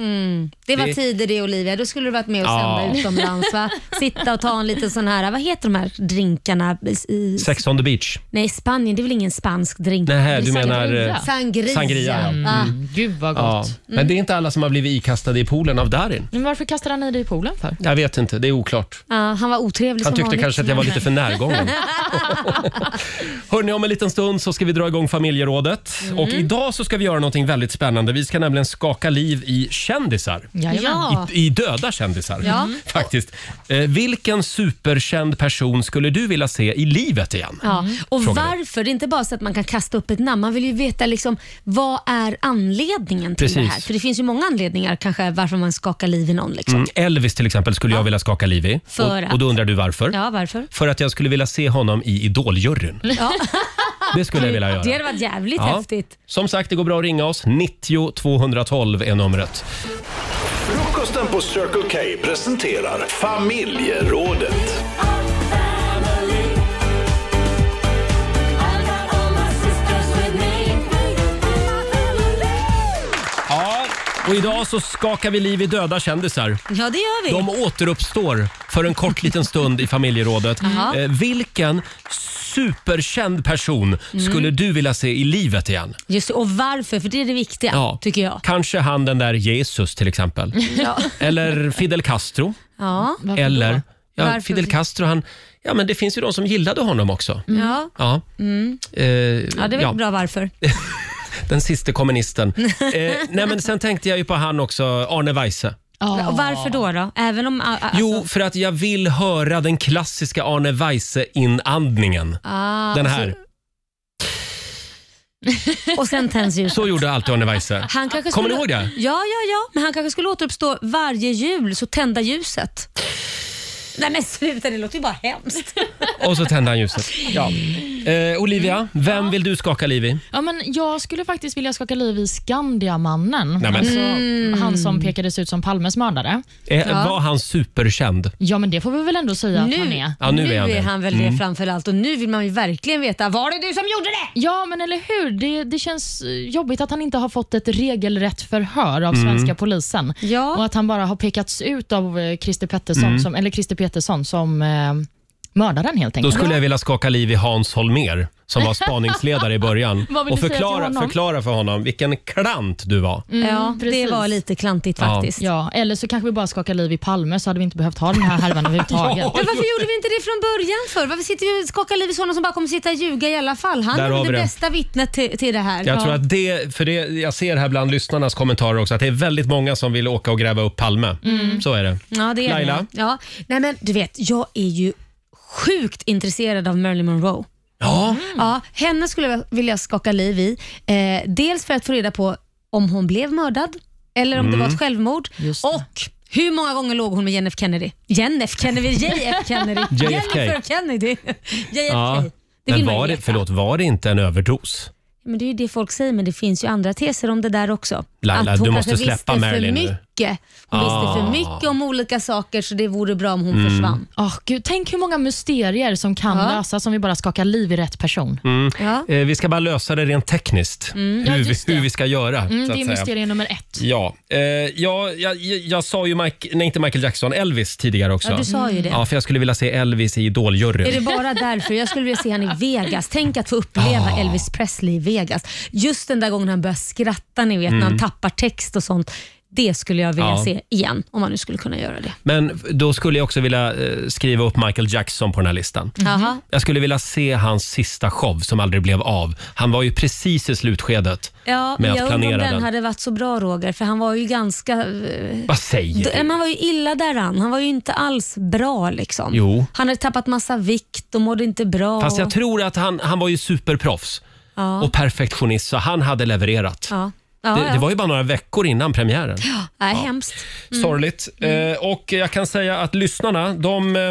Speaker 3: Det var
Speaker 1: Det-
Speaker 3: tider det Olivia, då skulle du varit med och
Speaker 1: Ja.
Speaker 3: sända utomlands. Va? Sitta och ta en liten sån här, vad heter de här drinkarna? I- I,
Speaker 1: Sex on the beach.
Speaker 3: nej, Spanien, det är väl ingen spansk drink?
Speaker 1: Nej, du
Speaker 4: Sangria.
Speaker 1: menar... eh,
Speaker 3: Sangria.
Speaker 1: Sangria, ja. Mm.
Speaker 3: Ah.
Speaker 4: Gud vad gott.
Speaker 1: Ja. Men det är inte alla som har blivit ikastade i poolen av Darin.
Speaker 4: Men varför kastade han i dig i poolen för?
Speaker 1: Jag vet inte, det är oklart.
Speaker 3: Ja, han var
Speaker 1: Han
Speaker 3: otrevlig som
Speaker 1: tyckte
Speaker 3: vanligt.
Speaker 1: kanske att jag var lite för närgången. Hörrni, om en liten stund så ska vi dra igång familjerådet.
Speaker 3: Mm.
Speaker 1: Och idag så ska vi göra någonting väldigt spännande. Vi ska nämligen skaka liv i kändisar.
Speaker 4: Jajamän.
Speaker 3: Ja.
Speaker 1: I, I döda kändisar,
Speaker 3: Ja.
Speaker 1: faktiskt. Eh, vilken superkänd person skulle du vilja se i livet igen?
Speaker 3: Ja. Och
Speaker 1: Mm. Fråga dig.
Speaker 3: varför? Det är inte bara så att man kan kasta upp ett namn. Man vill ju veta liksom, vad är anledningen till det
Speaker 1: Precis.
Speaker 3: här? För det finns ju många anledningar kanske varför man skakar liv i någon. Liksom.
Speaker 1: Mm, Elvis till exempel skulle jag vilja skaka liv i.
Speaker 3: För
Speaker 1: och, och då undrar du varför?
Speaker 3: Ja, varför?
Speaker 1: För att jag skulle vilja se honom i Idoljuryn.
Speaker 3: Ja.
Speaker 1: Det skulle jag vilja göra.
Speaker 3: Det hade varit jävligt
Speaker 1: Ja.
Speaker 3: häftigt.
Speaker 1: Som sagt, det går bra att ringa oss. 90 212 är numret.
Speaker 2: Frukosten på Circle K presenterar Familjerådet.
Speaker 1: Ja, och idag så skakar vi liv i döda kändisar.
Speaker 3: Ja, det gör vi.
Speaker 1: De återuppstår för en kort liten stund i familjerådet.
Speaker 3: Jaha.
Speaker 1: Eh, vilken superkänd person
Speaker 3: Mm.
Speaker 1: skulle du vilja se i livet igen?
Speaker 3: Just det, och varför? För det är det viktiga, tycker jag.
Speaker 1: Kanske han den där Jesus till exempel.
Speaker 3: Ja.
Speaker 1: Eller Fidel Castro.
Speaker 3: Ja.
Speaker 4: Varför
Speaker 1: Eller
Speaker 4: då?
Speaker 1: ja,
Speaker 3: Varför?
Speaker 1: Fidel Castro, han, ja, men det finns ju de som gillade honom också.
Speaker 3: Ja.
Speaker 1: Ja. Eh,
Speaker 3: ja, det är väl bra varför.
Speaker 1: Den siste kommunisten. eh, nej, men sen tänkte jag ju på han också, Arne Weise.
Speaker 4: Ja.
Speaker 3: Och varför då? då? Även om... a- a- Alltså,
Speaker 1: Jo, för att jag vill höra den klassiska Arne Weise-inandningen.
Speaker 3: Ah,
Speaker 1: Den här.
Speaker 3: Och sen tänds ljuset.
Speaker 1: Så gjorde alltid Arne Weise.
Speaker 3: Han kanske
Speaker 1: Kommer ni
Speaker 3: skulle-
Speaker 1: ihåg det?
Speaker 3: Ja, ja, ja. Men han kanske skulle återuppstå varje jul, så tända ljuset. Nej men sluta, det låter ju bara hemskt.
Speaker 1: Och så tände han ljuset. Ja. Eh, Olivia, vem vill du skaka liv i?
Speaker 4: Ja, men jag skulle faktiskt vilja skaka liv i Skandiamannen.
Speaker 1: Nej, men.
Speaker 4: Alltså, Han som pekades ut som Palmes mördare.
Speaker 1: Eh, Var han superkänd?
Speaker 4: Ja, men det får vi väl ändå säga att han är.
Speaker 1: Ja, nu är han det. Mm.
Speaker 3: väl det framför allt och nu vill man ju verkligen veta, var det du som gjorde det?
Speaker 4: Ja, men eller hur? Det, det känns eh, jobbigt att han inte har fått ett regelrätt förhör av
Speaker 1: Mm.
Speaker 4: svenska polisen.
Speaker 3: Ja.
Speaker 4: Och att han bara har pekats ut av eh, Christer Pettersson som, eller Christer Petersson som eh, mördaren helt
Speaker 1: Mm. Då
Speaker 4: enkelt.
Speaker 1: skulle jag vilja skaka liv i Hans Holmer som var spaningsledare i början.
Speaker 4: Vad vill
Speaker 1: Och
Speaker 4: du säga till
Speaker 1: förklara,
Speaker 4: honom?
Speaker 1: förklara för honom vilken klant du var.
Speaker 3: ja, det
Speaker 4: precis.
Speaker 3: var lite klantigt
Speaker 1: Ja.
Speaker 3: faktiskt.
Speaker 4: Ja, eller så kanske vi bara skakar liv i Palme så hade vi inte behövt ha den här härvan överhuvudtaget.
Speaker 1: Ja.
Speaker 3: Men varför gjorde vi inte det från början för? Varför sitter vi och skakar liv i sådana som bara kommer sitta och ljuga i alla fall? Han
Speaker 1: Där
Speaker 3: är
Speaker 1: har
Speaker 3: väl
Speaker 1: vi
Speaker 3: det,
Speaker 1: det.
Speaker 3: bästa vittnet till, till det här.
Speaker 1: Jag tror att det, för det, jag ser här bland lyssnarnas kommentarer också att det är väldigt många som vill åka och gräva upp Palme.
Speaker 3: Mm.
Speaker 1: Så är det.
Speaker 3: Ja, det är
Speaker 1: Laila?
Speaker 3: Det. Ja. Nej, men du vet, jag är ju sjukt intresserad av Marilyn Monroe.
Speaker 1: Ja,
Speaker 3: Ja, henne skulle jag vilja skaka liv i. Eh, dels för att få reda på om hon blev mördad eller om det
Speaker 1: Mm.
Speaker 3: var ett självmord.
Speaker 4: Just det.
Speaker 3: Och hur många gånger låg hon med Jennifer Kennedy? Jennifer Kennedy, JF Kennedy,
Speaker 1: JFK.
Speaker 3: Jennifer Kennedy. JFK.
Speaker 1: ja.
Speaker 3: Det
Speaker 1: Men
Speaker 3: vill man ju
Speaker 1: var det,
Speaker 3: veta.
Speaker 1: förlåt, var det inte en överdos?
Speaker 3: Men det är ju det folk säger, men det finns ju andra teser om det där också.
Speaker 1: Laila,
Speaker 3: att hon
Speaker 1: du måste
Speaker 3: kanske
Speaker 1: släppa
Speaker 3: visste
Speaker 1: Marilyn nu.
Speaker 3: för mycket. Hon visste
Speaker 1: Ah. Mm.
Speaker 3: för mycket om olika saker så det vore bra om hon försvann.
Speaker 4: Åh, Gud, tänk hur många mysterier som kan
Speaker 3: Ja.
Speaker 4: lösas om vi bara skakar liv i rätt person.
Speaker 3: Ja.
Speaker 1: Eh, vi ska bara lösa det rent tekniskt,
Speaker 3: Mm.
Speaker 4: ja,
Speaker 1: hur, vi,
Speaker 4: just det.
Speaker 1: hur vi ska göra.
Speaker 4: Mm,
Speaker 1: så
Speaker 4: det är
Speaker 1: att säga.
Speaker 4: mysterie nummer ett.
Speaker 1: Ja, eh, ja jag, jag, jag sa ju Mike, nej, inte Michael Jackson, Elvis tidigare också.
Speaker 3: Ja, du sa ju det.
Speaker 1: Ja, för jag skulle vilja se Elvis i
Speaker 3: Är det
Speaker 1: Idoljuryn.
Speaker 3: bara därför? Jag skulle vilja se han i Vegas. Tänk att få uppleva
Speaker 1: Ah.
Speaker 3: Elvis Presley i Vegas. Just den där gången han börjar skratta, ni vet, när han tappar text och sånt. Det skulle jag vilja
Speaker 1: Mm. Ja.
Speaker 3: se igen, om man nu skulle kunna göra det.
Speaker 1: Men då skulle jag också vilja eh, skriva upp Michael Jackson på den här listan.
Speaker 3: Jaha.
Speaker 1: Jag skulle vilja se hans sista show som aldrig blev av. Han var ju precis i slutskedet
Speaker 3: Ja,
Speaker 1: med att
Speaker 3: jag undrar om
Speaker 1: planera
Speaker 3: den,
Speaker 1: den.
Speaker 3: hade varit så bra Roger, för han var ju ganska... eh,
Speaker 1: Vad säger
Speaker 3: d-
Speaker 1: du?
Speaker 3: men han var ju illa däran. Han var ju inte alls bra liksom.
Speaker 1: Jo.
Speaker 3: Han hade tappat massa vikt och mådde inte bra.
Speaker 1: Fast jag tror att han, han var ju superproffs
Speaker 3: Ja.
Speaker 1: och perfektionist, så han hade levererat.
Speaker 3: Ja. Ja,
Speaker 1: Det, det var ju bara några veckor innan premiären.
Speaker 3: ja. Nej, hemskt.
Speaker 1: Mm. Sorgligt.
Speaker 3: Mm.
Speaker 1: Eh, och jag kan säga att lyssnarna, de, eh,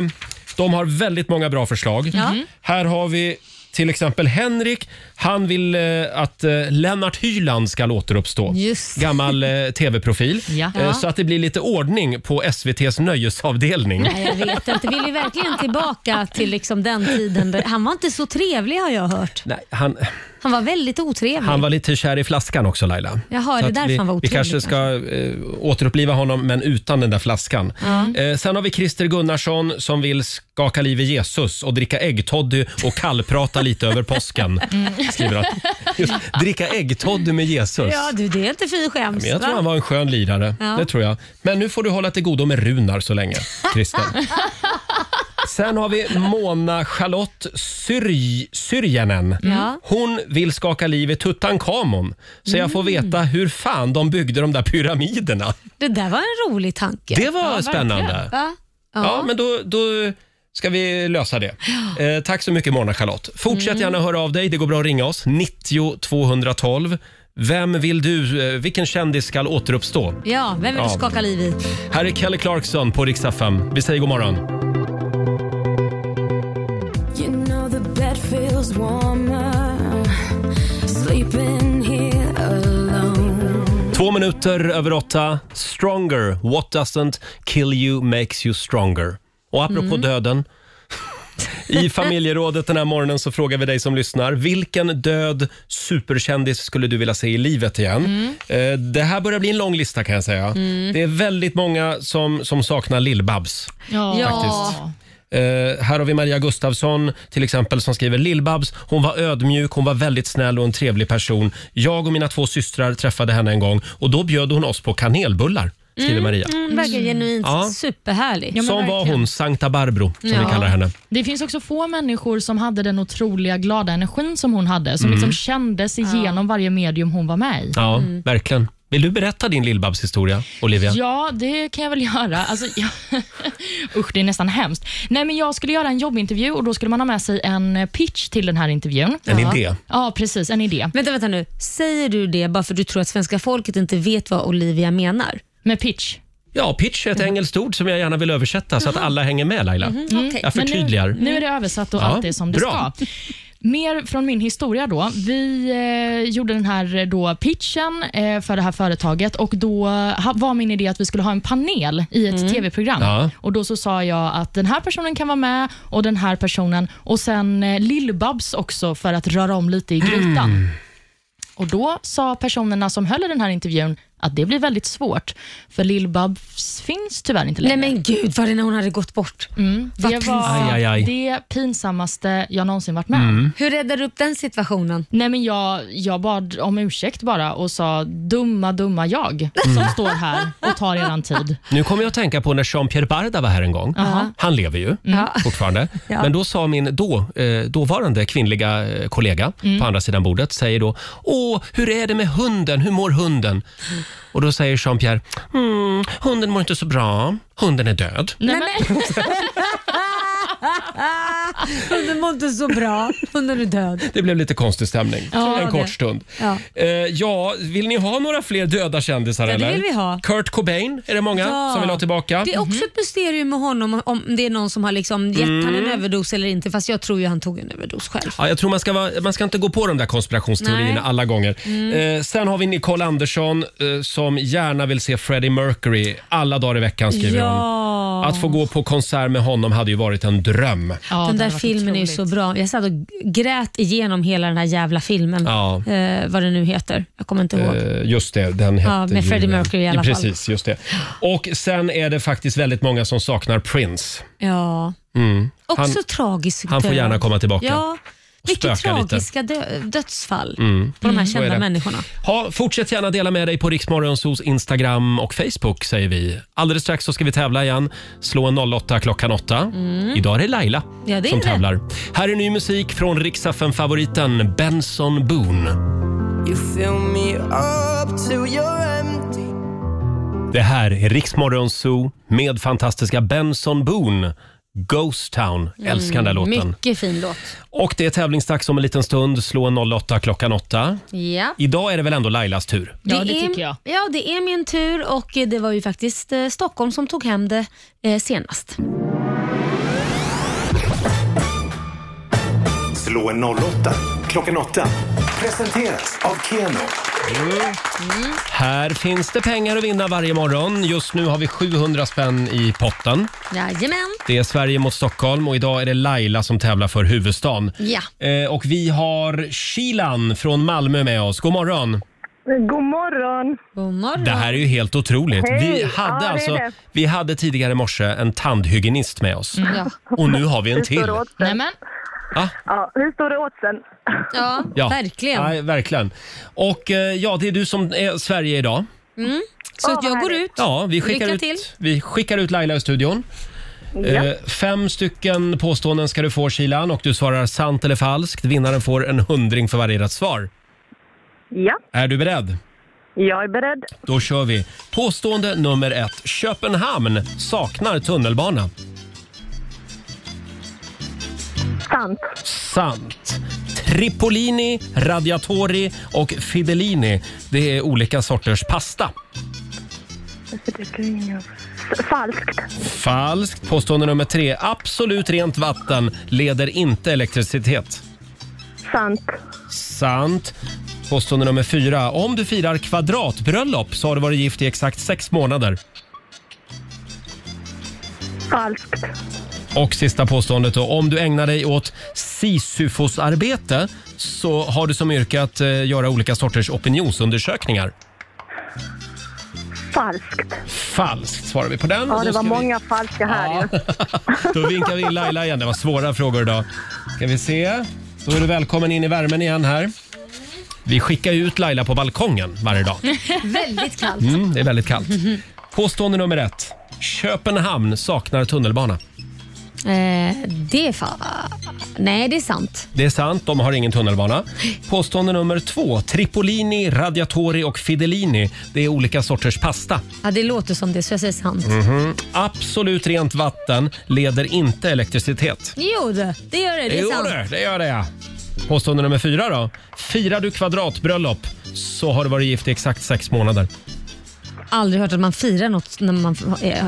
Speaker 1: de har väldigt många bra förslag.
Speaker 3: Mm-hmm.
Speaker 1: Här har vi till exempel Henrik. Han vill eh, att eh, Lennart Hyland ska återuppstå.
Speaker 3: Just.
Speaker 1: Gammal eh, tv-profil.
Speaker 4: Ja.
Speaker 1: Eh, så att det blir lite ordning på SVTs nöjesavdelning.
Speaker 3: Nej, jag vet inte. Vill ju verkligen tillbaka till liksom den tiden. Där, han var inte så trevlig har jag hört.
Speaker 1: Nej, han,
Speaker 3: Han var väldigt otrevlig.
Speaker 1: han var lite kär i flaskan också Laila.
Speaker 3: Jaha,
Speaker 1: Så
Speaker 3: är det
Speaker 1: att
Speaker 3: därför
Speaker 1: vi,
Speaker 3: han var
Speaker 1: Vi
Speaker 3: otrevlig
Speaker 1: kanske
Speaker 3: kanske?
Speaker 1: ska eh, återuppliva honom, men utan den där flaskan. Eh, sen har vi Christer Gunnarsson som vill skaka liv i Jesus och dricka äggtoddy och kallprata lite över påsken.
Speaker 3: Mm.
Speaker 1: Skriver han. Just, dricka äggtoddy med Jesus.
Speaker 3: Ja du, det är inte fy skäms.
Speaker 1: Men jag tror
Speaker 3: va?
Speaker 1: han var en skön lirare.
Speaker 3: Ja.
Speaker 1: Det tror jag. Men nu får du hålla till godo med Runar så länge, Christer. Sen har vi Mona Charlotte Syrj- Syrjänen.
Speaker 3: Ja.
Speaker 1: Hon vill skaka liv i Tutankhamon så jag får
Speaker 3: Mm.
Speaker 1: veta hur fan de byggde de där pyramiderna.
Speaker 3: Det där var en rolig tanke.
Speaker 1: Det var spännande. Ja.
Speaker 3: Va? Ja.
Speaker 1: men då, då ska vi lösa det. Eh, tack så mycket Mona Charlotte. Fortsätt
Speaker 3: Mm.
Speaker 1: gärna höra av dig. Det går bra att ringa oss. 90 212. Vem vill du, eh, vilken kändis ska återuppstå?
Speaker 3: ja, vem vill du
Speaker 1: Ja.
Speaker 3: skaka liv i?
Speaker 1: Här är Kelly Clarkson på Rix FM. Vi säger god morgon.
Speaker 7: You know the bed feels warmer sleeping here alone.
Speaker 1: Två minuter över åtta. Stronger. What doesn't kill you makes you stronger. Och apropå döden. I familjerådet den här morgonen så frågar vi dig som lyssnar. Vilken död superkändis skulle du vilja se i livet igen? Eh, Det här börjar bli en lång lista kan jag säga. Det är väldigt många som, som saknar Lill-Babs.
Speaker 4: Ja,
Speaker 3: Ja.
Speaker 1: faktiskt. Eh, här har vi Maria Gustafsson till exempel som skriver Lill-Babs, hon var ödmjuk, hon var väldigt snäll och en trevlig person. Jag och mina två systrar träffade henne en gång och då bjöd hon oss på kanelbullar. skriver Maria.
Speaker 3: Hon verkar genuint
Speaker 1: Ja.
Speaker 3: superhärlig.
Speaker 4: Ja, Mm. men
Speaker 1: Som var
Speaker 4: verkligen.
Speaker 1: hon, Sankta Barbro, som
Speaker 4: Ja.
Speaker 1: vi kallar henne.
Speaker 4: Det finns också få människor som hade den otroliga glada energin som hon hade,
Speaker 1: Mm.
Speaker 4: som liksom kändes igenom varje medium hon var med i.
Speaker 1: Ja, verkligen. Vill du berätta din Lill-Babs historia, Olivia?
Speaker 4: Mm. Ja, det kan jag väl göra. Alltså, jag... Usch, det är nästan hemskt. Nej, men jag skulle göra en jobbintervju och då skulle man ha med sig en pitch till den här intervjun.
Speaker 1: En
Speaker 4: ja.
Speaker 1: idé.
Speaker 4: Ja, precis. En idé.
Speaker 3: Vänta, vänta nu. Säger du det bara för du tror att svenska folket inte vet vad Olivia menar?
Speaker 4: Med pitch.
Speaker 1: Ja, pitch är
Speaker 4: Mm.
Speaker 1: ett engelskt ord som jag gärna vill översätta så att alla hänger med, Laila.
Speaker 3: Okej.
Speaker 1: Jag
Speaker 4: Mm-hmm. Men
Speaker 1: förtydligar.
Speaker 4: Nu, nu är det översatt och
Speaker 1: Ja,
Speaker 4: allt är som det
Speaker 1: bra.
Speaker 4: ska. Mer från min historia då. Vi eh, gjorde den här eh, då pitchen eh, för det här företaget och då ha, var min idé att vi skulle ha en panel i ett tv-program.
Speaker 1: Ja.
Speaker 4: Och Då så sa jag att den här personen kan vara med och den här personen och sen eh, Lill-Babs också för att röra om lite i grytan.
Speaker 1: Mm.
Speaker 4: Och Då sa personerna som höll i den här intervjun att det blir väldigt svårt för Lill-Babs finns tyvärr inte längre.
Speaker 3: Nej men gud, var det när hon hade gått bort? Vad
Speaker 4: Det var
Speaker 1: Aj, aj, Mm. aj.
Speaker 4: det pinsammaste jag någonsin varit med om.
Speaker 3: Hur räddar du upp den situationen?
Speaker 4: Nej, men jag, jag bad om ursäkt bara och sa dumma, dumma jag
Speaker 1: Mm.
Speaker 4: som står här och tar eran tid.
Speaker 1: Nu kommer jag att tänka på när Jean-Pierre Barda var här en gång. Han lever
Speaker 3: Mm.
Speaker 1: ju fortfarande. Men då sa min då, eh, dåvarande kvinnliga eh, kollega
Speaker 3: Mm.
Speaker 1: på andra sidan bordet, säger då Åh, hur är det med hunden? Hur mår hunden? Och då säger Jean-Pierre, mm, hunden mår inte så bra. Hunden är död.
Speaker 3: Mm.
Speaker 4: Nej, men,
Speaker 3: Hunden mår inte så bra. Hunden är död.
Speaker 1: Det blev lite konstig stämning
Speaker 3: Ja,
Speaker 1: en
Speaker 3: det.
Speaker 1: kort stund.
Speaker 3: Ja.
Speaker 1: Eh, ja, vill ni ha några fler döda kändisar?
Speaker 3: Ja, det
Speaker 1: eller?
Speaker 3: vill vi ha.
Speaker 1: Kurt Cobain är det många
Speaker 3: Ja.
Speaker 1: som vill ha tillbaka.
Speaker 3: Det är också ett mysterium med honom om det är någon som har liksom gett han
Speaker 1: Mm.
Speaker 3: en överdos eller inte. Fast jag tror ju han tog en överdos själv.
Speaker 1: Ja, jag tror man ska, vara, man ska inte gå på de där konspirationsteorierna
Speaker 3: Nej. Mm.
Speaker 1: alla gånger. Eh, sen har vi Nicole Andersson eh, som gärna vill se Freddie Mercury alla dagar i veckan skriver
Speaker 3: Ja.
Speaker 1: hon. Att få gå på konsert med honom hade ju varit en dröm.
Speaker 4: ja, det
Speaker 3: den
Speaker 4: hade
Speaker 3: där
Speaker 4: varit
Speaker 3: filmen är ju
Speaker 4: otroligt.
Speaker 3: så bra. Jag satt och g- grät igenom hela den här jävla filmen.
Speaker 1: Ja.
Speaker 3: Eh, vad den nu heter. Jag kommer inte ihåg.
Speaker 1: Eh, Just det, den hette
Speaker 3: med
Speaker 1: ju-
Speaker 3: Freddie Mercury i alla fall.
Speaker 1: Precis, just det. Och sen är det faktiskt väldigt många som saknar Prince.
Speaker 3: Ja. Också
Speaker 1: Mm. Han-
Speaker 3: tragisk
Speaker 1: Han får
Speaker 3: död.
Speaker 1: gärna komma tillbaka.
Speaker 3: Ja. Vilket
Speaker 1: spöka lite. Mm.
Speaker 3: tragiska dö- dödsfall på de här
Speaker 1: är
Speaker 3: kända
Speaker 1: det.
Speaker 3: människorna.
Speaker 1: Ha, fortsätt gärna dela med dig på Riksmorgonsos Instagram och Facebook säger vi. Alldeles strax så ska vi tävla igen. Slå en 08 klockan 8. Idag är det Laila
Speaker 3: Mm. Ja, det är
Speaker 1: som
Speaker 3: det.
Speaker 1: tävlar. Här är ny musik från riksdagen favoriten Benson Boone.
Speaker 8: You fill me up till you're empty.
Speaker 1: Det här är Riksmorgonso med fantastiska Benson Boone. Ghost Town. Älskar den där låten.
Speaker 3: Mm, Mycket fin låt.
Speaker 1: Och det är tävlingsdags om en liten stund. Slå en 08 klockan 8.
Speaker 3: Ja.
Speaker 1: Idag är det väl ändå Lailas tur?
Speaker 4: Ja, det
Speaker 3: är,
Speaker 4: tycker jag.
Speaker 3: Ja, det är min tur och eh, det var ju faktiskt eh, Stockholm som tog hem det eh, senast.
Speaker 2: Slå en 08 klockan 8. Presenteras av Keno.
Speaker 1: Här finns det pengar att vinna varje morgon. Just nu har vi 700 spänn i potten.
Speaker 3: Jajamän.
Speaker 1: Det är Sverige mot Stockholm och idag är det Laila som tävlar för huvudstaden.
Speaker 3: Ja.
Speaker 1: Eh, och vi har Shilan från Malmö med oss. God morgon!
Speaker 5: God morgon.
Speaker 3: God morgon.
Speaker 1: Det här är ju helt otroligt. Vi
Speaker 5: Hej. Ja,
Speaker 1: hade,
Speaker 5: det är
Speaker 1: alltså,
Speaker 5: det.
Speaker 1: vi hade tidigare i morse en tandhygienist med oss.
Speaker 5: Mm,
Speaker 3: Ja.
Speaker 1: Och nu har vi en
Speaker 5: Hur
Speaker 1: till.
Speaker 5: står det åt
Speaker 4: Nej,
Speaker 5: sen?
Speaker 4: men,
Speaker 1: Ah,
Speaker 5: Ja, hur står det åt sen?
Speaker 3: Ja, verkligen.
Speaker 1: Nej, verkligen. Och eh, ja, det är du som är Sverige idag.
Speaker 3: Så att
Speaker 5: vad
Speaker 3: jag går
Speaker 5: härligt.
Speaker 3: ut.
Speaker 1: Ja, vi skickar,
Speaker 3: Lycka till.
Speaker 1: ut, vi skickar ut Laila i studion.
Speaker 5: Ja.
Speaker 1: Eh, fem stycken påståenden ska du få Kilan och du svarar sant eller falskt. Vinnaren får en hundring för varje rätt svar.
Speaker 5: Ja,
Speaker 1: Är du beredd?
Speaker 5: jag är beredd.
Speaker 1: Då kör vi. Påstående nummer ett. Köpenhamn saknar tunnelbana.
Speaker 5: Sant.
Speaker 1: Sant. Tripolini, radiatori och fidelini. Det är olika sorters pasta.
Speaker 5: S- Falskt.
Speaker 1: Falskt. Påstående nummer tre. Absolut rent vatten leder inte elektricitet.
Speaker 5: Sant.
Speaker 1: Sant. Påstående nummer fyra. Om du firar kvadratbröllop så har du varit gift i exakt sex månader.
Speaker 5: Falskt.
Speaker 1: Och sista påståendet då. Om du ägnar dig åt Sisyfosarbete så har du som yrke att eh, göra olika sorters opinionsundersökningar.
Speaker 5: Falskt.
Speaker 1: Falskt svarar vi på den.
Speaker 5: Ja,
Speaker 1: Då
Speaker 5: det var
Speaker 1: ska vi-
Speaker 5: många falska här ju.
Speaker 1: Då vinkar vi in Laila igen. Det var svåra frågor idag. Ska vi se. Då är du välkommen in i värmen igen här. Vi skickar ut Laila på balkongen varje dag.
Speaker 3: Väldigt kallt.
Speaker 1: Mm, det är Mm. väldigt kallt. Påstående nummer ett. Köpenhamn saknar tunnelbana.
Speaker 3: Eh, det är fan... Nej, det är sant.
Speaker 1: Det är sant, de har ingen tunnelbana. Påstående nummer två. Tripolini, radiatori och fidelini. Det är olika sorters pasta.
Speaker 3: Ja, det låter som det, så jag säger sant.
Speaker 1: Mm. Absolut rent vatten leder inte elektricitet.
Speaker 3: Jo, det, det gör det. Det är
Speaker 1: jo,
Speaker 3: sant.
Speaker 1: det, det gör det ja. Påstående nummer fyra då. Firar du kvadratbröllop så har du varit gift i exakt sex månader.
Speaker 3: Aldrig hört att man firar något när man eh,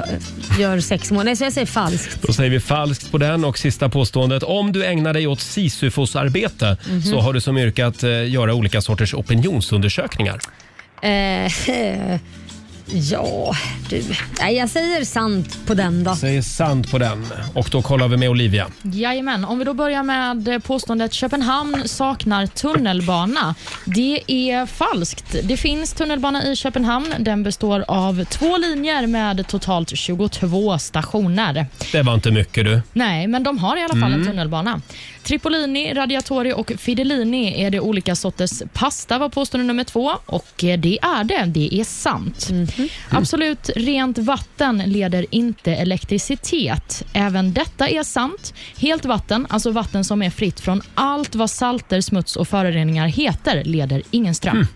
Speaker 3: gör sex månader. Nej, så jag säger falskt.
Speaker 1: Då säger vi falskt på den och sista påståendet. Om du ägnar dig åt Sisyfos-arbete så har du som yrke att eh, göra olika sorters opinionsundersökningar.
Speaker 3: Eh, ja, du. Nej, jag säger sant på den då.
Speaker 1: Säger sant på den. Och då kollar vi med Olivia.
Speaker 4: Jajamän, om vi då börjar med eh, påståendet Köpenhamn saknar tunnelbana. Det är falskt. Det finns tunnelbana i Köpenhamn. Den består av två linjer med totalt 22 stationer.
Speaker 1: Det var inte mycket du.
Speaker 4: Nej, men de har i alla fall en tunnelbana. Tripolini, Radiatori och Fidelini är det olika sorters pasta var påstående nummer två och eh, det är det. Det är sant. Absolut rent vatten leder inte elektricitet. Även detta är sant. Helt vatten, alltså vatten som är fritt från allt vad salter, smuts och föroreningar heter, leder ingen ström.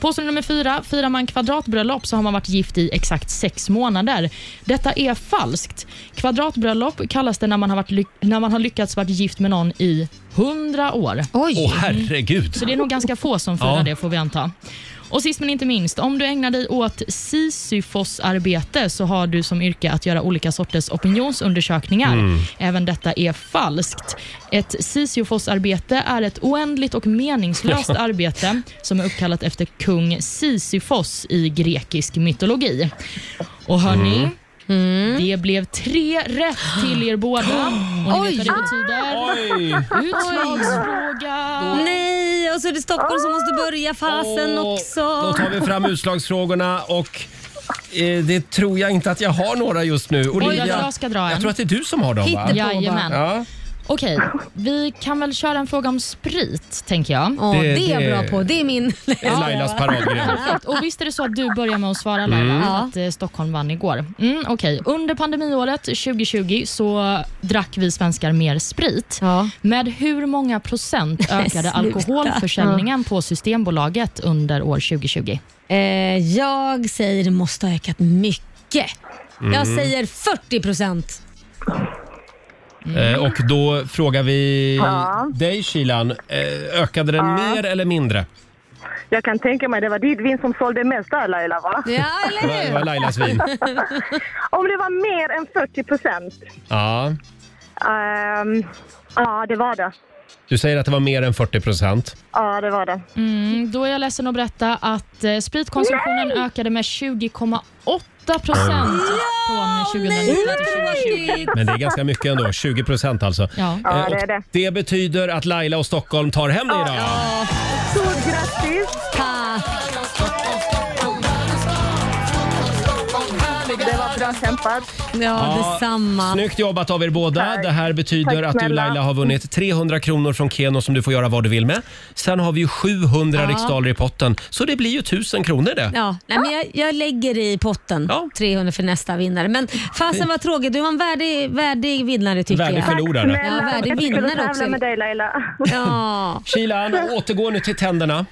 Speaker 4: Påstående nummer fyra. Firar man kvadratbröllop så har man varit gift i exakt sex månader. Detta är falskt. Kvadratbröllop kallas det när man har, varit ly- när man har lyckats vara gift med någon i hundra år.
Speaker 3: Oj!
Speaker 1: Åh herregud!
Speaker 4: Så det är nog ganska få som firar
Speaker 1: Ja.
Speaker 4: det får vi anta. Och sist men inte minst, om du ägnar dig åt Sisyfos-arbete så har du som yrke att göra olika sorters opinionsundersökningar. Även detta är falskt. Ett Sisyfos-arbete är ett oändligt och meningslöst arbete som är uppkallat efter kung Sisyfos i grekisk mytologi. Och hörni, det blev tre rätt till er båda. Och ni vet vad det
Speaker 1: Ah.
Speaker 4: betyder.
Speaker 1: Oj!
Speaker 4: Utslagsfråga.
Speaker 3: Nej, och så är det Stockholm som måste börja fasen
Speaker 1: Och Då
Speaker 3: också.
Speaker 1: tar vi fram utslagsfrågorna och eh, det tror jag inte att jag har några just nu. Olivia,
Speaker 4: jag ska dra en.
Speaker 1: jag tror att det är du som har dem va?
Speaker 3: Hitta-
Speaker 4: Jajamän.
Speaker 1: Ja,
Speaker 4: Okej, vi kan väl köra en fråga om sprit, tänker jag.
Speaker 3: Ja,
Speaker 1: Det-
Speaker 3: det, är
Speaker 1: det-
Speaker 3: jag bra på. Det är min...
Speaker 1: det är Lailas paradgren.
Speaker 4: Perfekt. Och visst är det så att du börjar med att svara Laila, att eh, Stockholm vann igår. Mm, Okej, under pandemiåret 2020 så drack vi svenskar mer sprit.
Speaker 3: Ja.
Speaker 4: Med hur många procent ökade
Speaker 3: sluta.
Speaker 4: alkoholförsäljningen på Systembolaget under år 2020?
Speaker 3: Eh, jag säger det måste ha ökat mycket. Jag
Speaker 1: Mm.
Speaker 3: säger 40 procent.
Speaker 1: Eh, Och då frågar vi dig Kilan, eh, ökade den mer eller mindre?
Speaker 5: Jag kan tänka mig det var ditt vin som sålde mest där Laila va?
Speaker 3: Ja,
Speaker 1: Det
Speaker 3: eller
Speaker 1: var- det
Speaker 3: hur?
Speaker 1: var Lailas vin.
Speaker 5: Om det var mer än 40 procent. ehm,
Speaker 1: Ja.
Speaker 5: ja, det var det.
Speaker 1: Du säger att det var mer än 40 procent.
Speaker 5: Ja, det var det.
Speaker 4: Mm, då är jag ledsen att berätta att eh, spritkonsumtionen ökade med 20,8 procent från 2019 till 2020.
Speaker 1: Men det är ganska mycket ändå, 20 procent alltså.
Speaker 4: Ja.
Speaker 1: Eh,
Speaker 5: Ja, det
Speaker 1: och
Speaker 5: är det.
Speaker 1: det betyder att Laila och Stockholm tar hem det idag.
Speaker 5: Stort grattis!
Speaker 3: Ta.
Speaker 5: Det var bra kämpat.
Speaker 3: Ja, detsamma.
Speaker 1: Snyggt jobbat av er båda. Det här betyder
Speaker 5: Tack
Speaker 1: att du
Speaker 5: snälla.
Speaker 1: Laila har vunnit 300 kronor från Keno som du får göra vad du vill med. Sen har vi ju 700 riksdaler i potten, så det blir ju 1000 kronor det.
Speaker 3: Ja, nej, men jag, jag lägger i potten
Speaker 1: Ja.
Speaker 3: 300 för nästa vinnare. Men fasen var tråkigt. Du var en värdig, värdig vinnare tycker
Speaker 1: Värdig
Speaker 3: jag.
Speaker 1: förlorare.
Speaker 3: Ja, värdig
Speaker 5: jag skulle
Speaker 3: vinnare
Speaker 5: tävla
Speaker 3: också.
Speaker 5: med dig Laila.
Speaker 3: Ja.
Speaker 1: Kilan, återgå nu till tänderna.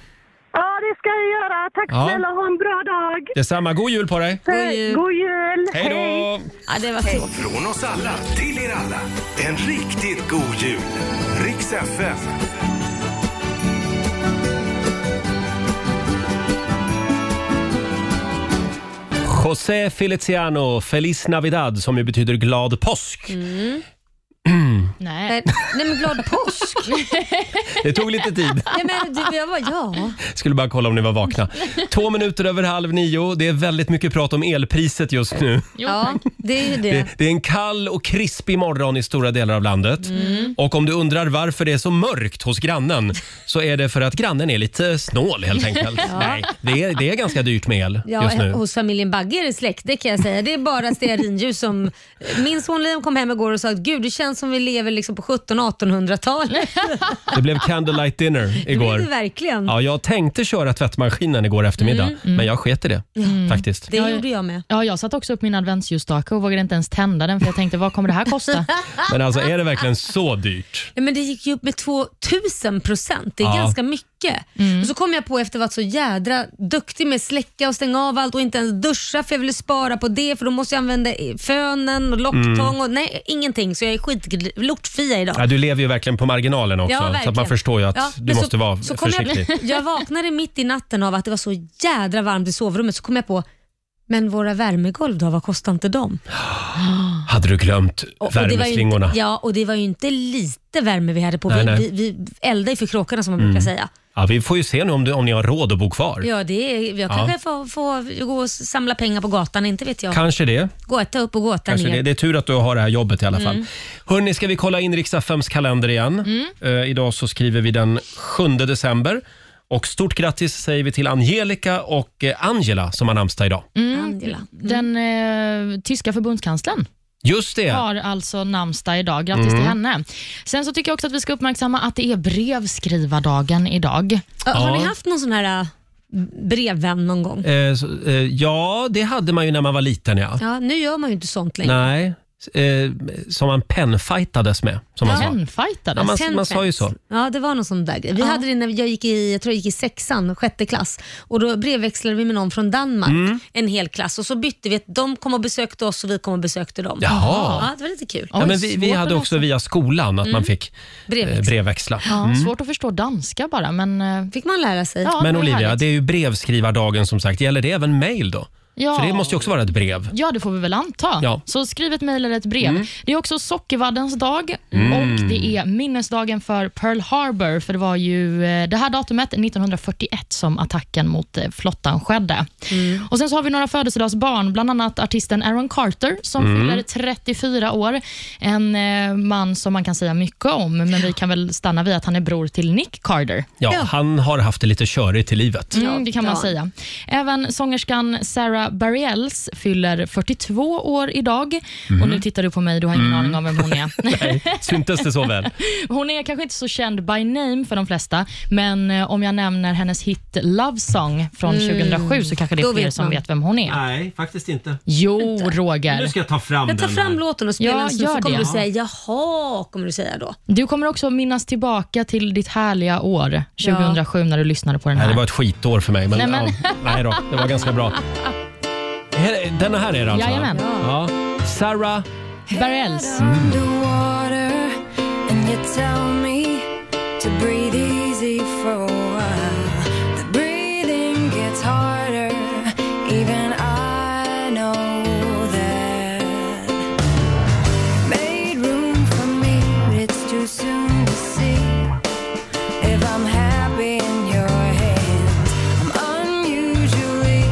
Speaker 5: Ja, det ska jag göra. Tack
Speaker 1: Ja.
Speaker 5: snälla, ha en bra dag.
Speaker 1: Detsamma, god jul på dig!
Speaker 3: God jul.
Speaker 5: God jul!
Speaker 1: Hej då!
Speaker 3: ja, det var tråkigt.
Speaker 2: Från oss alla till er alla. En riktigt god jul. Riks FM.
Speaker 1: José Feliciano, Feliz Navidad, som ju betyder glad påsk.
Speaker 3: Mm.
Speaker 4: Nej.
Speaker 3: Eh, Nej men glad påsk!
Speaker 1: Det tog lite tid.
Speaker 3: Ja, men, du, jag bara, ja.
Speaker 1: Skulle bara kolla om ni var vakna. Två minuter över halv nio. Det är väldigt mycket prat om elpriset just nu.
Speaker 3: ja, det är ju det.
Speaker 1: Det, det är en kall och krispig morgon i stora delar av landet.
Speaker 3: Mm.
Speaker 1: Och om du undrar varför det är så mörkt hos grannen så är det för att grannen är lite snål helt enkelt. Nej, det är, det är ganska dyrt med el
Speaker 3: Ja,
Speaker 1: just nu.
Speaker 3: hos familjen Bagge är det släkt, det kan jag säga. Det är bara stearinljus som... Min son Liam kom hem igår och sa att gud, det känns nästan som vi lever liksom på 1700-1800-talet.
Speaker 1: Det blev candlelight dinner
Speaker 3: Det är
Speaker 1: igår.
Speaker 3: det verkligen.
Speaker 1: Ja, jag tänkte köra tvättmaskinen igår eftermiddag, men jag sket i det faktiskt.
Speaker 3: Mm, Det gjorde jag med.
Speaker 4: Ja, jag satte också upp min adventsljusstake och vågade inte ens tända den för jag tänkte vad kommer det här kosta?
Speaker 1: Men alltså är det verkligen så dyrt?
Speaker 3: Ja, men det gick ju upp med 2000 procent. Det är
Speaker 1: Ja.
Speaker 3: ganska mycket.
Speaker 4: Mm.
Speaker 3: Och så kom jag på efter att ha varit så jädra duktig med släcka och stänga av allt och inte ens duscha för jag ville spara på det för då måste jag använda fönen och locktång och nej ingenting så jag är skitlortfia idag.
Speaker 1: Mm. Ja, du lever ju verkligen på marginalen också, så att man
Speaker 3: verkligen.
Speaker 1: förstår ju att
Speaker 3: Ja,
Speaker 1: du
Speaker 3: men
Speaker 1: måste vara
Speaker 3: så kom
Speaker 1: försiktig.
Speaker 3: Jag, jag vaknade mitt i natten av att det var så jädra varmt i sovrummet så kom jag på men våra värmegolv då, vad kostar inte de?
Speaker 1: Hade du glömt
Speaker 3: det var ju
Speaker 1: värmeslingorna?
Speaker 3: inte, ja, och det var ju inte lite värme vi hade på.
Speaker 1: Nej,
Speaker 3: vi,
Speaker 1: nej. Mm.
Speaker 3: Vi, vi eldade ju för kråkorna som man brukar säga.
Speaker 1: Ja, vi får ju se nu om, du, om ni har råd att bo kvar.
Speaker 3: Ja, det är, jag kanske får, får gå och samla pengar på gatan, inte vet jag.
Speaker 1: Kanske det.
Speaker 3: Gåta upp och gåta
Speaker 1: Kanske det.
Speaker 3: ner.
Speaker 1: Det är tur att du har det här jobbet i alla
Speaker 3: Mm.
Speaker 1: fall. Hörni, ska vi kolla in Riks-FMs kalender igen? Eh, idag så skriver vi den 7 december. Och stort grattis säger vi till Angelica och eh, Angela som har namnsdag idag.
Speaker 3: Mm. Angela.
Speaker 4: Den eh, tyska förbundskanslern
Speaker 1: Just det!
Speaker 4: har alltså namnsdag idag. Grattis
Speaker 1: Mm.
Speaker 4: till henne. Sen så tycker jag också att vi ska uppmärksamma att det är brevskrivardagen idag.
Speaker 3: Ja. Har
Speaker 1: Ja.
Speaker 3: ni haft någon sån här äh, brevvän någon gång?
Speaker 1: Eh, så, eh, ja, det hade man ju när man var liten ja.
Speaker 3: Ja, nu gör man ju inte sånt längre.
Speaker 1: Nej, eh, som man penfightades med, som man sa. Ja,
Speaker 4: Penfightades.
Speaker 1: man,
Speaker 3: Ten
Speaker 1: man sa ju
Speaker 3: pence.
Speaker 1: så.
Speaker 3: Ja, det var någon sån där grej. Vi hade det när jag gick i, jag tror jag gick i sexan, sjätte klass. Och Då brevväxlade vi med någon från Danmark,
Speaker 1: Mm.
Speaker 3: en hel klass. Och Så bytte vi, att de kom och besökte oss och vi kom och besökte dem.
Speaker 1: Jaha.
Speaker 3: Ja, det var lite kul.
Speaker 1: Ja,
Speaker 4: Oj,
Speaker 1: men vi, vi
Speaker 4: svårt
Speaker 1: hade
Speaker 4: att
Speaker 1: också
Speaker 4: läsa. Mm.
Speaker 1: via skolan att man fick eh,
Speaker 3: Brevväxling.
Speaker 1: brevväxla.
Speaker 4: Ja, Svårt att förstå danska bara, men... eh,
Speaker 3: fick man lära sig.
Speaker 4: Ja,
Speaker 1: Men
Speaker 4: det är
Speaker 1: Olivia,
Speaker 4: härligt.
Speaker 1: det är ju brevskrivardagen som sagt. Gäller det även mail då?
Speaker 4: Ja.
Speaker 1: För det måste ju också vara ett brev.
Speaker 4: Ja, det får vi väl anta.
Speaker 1: Ja. Mm.
Speaker 4: Så skriv ett mejl eller ett brev. Det är också sockervaddens dag och det är minnesdagen för Pearl Harbor. För Det var ju eh, det här datumet 1941 som attacken mot eh, flottan skedde. Och Sen så har vi några födelsedagsbarn, bland annat artisten Aaron Carter som
Speaker 1: Mm.
Speaker 4: fyller 34 år. En eh, man som man kan säga mycket om, men vi kan väl stanna vid att han är bror till Nick Carter.
Speaker 1: Ja, han har haft det lite körigt i livet.
Speaker 4: Mm, det kan man
Speaker 3: Ja.
Speaker 4: säga. Även sångerskan Sarah Bareilles fyller 42 år idag.
Speaker 3: Mhm.
Speaker 4: Och Nu tittar du på mig, du har ingen
Speaker 3: Mm.
Speaker 4: aning om vem hon är.
Speaker 1: Syntes det så väl?
Speaker 4: hon är kanske inte så känd by name för de flesta, men eh, om jag nämner hennes hit Love Song från 2007 så kanske det är
Speaker 3: Mm. Då
Speaker 4: fler
Speaker 3: vet
Speaker 4: som
Speaker 3: man.
Speaker 4: vet vem hon är.
Speaker 1: Nej, faktiskt inte.
Speaker 4: Jo, Roger.
Speaker 1: jag ta fram
Speaker 3: Jag tar fram låten och spelar
Speaker 4: Ja,
Speaker 3: den så
Speaker 4: gör
Speaker 3: så kommer
Speaker 4: det.
Speaker 3: du säga jaha, kommer du säga då.
Speaker 4: Du kommer också minnas tillbaka till ditt härliga år 2007 när du lyssnade på den
Speaker 1: Nej, det var
Speaker 4: här.
Speaker 1: ett skitår för mig. Men,
Speaker 4: Nej, men-
Speaker 1: Ja, nej då, det var ganska bra. Här- Denna här är det alltså? va?
Speaker 4: Jajamän.
Speaker 1: Ja. Sarah,
Speaker 4: Bareilles.
Speaker 7: Underwater, and you tell me to breathe easy for a while. The breathing gets harder, even I know that. Made room for me, but it's too soon to see if I'm happy in your hands. I'm unusually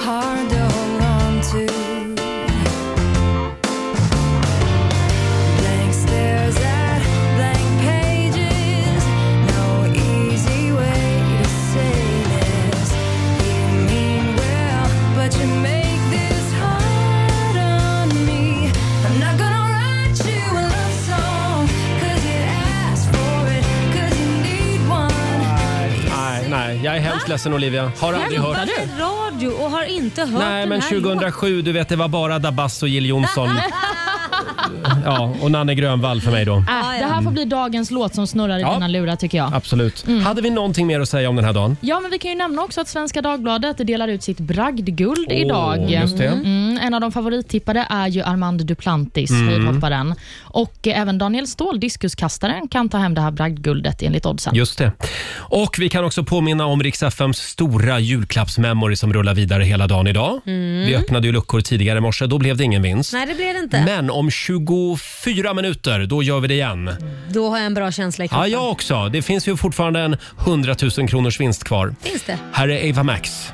Speaker 7: hard to hold on to. Blank stares at blank pages. No easy way to say this. You mean well, but you make this hard on me. I'm not gonna write you a love song, 'cause you asked for it, 'cause you need one.
Speaker 1: nej, nej, jag är hemskt ledsen Olivia. Har aldrig hört.
Speaker 3: Jobbar med radio och har inte hört
Speaker 1: Nej,
Speaker 3: den
Speaker 1: men
Speaker 3: här
Speaker 1: 2007, du vet det var bara Dabas och Jill Johnson. Ja, och Nanne Grönvall för mig då.
Speaker 4: Äh, det här får bli dagens låt som snurrar i
Speaker 1: Ja.
Speaker 4: dina lurar tycker jag.
Speaker 1: Absolut.
Speaker 3: Mm.
Speaker 1: Hade vi någonting mer att säga om den här dagen?
Speaker 4: Ja, men vi kan ju nämna också att Svenska Dagbladet delar ut sitt bragdguld
Speaker 1: Åh,
Speaker 4: idag.
Speaker 1: just det.
Speaker 4: Mm, en av de favorittippade är ju Armand Duplantis,
Speaker 1: Mm.
Speaker 4: höjdhopparen. Och eh, även Daniel Ståhl, diskuskastaren, kan ta hem det här bragdguldet enligt oddsen.
Speaker 1: Just det. Och vi kan också påminna om Rix FMs stora julklappsmemory som rullar vidare hela dagen idag. Vi öppnade ju luckor tidigare i morse, då blev det ingen vinst.
Speaker 3: Mm. Nej, det blir det inte.
Speaker 1: Men om 24 minuter, då gör vi det igen.
Speaker 3: Då har jag en bra känsla i
Speaker 1: Ja,
Speaker 3: kroppen.
Speaker 1: jag också. Det finns ju fortfarande en 100 000 kronors vinst kvar.
Speaker 3: Finns det?
Speaker 1: Här är Ava Max.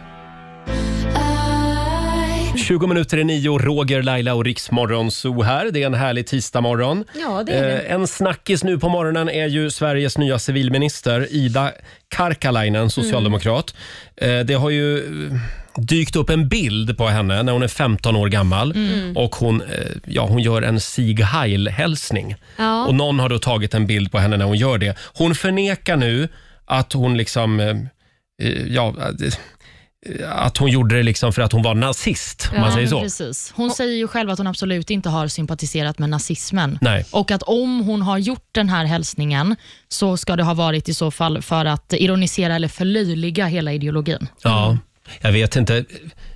Speaker 7: I
Speaker 1: 20 minuter i nio, Roger, Laila och Riksmorgonzoo här. Det är en härlig tisdagmorgon.
Speaker 3: Ja, det är det.
Speaker 1: Eh, en snackis nu på morgonen är ju Sveriges nya civilminister Ida
Speaker 3: Mm.
Speaker 1: Karkalainen, socialdemokrat. Eh, det har ju eh, dykt upp en bild på henne när hon är 15 år gammal
Speaker 3: Mm.
Speaker 1: och hon, eh, ja, hon gör en Sieg Heil-hälsning.
Speaker 3: Ja.
Speaker 1: Och någon har då tagit en bild på henne när hon gör det. Hon förnekar nu att hon liksom, eh, eh, ja, eh, att hon gjorde det liksom för att hon var nazist, om man säger
Speaker 4: men
Speaker 1: så.
Speaker 4: Precis. Hon säger ju själv att hon absolut inte har sympatiserat med nazismen.
Speaker 1: Nej.
Speaker 4: Och att om hon har gjort den här hälsningen så ska det ha varit i så fall för att ironisera eller förlöjliga hela ideologin.
Speaker 1: Ja, jag vet inte.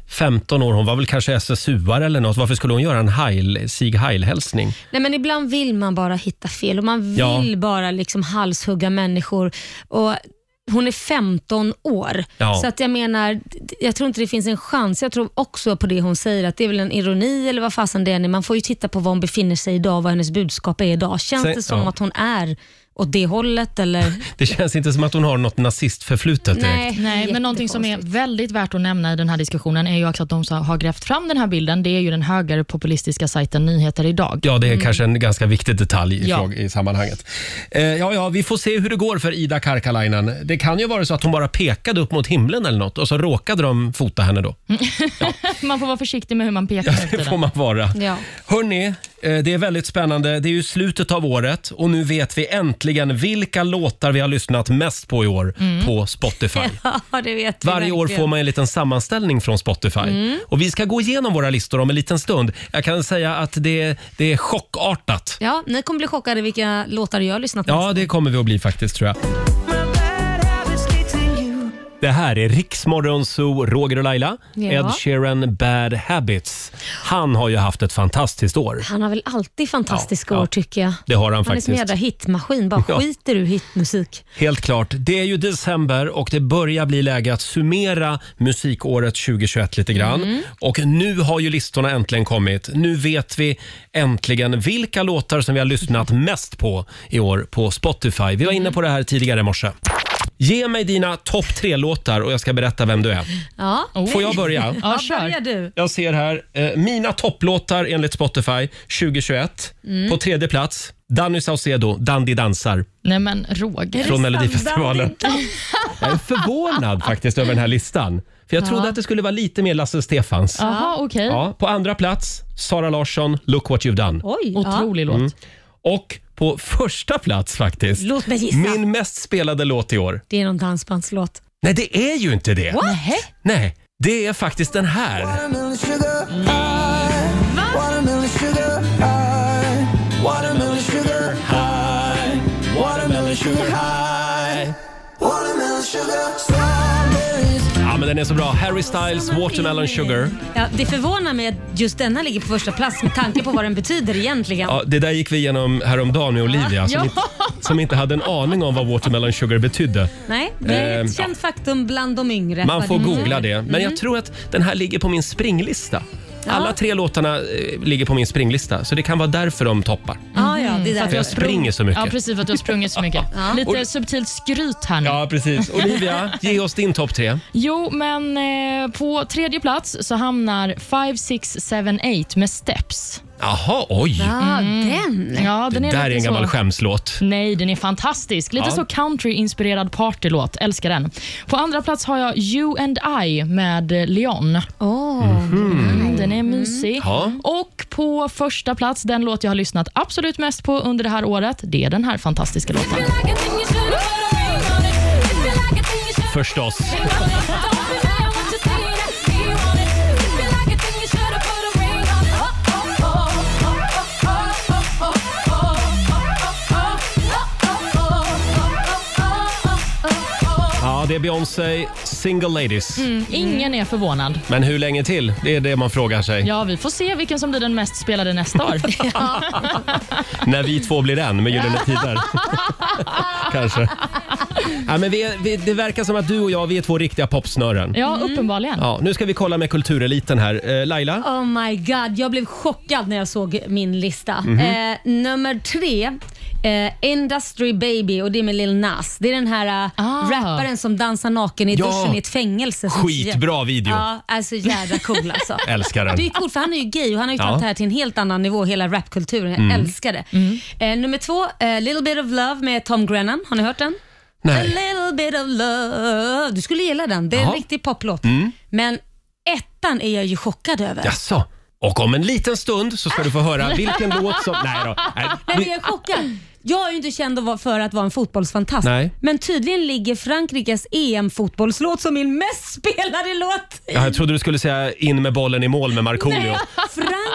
Speaker 1: 15 år, hon var väl kanske SSU-are eller något. Varför skulle hon göra en heil, Sieg Heil-hälsning?
Speaker 3: Nej, men ibland vill man bara hitta fel och man
Speaker 1: Ja.
Speaker 3: vill bara liksom halshugga människor. Och hon är 15 år,
Speaker 1: Ja.
Speaker 3: så att jag menar, jag tror inte det finns en chans. Jag tror också på det hon säger, att det är väl en ironi eller vad fasen det än är. Man får ju titta på var hon befinner sig idag, vad hennes budskap är idag. Känns
Speaker 1: Sen-
Speaker 3: det som
Speaker 1: ja.
Speaker 3: att hon är åt det hållet? Eller?
Speaker 1: Det känns inte som att hon har något nazistförflutet direkt.
Speaker 4: Nej, men någonting som är
Speaker 3: jättekonstigt.
Speaker 4: väldigt värt att nämna i den här diskussionen är ju också att de som har grävt fram den här bilden, det är ju den högre populistiska sajten Nyheter idag.
Speaker 1: Ja, det är kanske en ganska viktig detalj i,
Speaker 4: Mm. Ja.
Speaker 1: fråga, i sammanhanget. Eh, ja, ja, vi får se hur det går för Ida Karkalainen. Det kan ju vara så att hon bara pekade upp mot himlen eller något och så råkade de fota henne då.
Speaker 4: Man får vara försiktig med hur man pekar efter
Speaker 1: Det får
Speaker 4: den.
Speaker 1: man vara.
Speaker 3: Ja.
Speaker 1: Hörni, det är väldigt spännande. Det är ju slutet av året och nu vet vi äntligen vilka låtar vi har lyssnat mest på i år på Spotify.
Speaker 3: Mm. Ja, det vet vi
Speaker 1: Varje år
Speaker 3: verkligen. Mm.
Speaker 1: får man en liten sammanställning från Spotify. Och Vi ska gå igenom våra listor om en liten stund. Jag kan säga att det, det är chockartat.
Speaker 3: Ja, ni kommer bli chockade vilka låtar jag har lyssnat på.
Speaker 1: Ja, det kommer vi att bli faktiskt tror jag. Det här är Riksmorgon Zoo, Roger och Laila.
Speaker 3: Ja.
Speaker 1: Ed Sheeran, Bad Habits. Han har ju haft ett fantastiskt år.
Speaker 3: Han har väl alltid fantastiska
Speaker 1: Ja, ja.
Speaker 3: år tycker jag.
Speaker 1: Det har han
Speaker 3: Han är som
Speaker 1: faktiskt.
Speaker 3: en jävla hitmaskin, bara
Speaker 1: Ja.
Speaker 3: skiter ur hitmusik.
Speaker 1: Helt klart. Det är ju december och det börjar bli läge att summera musikåret 2021 lite grann. Och nu har ju listorna äntligen kommit. Nu vet vi äntligen vilka låtar som vi har lyssnat mest på i år på Spotify. Vi var inne på det här tidigare i morse. Ge mig dina topp tre-låtar och jag ska berätta vem du är.
Speaker 3: Ja,
Speaker 1: Får jag börja?
Speaker 4: Oh. Ja,
Speaker 3: ja börjar
Speaker 4: kör.
Speaker 3: du.
Speaker 1: Jag ser här, eh, mina topplåtar enligt Spotify 2021. På tredje plats, Danny Saucedo, Dandy dansar
Speaker 4: Nej, men Roger.
Speaker 1: från Melodifestivalen.
Speaker 3: Sandra, din-
Speaker 1: Jag är förvånad faktiskt över den här listan. För jag trodde att det skulle vara lite mer Lasse Stefans. Ja.
Speaker 4: Jaha, okej.
Speaker 1: på andra plats, Sara Larsson, Look what you've done.
Speaker 3: Oj, ja.
Speaker 4: Otrolig
Speaker 1: Mm.
Speaker 4: låt.
Speaker 1: Och på första plats faktiskt,
Speaker 3: Låt mig gissa.
Speaker 1: min mest spelade låt i år.
Speaker 3: Det är någon dansbandslåt.
Speaker 1: Nej, det är ju inte det.
Speaker 4: Nähä?
Speaker 1: Nej, det är faktiskt den här.
Speaker 8: Watermelon sugar high. Watermelon sugar high. Watermelon sugar high. Watermelon sugar high. Watermelon sugar strawberries.
Speaker 1: Ja, men den är så bra. Harry Styles, Watermelon Sugar.
Speaker 3: Ja, det förvånar mig att just denna ligger på första plats med tanke på vad den betyder egentligen.
Speaker 1: Ja, det där gick vi igenom häromdagen med Olivia som,
Speaker 4: Ja.
Speaker 1: inte, som inte hade en aning om vad Watermelon Sugar betydde.
Speaker 3: Nej, det är
Speaker 1: Ehm,
Speaker 3: ett känt faktum bland de yngre.
Speaker 1: Man
Speaker 3: vad
Speaker 1: får
Speaker 3: det betyder.
Speaker 1: googla det. Men
Speaker 4: Mm.
Speaker 1: jag tror att den här ligger på min springlista. Alla tre låtarna eh, ligger på min springlista, så det kan vara därför de toppar.
Speaker 3: Ja, ja, det är
Speaker 1: För
Speaker 3: därför.
Speaker 1: jag springer så mycket.
Speaker 4: Ja, precis för att du har sprungit så mycket. Lite subtilt skryt här nu.
Speaker 1: Ja, precis. Olivia, ge oss din topp tre.
Speaker 4: Jo, men eh, på tredje plats så hamnar 5678 med Steps.
Speaker 1: Jaha, oj.
Speaker 3: Ja, den.
Speaker 4: Ja, den
Speaker 1: Det
Speaker 4: är
Speaker 1: där är
Speaker 4: lite Mm.
Speaker 1: en gammal
Speaker 4: så.
Speaker 1: skämslåt.
Speaker 4: Nej, den är fantastisk. Lite
Speaker 1: Ja.
Speaker 4: så country-inspirerad partylåt. Älskar den. På andra plats har jag You and I med eh, Leon.
Speaker 3: Åh,
Speaker 4: Den är mysig.
Speaker 1: Mhm. Ja.
Speaker 4: Och på första plats, den låt jag har lyssnat absolut mest på under det här året, det är den här fantastiska låten.
Speaker 1: Förstås. Ja, det är Beyoncé, Single Ladies.
Speaker 4: Mm. Ingen är förvånad.
Speaker 1: Men hur länge till? Det är det man frågar sig.
Speaker 4: Ja, vi får se vilken som blir den mest spelade nästa år.
Speaker 1: När vi två blir en med Gyllene Tider. Kanske. Ja, men vi är, vi, det verkar som att du och jag, vi är två riktiga popsnören.
Speaker 4: Ja, uppenbarligen.
Speaker 1: Ja, nu ska vi kolla med kultureliten här. Eh, Laila?
Speaker 3: Oh
Speaker 1: Mhm.
Speaker 3: my god, jag blev chockad när jag såg min lista. eh, nummer tre eh, Industry Baby och det är med Lil Nas. Det är den här eh,
Speaker 4: Ah.
Speaker 3: rapparen som dansar naken i
Speaker 1: Ja.
Speaker 3: duschen i ett fängelse. som-
Speaker 1: Skitbra video.
Speaker 3: Ja, alltså jävla cool alltså.
Speaker 1: Älskar den.
Speaker 3: Det är ju coolt för han är ju gay och han har ju
Speaker 1: Ja. Mm.
Speaker 3: tagit det här till en helt annan nivå, hela rapkulturen. Jag älskar det. Eh, nummer två, eh, Little Bit of Love med Tom Grennan. Har ni hört den? A
Speaker 1: Nej.
Speaker 3: little bit of love. Du skulle gilla den. Det är en
Speaker 1: Jaha. Mm.
Speaker 3: riktig poplåt. Men ettan är jag ju chockad över.
Speaker 1: Jaså? Och om en liten stund så ska du få höra vilken låt som... Nej då. Nej.
Speaker 3: Nej, men
Speaker 1: Vi-
Speaker 3: jag är chockad. Jag är ju inte känd att vara- för att vara en fotbollsfantast.
Speaker 1: Nej.
Speaker 3: Men tydligen ligger Frankrikes EM-fotbollslåt som min mest spelade låt.
Speaker 1: Ja, jag trodde du skulle säga in med bollen i mål med Markoolio.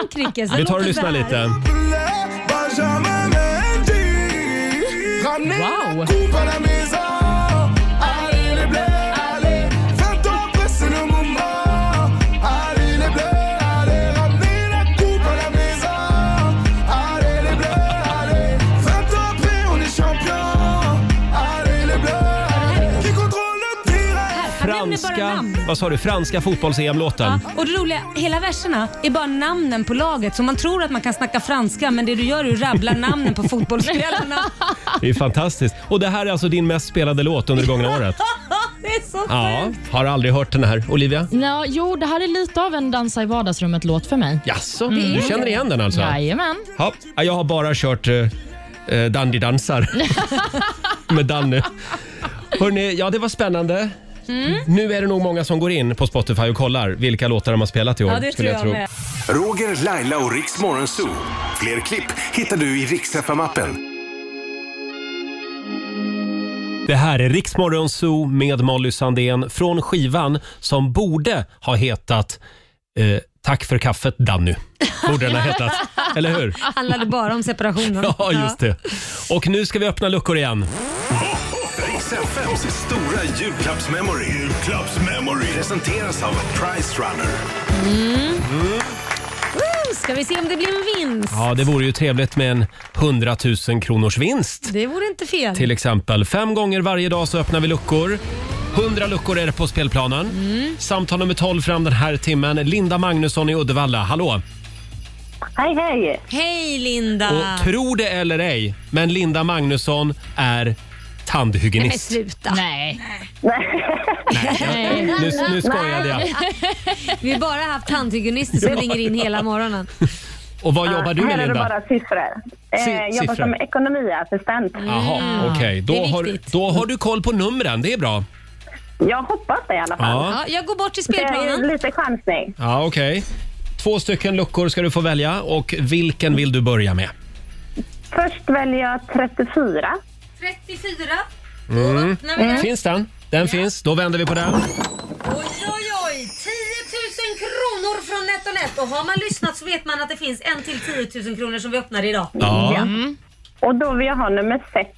Speaker 3: Frankrikes.
Speaker 1: Vi
Speaker 3: den
Speaker 1: tar och
Speaker 3: alltså, låter så
Speaker 1: lyssnar
Speaker 3: här.
Speaker 1: lite.
Speaker 4: Wow!
Speaker 3: Han nämner bara
Speaker 1: Franska,
Speaker 3: namn.
Speaker 1: vad sa du, franska fotbolls-EM-låten.
Speaker 3: Ja, och det roliga, hela verserna är bara namnen på laget. Så man tror att man kan snacka franska, men det du gör är att rabbla namnen på fotbollsspelarna.
Speaker 1: Det är fantastiskt. Och det här är alltså din mest spelade låt under det gångna året.
Speaker 3: det är så
Speaker 1: Ja,
Speaker 3: sjukt. Mm.
Speaker 1: har aldrig hört den här. Olivia?
Speaker 4: Ja, jo, det här är lite av en dansa i vardagsrummet-låt för mig.
Speaker 1: Jaså, du känner igen den alltså?
Speaker 4: Jajamän.
Speaker 1: Ja, jag har bara kört eh, eh, Dandy dansar med Danny. Hörrni, ja det var spännande.
Speaker 3: Mm.
Speaker 1: Nu är det nog många som går in på Spotify och kollar vilka låtar de har spelat i år.
Speaker 3: Ja, det tror
Speaker 1: skulle
Speaker 3: jag, med.
Speaker 2: Roger, Laila och Riks Morgonzoo. Fler klipp hittar du i Riks FM-appen.
Speaker 1: Det här är Riksmorgon Zoo med Molly Sandén från skivan som borde ha hetat eh, Tack för kaffet Danny. Borde den ha hetat, eller hur?
Speaker 3: Handlade bara om separationen.
Speaker 1: Ja, just det. Och nu ska vi öppna luckor igen.
Speaker 2: Riks FMs stora julklappsmemory. Julklappsmemory. Presenteras av Price Runner.
Speaker 3: Woo! Ska vi se om det blir en vinst?
Speaker 1: Ja, det vore ju trevligt med en 100 000 kronors vinst.
Speaker 3: Det vore inte fel.
Speaker 1: till exempel. Fem gånger varje dag så öppnar vi luckor. 100 luckor är det på spelplanen. Samtal nummer 12 fram den här timmen. Linda Magnusson i Uddevalla, hallå!
Speaker 5: Hej, hej!
Speaker 3: Hej Linda!
Speaker 1: Och tro det eller ej, men Linda Magnusson är
Speaker 3: Men
Speaker 1: tandhygienist.
Speaker 3: sluta.
Speaker 4: Nej.
Speaker 1: Nej, nu, nu skojade jag.
Speaker 3: Vi har bara haft tandhygienister som ringer in hela morgonen.
Speaker 1: Och vad jobbar du med
Speaker 5: Här är det
Speaker 1: Linda?
Speaker 5: bara siffror.
Speaker 1: Si-
Speaker 5: Eh, jag jobbar
Speaker 1: siffror.
Speaker 5: som ekonomiassistent.
Speaker 1: Jaha, okej.
Speaker 3: Det
Speaker 1: Då,
Speaker 3: är
Speaker 1: har,
Speaker 3: viktigt.
Speaker 1: då har du koll på numren, det är bra.
Speaker 5: Jag hoppas det i alla fall.
Speaker 1: Ja,
Speaker 3: Ja, jag går bort till
Speaker 5: Det är
Speaker 3: spelplanen.
Speaker 5: ju lite chansning.
Speaker 1: ja okej. Två stycken luckor ska du få välja och vilken vill du börja med?
Speaker 5: Först väljer jag 34.
Speaker 3: 34. Då
Speaker 1: Mm.
Speaker 3: öppnar vi den.
Speaker 1: Finns den? Den finns. Då vänder vi på den.
Speaker 3: Oj, oj, oj! 10 000 kronor från NetOnNet. Och har man lyssnat så vet man att det finns en till 10 000 kronor som vi öppnar idag.
Speaker 1: Ja.
Speaker 5: Och då vill jag ha nummer 6.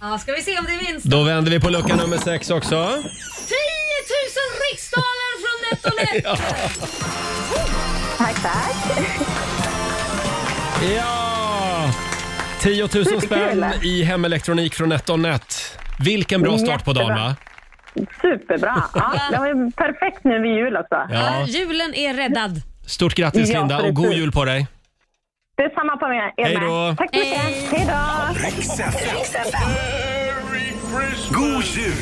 Speaker 3: Ja, ska vi se om det är vinst? 10 000
Speaker 1: Då vänder vi på lucka nummer sex också.
Speaker 3: riksdaler från NetOnNet!
Speaker 5: Tack, tack.
Speaker 1: Ja! 10 000 spänn i hemelektronik från NetOnNet. Vilken bra start på dagen va?
Speaker 5: Superbra. Ja, det var ju perfekt nu vid jul också.
Speaker 3: Ja.
Speaker 1: Ja.
Speaker 3: Julen är räddad.
Speaker 1: Stort grattis
Speaker 5: Ja,
Speaker 1: Linda och god
Speaker 5: precis.
Speaker 1: jul på dig.
Speaker 5: Detsamma på er
Speaker 1: Hej
Speaker 5: med.
Speaker 1: då.
Speaker 5: Tack så mycket. Hej då.
Speaker 2: Riks FM. God jul!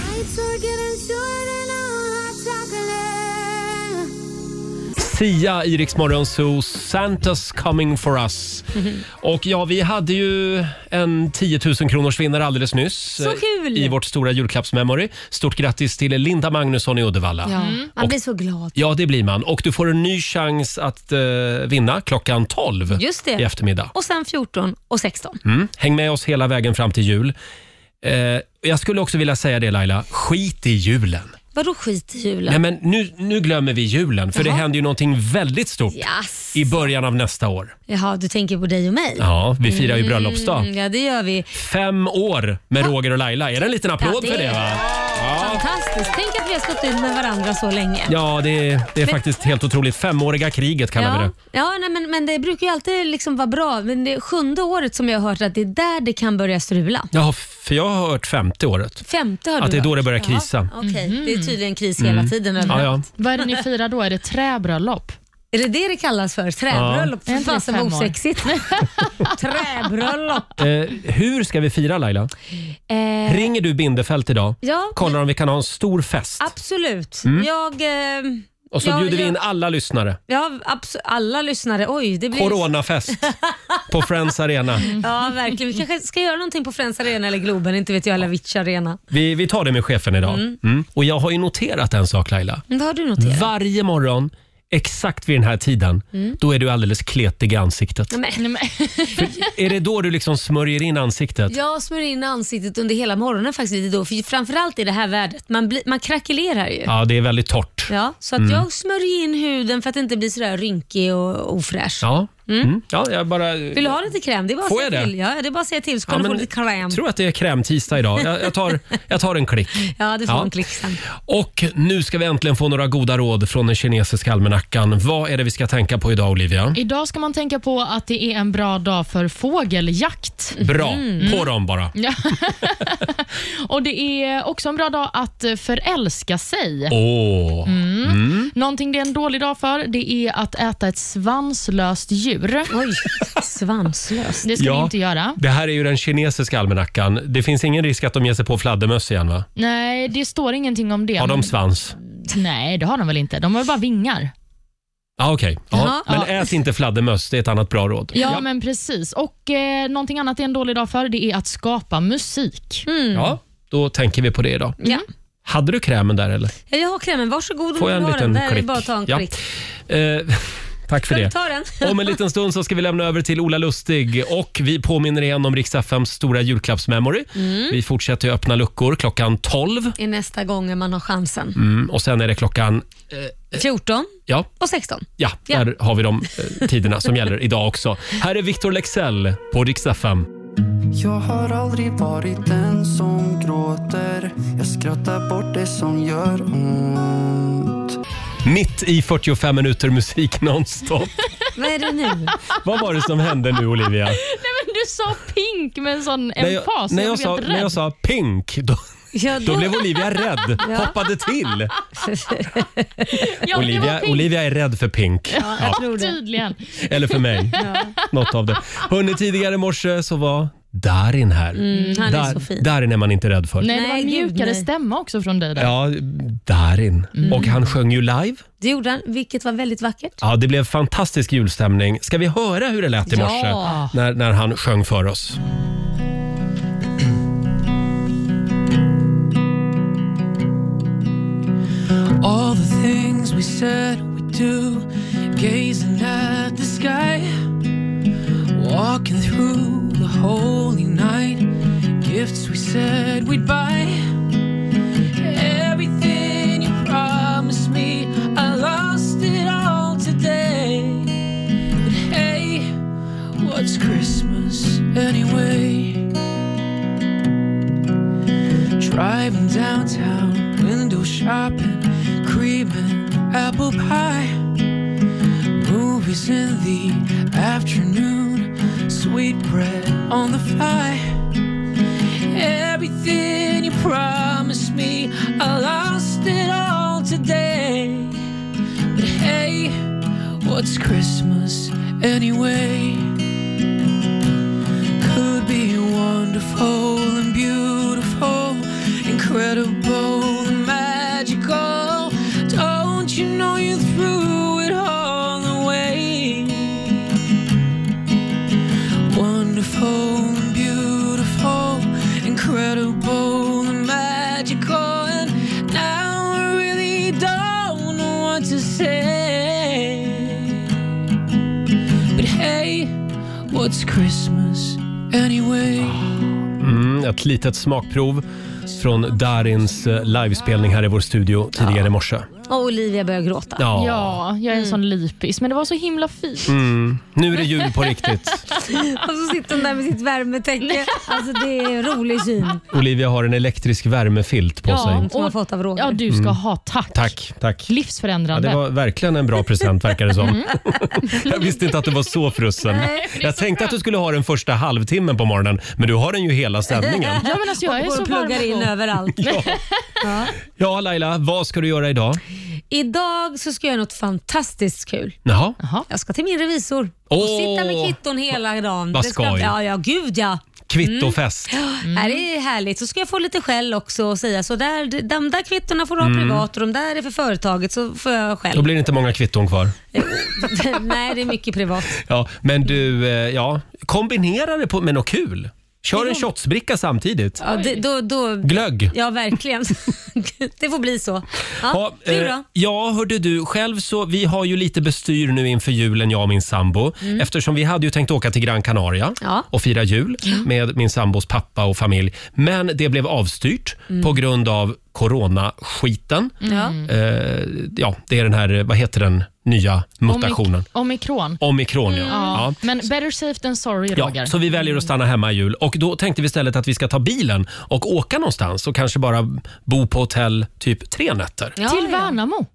Speaker 1: Sia i Rix Morgon Zoo, Santa's coming for us.
Speaker 5: Mhm.
Speaker 1: Och ja, vi hade ju en 10 000 kronors vinnare alldeles nyss. eh,
Speaker 3: kul!
Speaker 1: I vårt stora julklappsmemory. Stort grattis till Linda Magnusson i Uddevalla.
Speaker 3: Man blir så glad.
Speaker 1: Ja, det blir man. Och du får en ny chans att eh, vinna klockan 12
Speaker 3: Just
Speaker 1: i
Speaker 3: det.
Speaker 1: eftermiddag.
Speaker 3: Och sen 14 och 16.
Speaker 1: Mm. Häng med oss hela vägen fram till jul. Eh, jag skulle också vilja säga det Laila, skit i julen.
Speaker 3: Vadå skit i julen?
Speaker 1: Nej, men nu, nu glömmer vi julen för det händer ju någonting väldigt stort
Speaker 3: Yes.
Speaker 1: i början av nästa år.
Speaker 3: Jaha, du tänker på dig och mig?
Speaker 1: Ja, vi firar ju bröllopsdag.
Speaker 3: Mm, ja, det gör vi.
Speaker 1: Fem år med Roger och Laila. Är det en liten applåd
Speaker 3: Ja, det
Speaker 1: för det?
Speaker 3: är
Speaker 1: Va? Ja.
Speaker 3: Fantastiskt. Tänk att vi har stått ut med varandra så länge.
Speaker 1: Ja, det, är- det är faktiskt helt otroligt. Femåriga kriget kallar vi
Speaker 3: Ja,
Speaker 1: det.
Speaker 3: ja nej, men, men det brukar ju alltid liksom vara bra. Men det är sjunde året som jag har hört att det är där det kan börja strula.
Speaker 1: Ja, för jag har hört femte året.
Speaker 3: Femte har du Mhm.
Speaker 1: Att det är
Speaker 3: hört.
Speaker 1: då det börjar krisa.
Speaker 3: Ja, Okej, det är tydligen kris hela tiden.
Speaker 1: Ja,
Speaker 3: överallt.
Speaker 1: ja.
Speaker 4: Vad är det ni firar då? Är det träbröllop?
Speaker 3: Är det det det kallas för? Träbröllop?
Speaker 4: Ja.
Speaker 3: Fy fasen vad
Speaker 4: Fem år.
Speaker 3: osexigt. Träbröllop.
Speaker 1: Eh, hur ska vi fira Laila?
Speaker 3: Eh,
Speaker 1: Ringer du Bindefält idag?
Speaker 3: ja,
Speaker 1: Kollar om vi kan ha en stor fest.
Speaker 3: absolut.
Speaker 1: Mm.
Speaker 3: Jag... Eh,
Speaker 1: Och så
Speaker 3: ja,
Speaker 1: bjuder vi
Speaker 3: jag-
Speaker 1: in alla lyssnare.
Speaker 3: Ja, abso- alla lyssnare. Oj, det blir...
Speaker 1: Coronafest på Friends Arena.
Speaker 3: Ja, verkligen. Vi kanske ska göra någonting på Friends Arena eller Globen, inte vet jag, eller Avicii Arena.
Speaker 1: Vi, vi tar det med chefen idag. Mm. Och jag har ju noterat en sak Laila.
Speaker 3: Vad har du noterat?
Speaker 1: Varje morgon, exakt vid den här tiden,
Speaker 3: Mm.
Speaker 1: då är du alldeles kletig i ansiktet.
Speaker 3: Nej, men-
Speaker 4: Nej, men-
Speaker 1: Är det då du liksom smörjer in ansiktet?
Speaker 3: Jag smörjer in ansiktet under hela morgonen faktiskt lite då, för framförallt i det här vädret. Man, blir, man krackelerar ju. Ja.
Speaker 1: Ja, Mm. det är väldigt torrt.
Speaker 3: så att jag smörjer in huden för att inte bli sådär rynkig och ofräsch.
Speaker 1: Ja, mm. ja jag bara...
Speaker 3: Vill du ha lite kräm? Det är bara att
Speaker 1: Får
Speaker 3: säga
Speaker 1: jag det?
Speaker 3: till. Ja, det är bara att säga till så
Speaker 1: Ja,
Speaker 3: kan du få
Speaker 1: men
Speaker 3: lite kräm.
Speaker 1: tror att det är krämtisdag idag. Jag, jag, tar, jag tar en klick.
Speaker 3: Ja, det får
Speaker 1: Ja.
Speaker 3: en klick sen.
Speaker 1: Och nu ska vi äntligen få några goda råd från den kinesiska almanackan. Vad är det vi ska tänka på idag Olivia?
Speaker 4: Idag ska man tänka på att det är en bra dag för fågeljakt.
Speaker 1: Bra, på dem bara.
Speaker 4: Mm. Ja. och Det är också en bra dag att eh, förälska sig.
Speaker 1: Åh,
Speaker 4: Mm. Någonting det är en dålig dag för det är att äta ett svanslöst djur.
Speaker 3: Oj, svanslöst.
Speaker 4: Det ska
Speaker 1: Ja.
Speaker 4: vi inte göra.
Speaker 1: det här är ju den kinesiska almanackan. Det finns ingen risk att de ger sig på fladdermöss igen va?
Speaker 4: Nej, det står ingenting om det.
Speaker 1: Har de svans?
Speaker 4: Nej, det har de väl inte. De har ju bara vingar.
Speaker 1: Ja, okej. Ja.
Speaker 3: Jaha.
Speaker 1: Men
Speaker 4: Ja.
Speaker 1: ät inte fladdermöss, det är ett annat bra råd.
Speaker 4: Ja, men precis. Och eh, Någonting annat det är en dålig dag för det är att skapa musik.
Speaker 1: Ja, då tänker vi på det idag.
Speaker 3: Ja.
Speaker 1: Hade du krämen där eller?
Speaker 3: Ja, jag har krämen. Varsågod om
Speaker 1: Får
Speaker 3: du
Speaker 1: jag en
Speaker 3: har
Speaker 1: liten
Speaker 3: den. Där är det
Speaker 1: klick?
Speaker 3: bara att ta en
Speaker 1: Ja.
Speaker 3: klick.
Speaker 1: Eh, tack för
Speaker 3: Ska du
Speaker 1: det.
Speaker 3: ta den?
Speaker 1: Om en liten stund så ska vi lämna över till Ola Lustig och vi påminner igen om Rix FMs stora julklappsmemory.
Speaker 4: Mm.
Speaker 1: Vi fortsätter ju öppna luckor klockan 12
Speaker 3: är nästa gång man har chansen.
Speaker 1: mm, och sen är det klockan,
Speaker 3: 14
Speaker 1: ja,
Speaker 3: och 16.
Speaker 1: ja,
Speaker 3: Ja.
Speaker 1: där har vi de eh, tiderna som gäller idag också. Här är Victor Lexell på Rix FM.
Speaker 8: Jag har aldrig varit den som gråter Jag skrattar bort det som gör ont
Speaker 1: Mitt i 45 minuter musik nonstop.
Speaker 3: Vad är det nu?
Speaker 1: Vad var det som hände nu Olivia?
Speaker 4: Nej, men Du sa pink med en sån
Speaker 1: När
Speaker 4: emfas.
Speaker 1: jag, när, jag
Speaker 4: blev
Speaker 1: sa,
Speaker 4: helt
Speaker 1: när
Speaker 4: rädd.
Speaker 1: jag sa pink, då,
Speaker 3: Ja,
Speaker 1: då
Speaker 3: då,
Speaker 1: blev Olivia rädd. Hoppade till.
Speaker 4: Ja, det var
Speaker 1: Olivia,
Speaker 4: pink.
Speaker 1: Olivia är rädd för pink.
Speaker 3: ja, jag tror det.
Speaker 4: Tydligen.
Speaker 1: Eller för mig. Något av det. Hörrni, tidigare i morse så var Darin här.
Speaker 3: Mm, han är
Speaker 1: Dar-
Speaker 3: så fin.
Speaker 1: Darin är man inte rädd för.
Speaker 4: Nej, det var
Speaker 3: Nej,
Speaker 4: en
Speaker 3: gud,
Speaker 4: mjukare
Speaker 3: nej.
Speaker 4: stämma också från dig. Där.
Speaker 1: Ja, Darin. Och han sjöng ju live.
Speaker 3: Det gjorde han, vilket var väldigt vackert.
Speaker 1: Ja, det blev fantastisk julstämning. Ska vi höra hur det lät i morse
Speaker 4: Ja.
Speaker 1: när, när han sjöng för oss?
Speaker 8: All the things we said we do Gazing at the sky Walking through the holy night Gifts we said we'd buy Everything you promised me I lost it all today But hey, what's Christmas anyway? Driving downtown, window shopping, creaming apple pie. Movies in the afternoon, sweet bread on the fly. Everything you promised me, I lost it all today. But hey, what's Christmas anyway? could be wonderful and beautiful, incredible and magical. Don't you know you threw it all away? Wonderful and beautiful, incredible and magical, and now I really don't know what to say. But hey, What's Christmas anyway?
Speaker 1: Mm, ett litet smakprov från Darins eh, livespelning här i vår studio tidigare i morse.
Speaker 3: Och Olivia började gråta.
Speaker 1: Ja. Mm.
Speaker 4: Ja, jag är
Speaker 3: Mm.
Speaker 4: en sån lipis, men det var så himla fint.
Speaker 1: Nu är det jul på riktigt.
Speaker 3: Och så Alltså, sitter hon där med sitt värmetäcke. Alltså det är en rolig syn
Speaker 1: Olivia har en elektrisk värmefilt på sig.
Speaker 3: som man fått av Roger.
Speaker 4: Ja, du ska ha tack.
Speaker 1: Mm. Tack, tack. Ja,
Speaker 4: Livsförändrande.
Speaker 1: det var verkligen en bra present verkar det som. Jag visste inte att du var så frusen. Jag tänkte att du skulle ha den första halvtimmen på morgonen, men du har den ju hela sändningen.
Speaker 4: Ja, men alltså, jag är
Speaker 3: Går
Speaker 4: så
Speaker 3: och pluggar
Speaker 4: varm
Speaker 3: in
Speaker 4: på.
Speaker 3: överallt.
Speaker 1: Ja, Laila, vad ska du göra idag?
Speaker 3: Idag så ska jag göra något fantastiskt kul.
Speaker 1: Jaha.
Speaker 4: Jaha.
Speaker 3: Jag ska till min revisor och
Speaker 1: Åh!
Speaker 3: sitta med kvitton hela dagen.
Speaker 1: vad
Speaker 3: Det ska-
Speaker 1: skoj.
Speaker 3: Ja, ja, gud ja.
Speaker 1: Kvittofest.
Speaker 3: Här är härligt. Så ska jag få lite skäll också och säga så där, de där kvittona får du ha
Speaker 1: Mm.
Speaker 3: privat och de där är för företaget så får jag
Speaker 1: Då
Speaker 3: skäll.
Speaker 1: blir det inte många kvitton kvar.
Speaker 3: Nej, det är mycket privat.
Speaker 1: Ja, men du, eh, ja, kombinera det på, med något kul. Kör en shotsbricka samtidigt.
Speaker 3: Ja, det, då, då,
Speaker 1: Glögg.
Speaker 3: ja, verkligen. det får bli så. Ja,
Speaker 1: Ja,
Speaker 3: du
Speaker 1: eh,
Speaker 3: då?
Speaker 1: ja, hörde du. Själv så, vi har ju lite bestyr nu inför julen, jag och min sambo. Eftersom vi hade ju tänkt åka till Gran Canaria
Speaker 3: Mm. Ja. Mm.
Speaker 1: och fira jul med min sambos pappa och familj. Men det blev avstyrt på grund av coronaskiten.
Speaker 3: Mm. Ja.
Speaker 1: Eh, ja, det är den här, eh, vad heter den nya mutationen?
Speaker 4: Omik- Omikron.
Speaker 1: Omikron,
Speaker 3: Mm.
Speaker 1: ja.
Speaker 4: Ja.
Speaker 1: ja.
Speaker 4: Men better safe than sorry, Roger.
Speaker 1: Ja, så vi väljer att stanna hemma i jul och då tänkte vi istället att vi ska ta bilen och åka någonstans och kanske bara bo på hotell typ tre nätter.
Speaker 3: Ja,
Speaker 4: Till
Speaker 3: ja.
Speaker 4: Värnamo.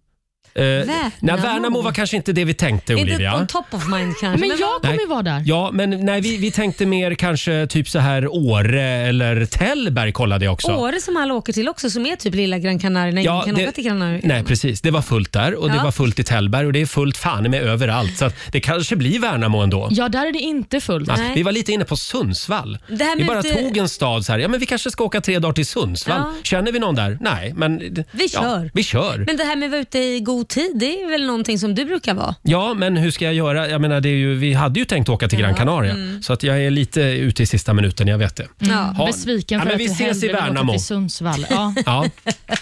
Speaker 1: Eh,
Speaker 3: Värnamo.
Speaker 1: Nej, Värnamo var kanske inte det vi tänkte,
Speaker 3: Inte
Speaker 1: Olivia.
Speaker 3: on top of mind kanske.
Speaker 4: Men jag kommer
Speaker 1: Nej.
Speaker 4: ju vara där.
Speaker 1: Ja, men nej, vi, vi tänkte mer kanske typ så här Åre eller Tällberg kollade jag också.
Speaker 3: Åre som alla åker till också, som är typ lilla Gran Canaria. när ingen kan åka till Gran Canaria.
Speaker 1: nej, precis. Det var fullt där och det
Speaker 3: Ja.
Speaker 1: var fullt i Tällberg och det är fullt fan med överallt. Så att det kanske blir Värnamo ändå.
Speaker 4: Ja, där är det inte fullt.
Speaker 1: Ja,
Speaker 3: Nej.
Speaker 1: Vi var lite inne på Sundsvall.
Speaker 3: Det här
Speaker 1: Vi
Speaker 3: med
Speaker 1: bara
Speaker 3: inte-
Speaker 1: tog en stad så här. Ja, men vi kanske ska åka tre dagar till Sundsvall.
Speaker 3: Ja.
Speaker 1: Känner vi någon där? Nej, men
Speaker 3: Vi
Speaker 1: ja,
Speaker 3: kör.
Speaker 1: Vi kör.
Speaker 3: Men det här med att vara ute i god tid, det är väl någonting som du brukar vara?
Speaker 1: Ja, men hur ska jag göra? Jag menar, det är ju, vi hade ju tänkt åka till Gran Canaria, så att jag är lite ute i sista minuten, jag vet det.
Speaker 3: Mm. Ja.
Speaker 1: Ja.
Speaker 4: Besviken
Speaker 1: Ja,
Speaker 4: för
Speaker 1: men
Speaker 4: att
Speaker 1: vi
Speaker 4: du
Speaker 1: ses i
Speaker 4: hellre vill åka
Speaker 1: Värnamo.
Speaker 4: till Sundsvall. Ja.
Speaker 1: Ja.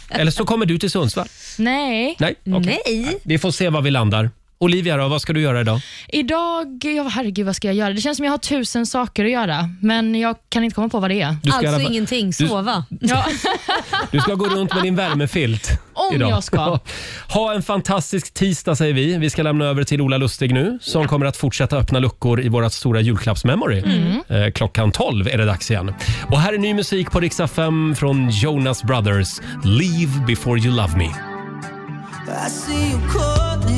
Speaker 1: Eller så kommer du till Sundsvall.
Speaker 4: Nej.
Speaker 1: Nej, okej.
Speaker 3: Nej.
Speaker 1: Vi får se var vi landar. Olivia då, vad ska du göra idag?
Speaker 4: Idag, ja, herregud vad ska jag göra? Det känns som jag har tusen saker att göra, men jag kan inte komma på vad det är.
Speaker 1: Du ska, i alla
Speaker 3: Alltså
Speaker 1: fall-
Speaker 3: ingenting, sova.
Speaker 4: Ja,
Speaker 1: du ska gå runt med din värmefilt.
Speaker 4: Om
Speaker 1: idag.
Speaker 4: jag ska.
Speaker 1: Ha en fantastisk tisdag säger vi. Vi ska lämna över till Ola Lustig nu som kommer att fortsätta öppna luckor i vårt stora julklappsmemory.
Speaker 4: Mm.
Speaker 1: Eh, klockan 12 är det dags igen. Och här är ny musik på Riksa 5 från Jonas Brothers. Leave before you love me.
Speaker 8: I see you calling.